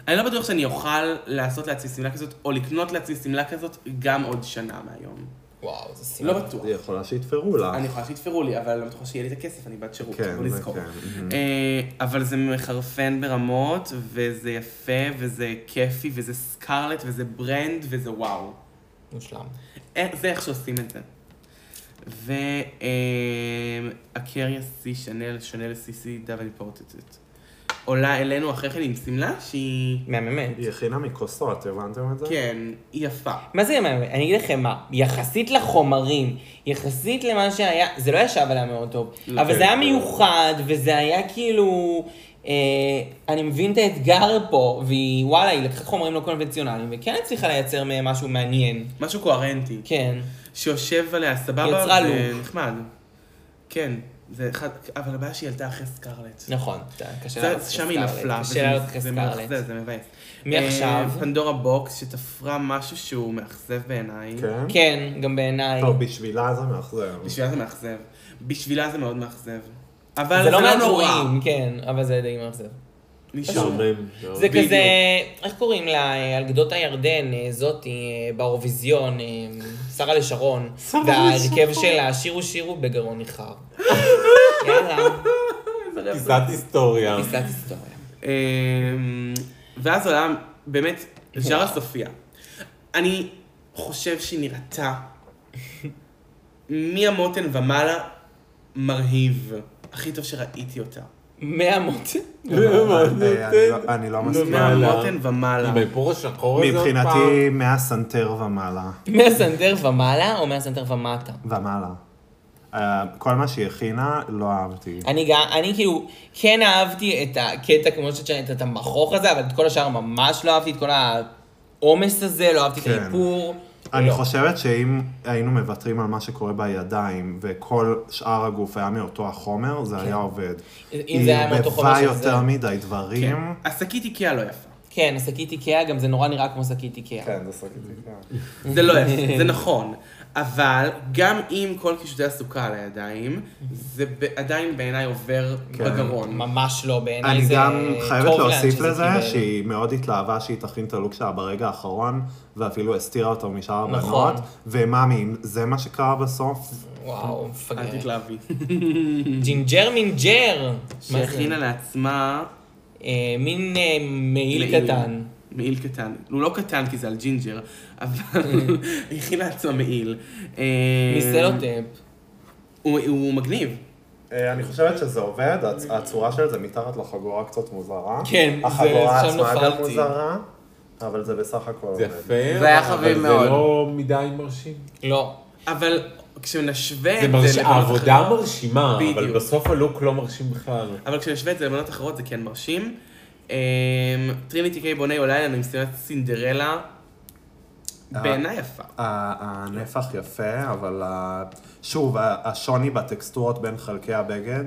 אני לא בטוח שאני אוכל לעשות לעצמי שמלה כזאת, או לקנות לעצמי שמלה כזאת גם עוד שנה מהיום.
וואו, זה
כן.
שמלה.
לא בטוח.
היא יכולה שיתפרו לה.
אני יכולה שיתפרו לי, אבל לא בטוחה שיהיה לי את הכסף, אני בת שירות,
כן,
בוא
זה
נזכור.
כן. מהמם.
אה, אבל זה מחרפן ברמות, וזה יפה, וזה כיפי, וזה סקרלט, וזה ברנד, וזה וואו.
מושלם.
אה, זה איך שעושים את זה. אה, והקריה סי שנל, שנל סי סי דאבל פורטטט. עולה אלינו אחרי כן עם שמלה שהיא...
מהממת.
היא הכינה מכוסות, הבנתם את זה?
כן, היא יפה.
מה זה מהממת? אני אגיד לכם מה, יחסית לחומרים, יחסית למה שהיה, זה לא ישב עליה מאוד טוב,
לא,
אבל
כן.
זה היה מיוחד, וזה היה כאילו... אה, אני מבין את האתגר פה, והיא, וואלה, היא לקחה חומרים לא קונבנציונליים, וכן הצליחה לייצר מהם משהו מעניין.
משהו קוהרנטי.
כן.
שיושב עליה,
היא
סבבה,
יצרה
זה
לוק.
נחמד. כן, זה אחד... אבל הבעיה שהיא עלתה אחרי סקרלט.
נכון, זה קשה
זה-
לעלות
שם היא
כסקרלט,
נפלה,
קשה
וזה-
לעלות
זה
כסקרלט.
מאכזב, זה מבאס.
מי
אה,
עכשיו?
פנדורה בוקס, שתפרה משהו שהוא מאכזב בעיניי.
כן?
כן, גם בעיניי.
טוב, בשבילה זה מאכזר.
בשבילה זה מאכזב. בשבילה זה מאוד מאכזב. אבל
זה לא
נורא.
מהגרועים, כן, אבל זה די מאכזב.
נשאר.
משעמם. מאוד.
זה
בדיוק.
כזה, איך קוראים לה, אה, על גדות הירדן, אה, זאתי, אה, באירוויזיון, אה, שרה לשרון, וההרכב שלה, שירו שירו בגרון ניחר. יאללה, לא-
פיסת היסטוריה.
פיסת היסטוריה.
אמ, ואז עולה באמת ז'רה סופיה. אני חושב שהיא נראתה מהמותן ומעלה, מרהיב. הכי טוב שראיתי אותה.
מהמות.
אני לא- אני לא מסכים.
מעלה.
מהמותן ומעלה.
עם האיפור השחור הזה עוד פעם.
מבחינתי מהסנטר ומעלה.
מהסנטר ומעלה או מהסנטר ומטה?
ומעלה. אה, כל מה שהיא הכינה, לא אהבתי.
אני גם, אני כאילו, כן אהבתי את הקטע, כמו שאת שואלת, את המכוך הזה, אבל את כל השאר ממש לא אהבתי, את כל העומס הזה, לא אהבתי את
כן.
האיפור.
אני
לא.
חושבת שאם היינו מוותרים על מה שקורה בידיים, וכל שאר הגוף היה מאותו החומר, זה היה עובד.
כן. אם זה היה מאותו חומר כן.
היא
של
ערבבה יותר
זה.
מדי דברים.
השקית איקאה לא יפה.
כן, שקית איקאה, גם זה נורא נראה כמו שקית איקאה.
כן, זה סרקיטיקה.
זה לא יפה, זה נכון. אבל גם עם כל קישוטי הסוכה על הידיים, זה ב- עדיין בעיניי עובר
כן.
בגרון.
ממש לא, בעיניי
אני
זה
גם חייבת
טוב לאן
להוסיף
שזה
לזה
קיבל.
שהיא מאוד התלהבה שהיא תכין את הלוק שלה ברגע האחרון, ואפילו הסתירה אותו משאר
נכון.
הבנות. ומאמי, אם זה מה שקרה בסוף?
וואו,
אל
מפגרת.
תתלהבי.
ג'ינג'ר מינג'ר. מה זה?
שהכינה לעצמה
אה, מין אה, מעיל
מעיל.
קטן.
מעיל קטן. הוא לא קטן כי זה על ג'ינג'ר, אבל היא הכינה לעצמה מעיל. אה,
מסלוטאפ.
הוא הוא מגניב.
אה, אני חושבת שזה עובד, הצ- הצורה של זה מתחת לחגורה קצת מוזרה.
כן, זה-
החגורה
שם
עצמה גם
נפלתי.
מוזרה, אבל זה בסך הכל
זה
עובד.
יפה.
זה היה
אבל
חביב מאוד.
זה לא מדי מרשים.
לא.
אבל כשנשווה
זה
את זה
מרשים,
לבנות
העבודה
אחרות-
מרשימה, אבל
בדיוק.
בסוף הלוק לא מרשים בכלל.
אבל כשנשווה את זה לבנות אחרות זה כן מרשים. אמ, טריניטי קיי בוני עולה אלינו עם סדרת סינדרלה. בעיניי יפה.
ה- הנפח יפה, אבל ה- שוב, ה- השוני בטקסטורות בין חלקי הבגד,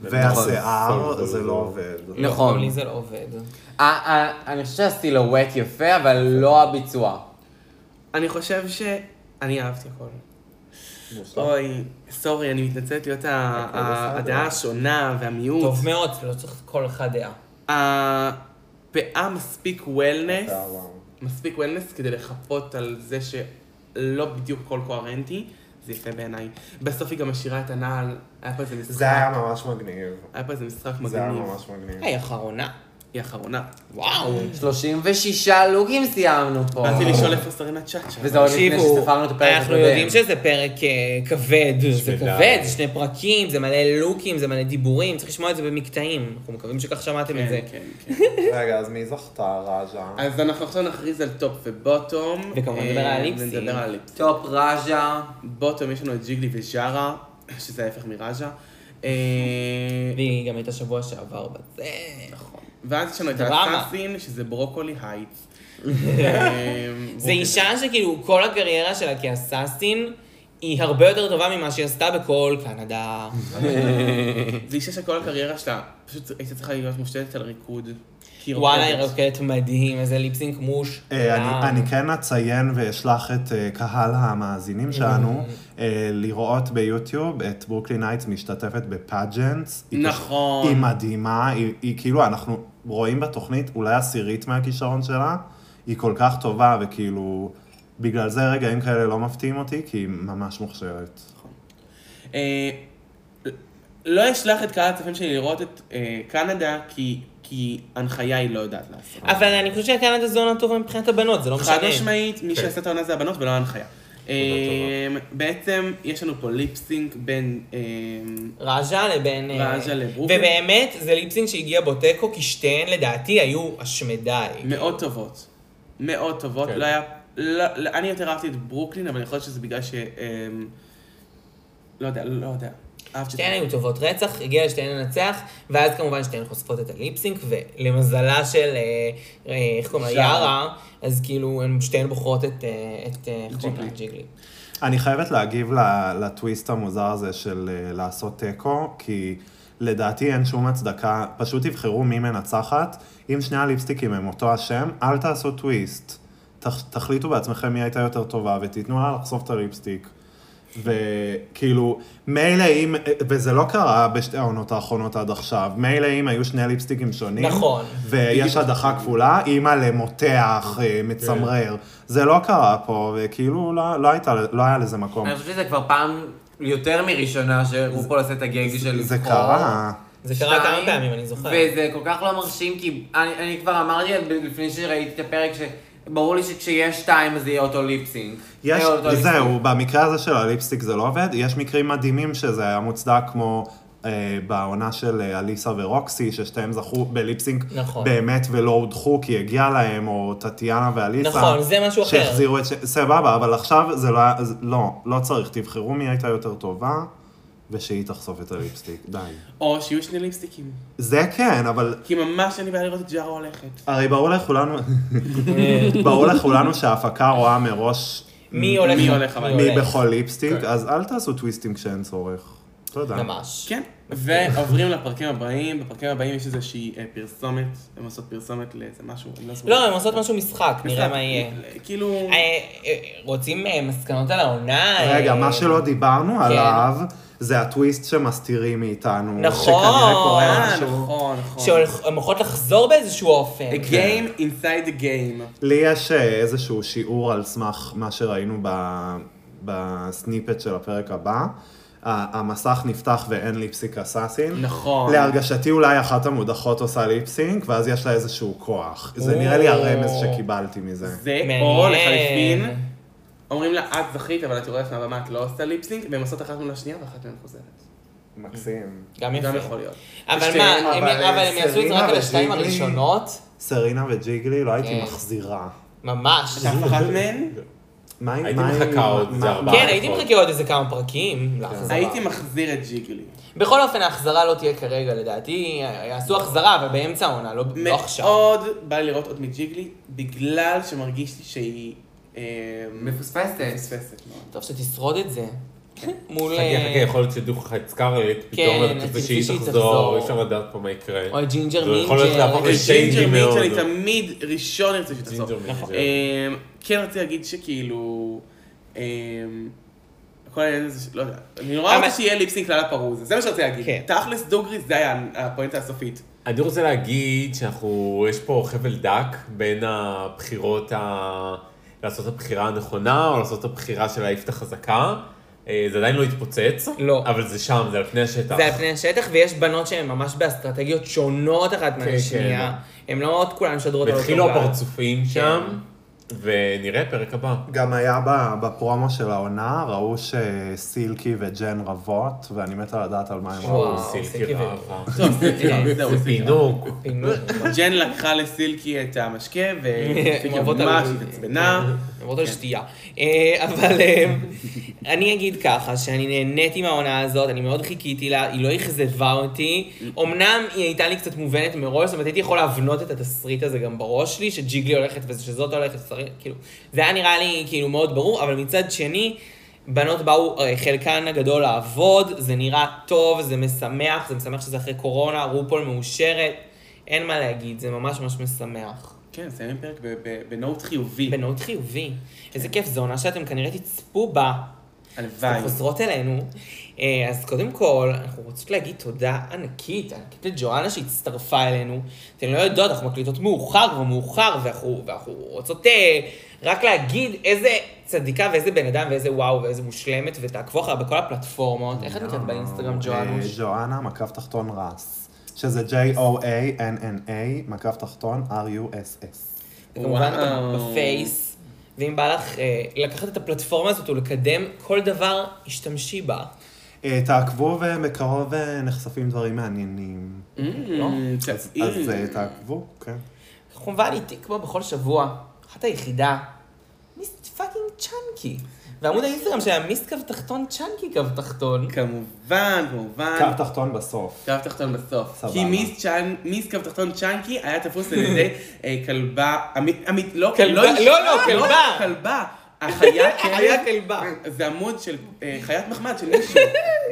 והשיער,
נכון.
זה לא עובד.
גם
נכון.
לי זה לא עובד.
אה, אה, אני חושב שהסילואט יפה, אבל לא הביצוע.
אני חושב ש... אני אהבתי הכל. אוי, סורי, אני מתנצלת להיות ה- ה- הדעה השונה והמיעוט.
טוב מאוד, לא צריך כל אחד דעה.
הפאה מספיק וולנס,
אתה וואו.
מספיק וולנס כדי לחפות על זה שלא בדיוק הכל קוהרנטי, זה יפה בעיניי. בסוף היא גם משאירה את הנעל, היה פה איזה משחק.
זה היה ממש מגניב.
היה פה איזה משחק
זה היה
מגניב.
ממש מגניב.
היי, אחרונה.
היא האחרונה.
וואו.
36 לוקים סיימנו פה.
באתי לשאול איפה סרינה צ'אצ'ה.
לא,
וזה עוד לפני
תקשיבו,
שספרנו את הפרק
אנחנו יודעים
הקודם.
שזה פרק אה, כבד, זה
שדי.
כבד, זה שני פרקים, זה מלא לוקים, זה מלא דיבורים, צריך לשמוע את זה במקטעים. אנחנו מקווים שכך שמעתם את זה.
כן, כן, כן.
רגע, אז מי זכתה, רג'ה?
אז אנחנו עכשיו נכריז על טופ ובוטום.
וכמובן נדבר
אה,
על הליפסינק.
ונדבר על הליפסינק.
טופ רג'ה.
בוטום יש לנו את ג'יגלי וז'ארה, שזה ההפך מראז'ה. אה,
והיא גם הייתה שבוע שעבר בזה. נכון.
ואז יש לנו את
דרמה.
האסאסין, שזה ברוקולי הייטס. אה,
זה אישה שכאילו כל הקריירה שלה כאסאסין, היא הרבה יותר טובה ממה שהיא עשתה בכל קנדה.
זו אישה שכל הקריירה שלה, פשוט הייתה צריכה להיות מושתתת על ריקוד. כי היא
וואלה, היא
רוקדת.
רוקדת מדהים, איזה ליפסינק מוש.
אה,
וואו.
אני, אני כן אציין ואשלח את אה, קהל המאזינים שלנו אה, לראות ביוטיוב את ברוקלין הייטס משתתפת בפאג'נטס. היא פשוט-
נכון.
היא מדהימה, היא, היא כאילו, אנחנו רואים בתוכנית אולי עשירית מהכישרון שלה, היא כל כך טובה וכאילו, בגלל זה רגעים כאלה לא מפתיעים אותי, כי היא ממש מוכשרת.
אה, לא אשלח את קהל הצופים שלי לראות את אה, קנדה, כי- כי הנחיה היא לא יודעת לעשות.
אבל אני חושבת שהקנדה זה עונה טובה מבחינת הבנות, זה לא משנה.
חד משמעית, מי שעשה את העונה זה הבנות ולא ההנחיה. אה, בעצם יש לנו פה ליפסינק בין... אה,
רג'ה לבין... אה,
רג'ה לברוקלין.
ובאמת, זה ליפסינג שהגיע בו תיקו, כי שתיהן לדעתי היו השמדי.
מאוד טובות. מאוד טובות.
כן.
לא היה... לא- לא- אני יותר אהבתי את ברוקלין, אבל יכול להיות שזה בגלל ש... אמ, לא יודע, לא יודע. אהבתי את
שתיהן
זה.
היו טובות רצח, הגיע לשתיהן לנצח, ואז כמובן שתיהן חושפות את הליפסינק, ולמזלה של, אה, אה, איך קוראים לה,
ז'ארה.
יארה, אז כאילו, הן שתיהן בוחרות את, אה, את, אה, איך קוראים לה, ג'יגלי.
אני חייבת להגיב ל- לטוויסט המוזר הזה של אה, לעשות תיקו, כי לדעתי אין שום הצדקה, פשוט תבחרו מי מנצחת. אם שני הליפסטיקים הם אותו השם, אל תעשו טוויסט. תח, תחליטו בעצמכם מי הייתה יותר טובה ותיתנו לה לחשוף את הליפסטיק. וכאילו, מילא אם, וזה לא קרה בשתי העונות האחרונות עד עכשיו, מילא אם היו שני ליפסטיקים שונים.
נכון.
ויש הדחה כפולה, אימא למותח,
כן.
אה, מצמרר. זה לא קרה פה, וכאילו לא, לא, הייתה, לא היה לזה מקום.
אני חושבת שזה כבר פעם יותר מראשונה שרופול עושה את הגג של לבחור.
זה קרה.
זה קרה
שתיים,
כמה פעמים, אני זוכר.
וזה כל כך לא מרשים, כי אני, אני כבר אמרתי לפני שראיתי את הפרק ש... ברור לי שכשיהיה שתיים אז יהיה אותו ליפסינק.
יש,
אה,
יהיה
לא
אותו ליפסינק.
זהו, במקרה הזה של הליפסטיק זה לא עובד, יש מקרים מדהימים שזה היה מוצדק כמו... אה, בעונה של אה, אליסה ורוקסי, ששתיהם זכו בליפסינק
נכון.
באמת ולא הודחו כי הגיע להם, או טטיאנה ואליסה.
נכון, זה משהו אחר.
שהחזירו את... ש- סבבה, אבל עכשיו זה לא... היה- זה- לא, לא צריך, תבחרו מי הייתה יותר טובה, ושהיא תחשוף את הליפסטיק, די.
או שיהיו שני ליפסטיקים.
זה כן, אבל
כי ממש אין לי בעיה לראות את ג'ארה הולכת.
הרי ברור לכולנו, ברור לכולנו שההפקה רואה מראש
אה, מי הולך?
מי הולך, אבל-
מי
הולך?
בכל ליפסטיק, אז אל תעשו טוויסטים כשאין צורך. לא תודה.
ממש.
כן. ועוברים לפרקים הבאים, בפרקים הבאים יש איזושהי אה, פרסומת, הם עושות פרסומת לאיזה משהו, אני לא זוכר.
לא, הם עושות משהו משחק, נראה מה יהיה.
כאילו...
אה, אה, רוצים אה, מסקנות על העונה?
רגע,
אה, כן.
מה שלא דיברנו עליו, זה הטוויסט שמסתירים מאיתנו.
נכון.
שכנראה קורה
אה,
משהו.
נכון, נכון.
שהן הולכות לחזור באיזשהו אופן.
A game inside the game.
לי יש אה, איזשהו שיעור על סמך מה שראינו ב- בסניפט של הפרק הבא. ה- המסך נפתח ואין ליפסיק אסאסין.
נכון.
להרגשתי אולי אחת המודחות עושה ליפסינק, ואז יש לה איזשהו כוח. זה נראה לי הרמז שקיבלתי מזה.
זה,
מעניין.
או לחליפין, אומרים לה, את זכית, אבל את יורדת מהבמה, את לא עושה ליפסינק, והן עושות אחת מול השנייה ואחת מהן חוזרת.
מקסים.
גם
גם
יפה.
יכול להיות.
אבל
שתיהן,
מה, הם-
אבל,
אבל הם יעשו את זה
סלינה
רק על השתיים
וג'יגלי.
הראשונות?
סרינה וג'יגלי, לא הייתי
כן.
מחזירה.
ממש.
אתה אחת מהן?
מה היא-
הייתי
מה היא-
מחכה עוד
מה-
איזה ארבעה.
כן, הייתי
נכון.
מחכה עוד איזה כמה
כן.
פרקים להחזרה.
הייתי מחזיר את ג'יגלי.
בכל אופן, ההחזרה לא תהיה כרגע, לדעתי. יעשו החזרה, אבל באמצע העונה, לא לא עכשיו.
מאוד בא לי לראות עוד מג'יגלי, בגלל שמרגיש לי שהיא... אה,
מפוספסת.
מפספסת מאוד.
טוב שתשרוד את זה. מול...
חכה, חכה,
אה,
יכול להיות שדוך לך את סקארלט, פתאום
כן,
אתה
תצפי
חושב שהיא
שהיא
תחזור,
תחזור.
אי אפשר לדעת פה מה יקרה.
או את ג'ינג'ר
זה יכול להיות
מינג'ר.
להפוך
אה,
לשיינג'י
ג'ינג'ר מיץ'
מאוד.
אני תמיד ראשון ארצה שתחזור.
ג'ינג'ר מינג'ר.
אמ, כן רציתי להגיד שכאילו... אמ, כל העניין הזה, ש- לא יודע, אני נורא
אבל-
רוצה שיהיה ליפסינק כלל הפרוז, זה מה שרציתי
כן.
להגיד. תכלס דוגרי זה היה הפואנטה הסופית.
אני רוצה להגיד שאנחנו, יש פה חבל דק בין הבחירות ה... לעשות את הבחירה הנכונה, או לעשות את הבחירה של להעיף את החזקה. אה, זה עדיין לא התפוצץ.
לא.
אבל זה שם, זה על פני השטח.
זה על פני השטח, ויש בנות שהן ממש באסטרטגיות שונות אחת
כן.
מהשנייה. הן לא עוד כולן משדרות על אותו
והתחילו
גל.
הפרצופים שם, ונראה פרק הבא.
גם היה ב- בפרומו של העונה, ראו שסילקי וג'ן רבות, ואני מתה לדעת על מה הם
וואו,
ראו.
סילקי
סילקי
ואהבה.
כן,
זהו,
זה פינוק.
פינוק.
ג'ן לקחה לסילקי את המשקה,
הן
וסילקי
אוהבות
ממש
על-
התעצבנה.
למרות על שתייה. אה, אבל אה, אני אגיד ככה, שאני נהניתי מהעונה הזאת, אני מאוד חיכיתי לה, היא לא אכזבה אותי. אמנם היא הייתה לי קצת מובנת מראש, זאת אומרת הייתי יכול להבנות את התסריט הזה גם בראש שלי, שג'יגלי הולכת ושזאת הולכת, שרי- כאילו, זה היה נראה לי כאילו מאוד ברור, אבל מצד שני... בנות באו, אה, חלקן הגדול לעבוד, זה נראה טוב, זה משמח, זה משמח שזה אחרי קורונה, רופול מאושרת, אין מה להגיד, זה ממש ממש משמח.
כן, מסיימים פרק ב- ב- בנוט חיובי.
בנאות חיובי.
כן.
איזה כיף, זו עונה שאתם כנראה תצפו בה.
הלוואי.
כן.
אתם חוזרות אלינו. אה, אז קודם כל, אנחנו רוצות להגיד תודה ענקית, ענקית לג'ואנה שהצטרפה אלינו. אתן לא יודעות, אנחנו מקליטות מאוחר ומאוחר, ואנחנו, ואנחנו רוצות אה, רק להגיד איזה צדיקה ואיזה בן אדם ואיזה וואו ואיזה מושלמת, ותעקבו אחריה בכל הפלטפורמות. איך את נותנת באינסטגרם
אה,
ג'ואנה?
ג'ואנה, מקף תחתון רס. שזה J-O-A-N-N-A, מקף תחתון R-U-S-S.
וכמובן
וואו.
גם בפייס. ואם בא לך אה, לקחת את הפלטפורמה הזאת ולקדם כל דבר, השתמשי בה.
אה, תעקבו ובקרוב אה, נחשפים דברים מעניינים.
לא?
אמ,
אז
צבעים.
אז, אה, תעקבו, כן.
כמובן איתי כמו בכל שבוע, אחת היחידה, מיסט פאקינג צ'אנקי. ועמוד האינסטגרם שלה מיסט קו תחתון צ'אנקי קו תחתון.
כמובן,
אה.
כמובן.
קו תחתון בסוף.
קו תחתון בסוף.
סבבה.
כי מיס צ'אן, מיס קו תחתון צ'אנקי היה תפוס על ידי אה, כלבה, עמית, עמית, לא,
כלבה, לא, לא, כלבה.
כלבה. החיה
היה כלבה.
זה עמוד של אה, חיית מחמד של מישהו.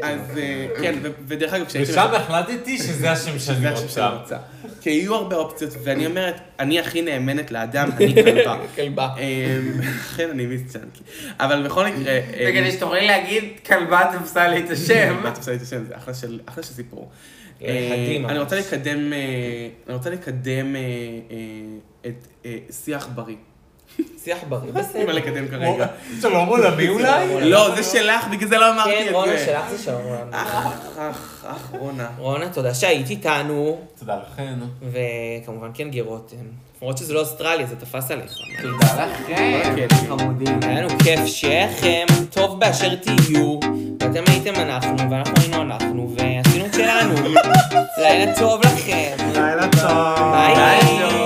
אז אה, כן, ו- ודרך אגב, כשהייתם...
ושם החלטתי שזה השם
זה
שאני
השם שאני
רוצה.
רוצה. כי היו הרבה אופציות, ואני אומרת, אני הכי נאמנת לאדם, אני כלבה.
כלבה.
אמ, אכן, אני מיס צ'אנקי. אבל בכל מקרה... אמ,
וכדי שתוכלי להגיד כלבה תפסה לי את השם.
מה את עושה לי את השם? זה אחלה של אחלה של סיפור.
מדהים,
אה,
ממש.
אני רוצה לקדם, אה, אני רוצה לקדם אה, אה, את אה, שיח בריא.
שיח בריא,
אין מה
בסדר.
לקדם כרגע.
שלום עולמי אולי?
לא, זה שלך, בגלל זה לא אמרתי
כן,
את
רונה
זה.
שלך זה של רונה.
אך, אך, אך, אך, רונה.
רונה, תודה שהיית איתנו,
תודה לכן.
וכמובן כן גירותם. למרות שזה לא אוסטרליה, זה תפס עליך.
תודה
אוקיי,
לכם, חמודים.
היה לנו כיף שייכם, טוב באשר תהיו, ואתם הייתם אנחנו, ואנחנו היינו אנחנו, ועשינו את שלנו. לילה טוב לכם.
לילה טוב.
ביי.